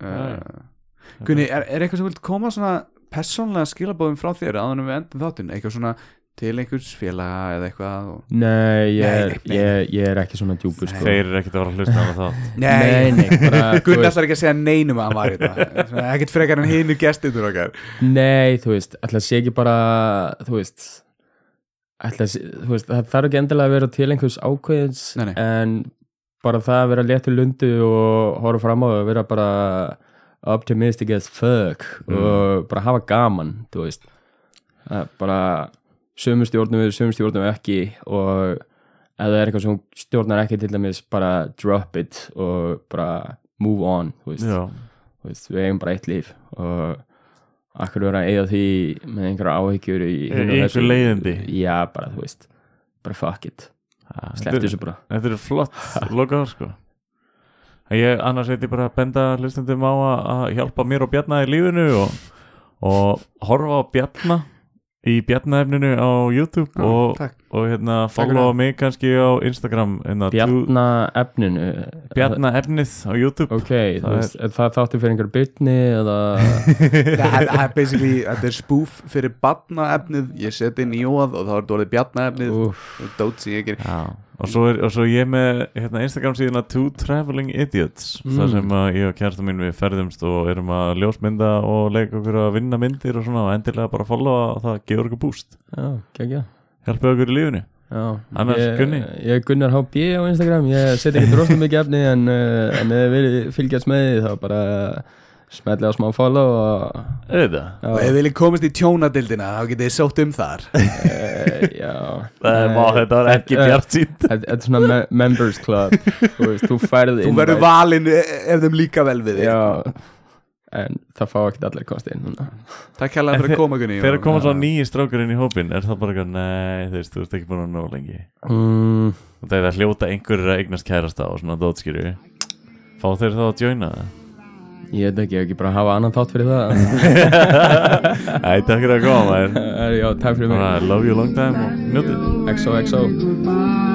[SPEAKER 4] Já,
[SPEAKER 3] uh, Gunni, er, er eitthvað sem vilt koma svona persónlega skilabóðum frá þér áður en við endum þáttinn, eitthvað svona til einhvers félaga eða eitthvað og...
[SPEAKER 2] Nei, ég er,
[SPEAKER 3] Nei, nei, nei.
[SPEAKER 2] Ég, ég er ekki svona djúpur sko.
[SPEAKER 4] Þeir eru ekkert að fara að hlusta á hana þátt
[SPEAKER 2] Nei, nei, bara, þú
[SPEAKER 3] Gunni
[SPEAKER 2] veist,
[SPEAKER 3] ætlar ekki að segja neinum að hann var í þetta Svona, ekkert frekar en hinu gestitur okkar
[SPEAKER 2] nei, þú veist ætla að sé ekki bara, þú veist ætla að sé, þú veist það þarf ekki endilega að vera til einhvers ákveðins
[SPEAKER 3] Nei, nei.
[SPEAKER 2] en bara það að vera léttur lundu og horfa fram á og vera bara optimistic as fuck
[SPEAKER 3] Mm.
[SPEAKER 2] og bara hafa gaman, þú veist Það er bara sömu stjórnum við, sömu stjórnum við ekki og ef það er eitthvað sem hún stjórnar ekki til dæmis bara drop it og bara move on, þú veist
[SPEAKER 4] Já,
[SPEAKER 2] Þú veist, við eigum bara eitt líf og akkur vera að eiga því með einhverja áhyggjur í hinu og
[SPEAKER 4] Eh, Í
[SPEAKER 2] þessu.
[SPEAKER 4] einhver leiðindi.
[SPEAKER 2] já bara þú veist bara fuck it,
[SPEAKER 4] Þetta
[SPEAKER 2] slepptu
[SPEAKER 4] er-
[SPEAKER 2] þessu bara
[SPEAKER 4] þetta eru flott lokaður sko ég, annars veit ég bara að benda hlustendum á að, að hjálpa mér og Bjarna í lífinu og, og horfa á Bjarna í Bjarnaefninu á YouTube og,
[SPEAKER 3] takk.
[SPEAKER 4] og hérna
[SPEAKER 3] fyrir.
[SPEAKER 4] followa mig kannski á Instagram hérna, Bjarna,
[SPEAKER 2] Bjarnaefninu
[SPEAKER 4] Bjarna efnið á YouTube
[SPEAKER 2] Ok, það,
[SPEAKER 4] er-
[SPEAKER 2] veist, er það þáttu fyrir einhverju bytni eða
[SPEAKER 3] Það er- það er basically, þetta er spoof fyrir badnaefnið, ég seti inn í óað og þá er þetta orðið bjarnaefnið
[SPEAKER 2] Úf,
[SPEAKER 3] og dótsi ég ekki
[SPEAKER 4] Já, og svo, er, og svo ég er með hérna, Instagram síðuna Two Traveling Idiots
[SPEAKER 2] Mm.
[SPEAKER 4] þar sem að ég og kjærasta mín við ferðumst og erum að ljósmynda og leika okkur að vinna myndir og svona og endilega bara followa og það gefur okkur búst
[SPEAKER 2] já, geggja
[SPEAKER 4] hjálpa okkur í lífinu
[SPEAKER 2] Já,
[SPEAKER 4] Annars
[SPEAKER 2] ég,
[SPEAKER 4] Gunni?
[SPEAKER 2] ég er Gunnar HB á Instagram Ég seti ekki rosa mikið efni en, uh, en ef þið viljið fylgjast með því þá bara smelli á smá follow og,
[SPEAKER 4] auðvitað,
[SPEAKER 3] Og ef
[SPEAKER 2] já,
[SPEAKER 3] þið viljið komast í tjónadildina þá getið þið sótt um þar
[SPEAKER 2] e, já
[SPEAKER 4] það er má, þetta var ekki
[SPEAKER 2] Þetta-
[SPEAKER 4] bjart sínt
[SPEAKER 2] Þetta þetta er svona me members club Þú veist, þú færði
[SPEAKER 3] Þú verður valinn e- ef þeim líka vel við þig
[SPEAKER 2] Já, en það fá ekki allir kosti inn núna.
[SPEAKER 3] Takk hérlega fyrir
[SPEAKER 4] En
[SPEAKER 3] að koma Gunni
[SPEAKER 4] þegar koma svo nýji strákur inn í hópin er það bara eitthvað, nei, þú veist, þú veist ekki búin að ná lengi
[SPEAKER 2] Mm,
[SPEAKER 4] og það er að hljóta einhverjur að eignast kærasta og svona dótskýru fá þeir þá að joina það
[SPEAKER 2] ég veit ekki, ég ekki bara hafa annan þátt fyrir það
[SPEAKER 4] Æ, takk fyrir að koma, maður
[SPEAKER 2] Eh, Já, takk fyrir mig
[SPEAKER 4] Bara, love you long time og njótið
[SPEAKER 2] XOXO
[SPEAKER 1] goodbye.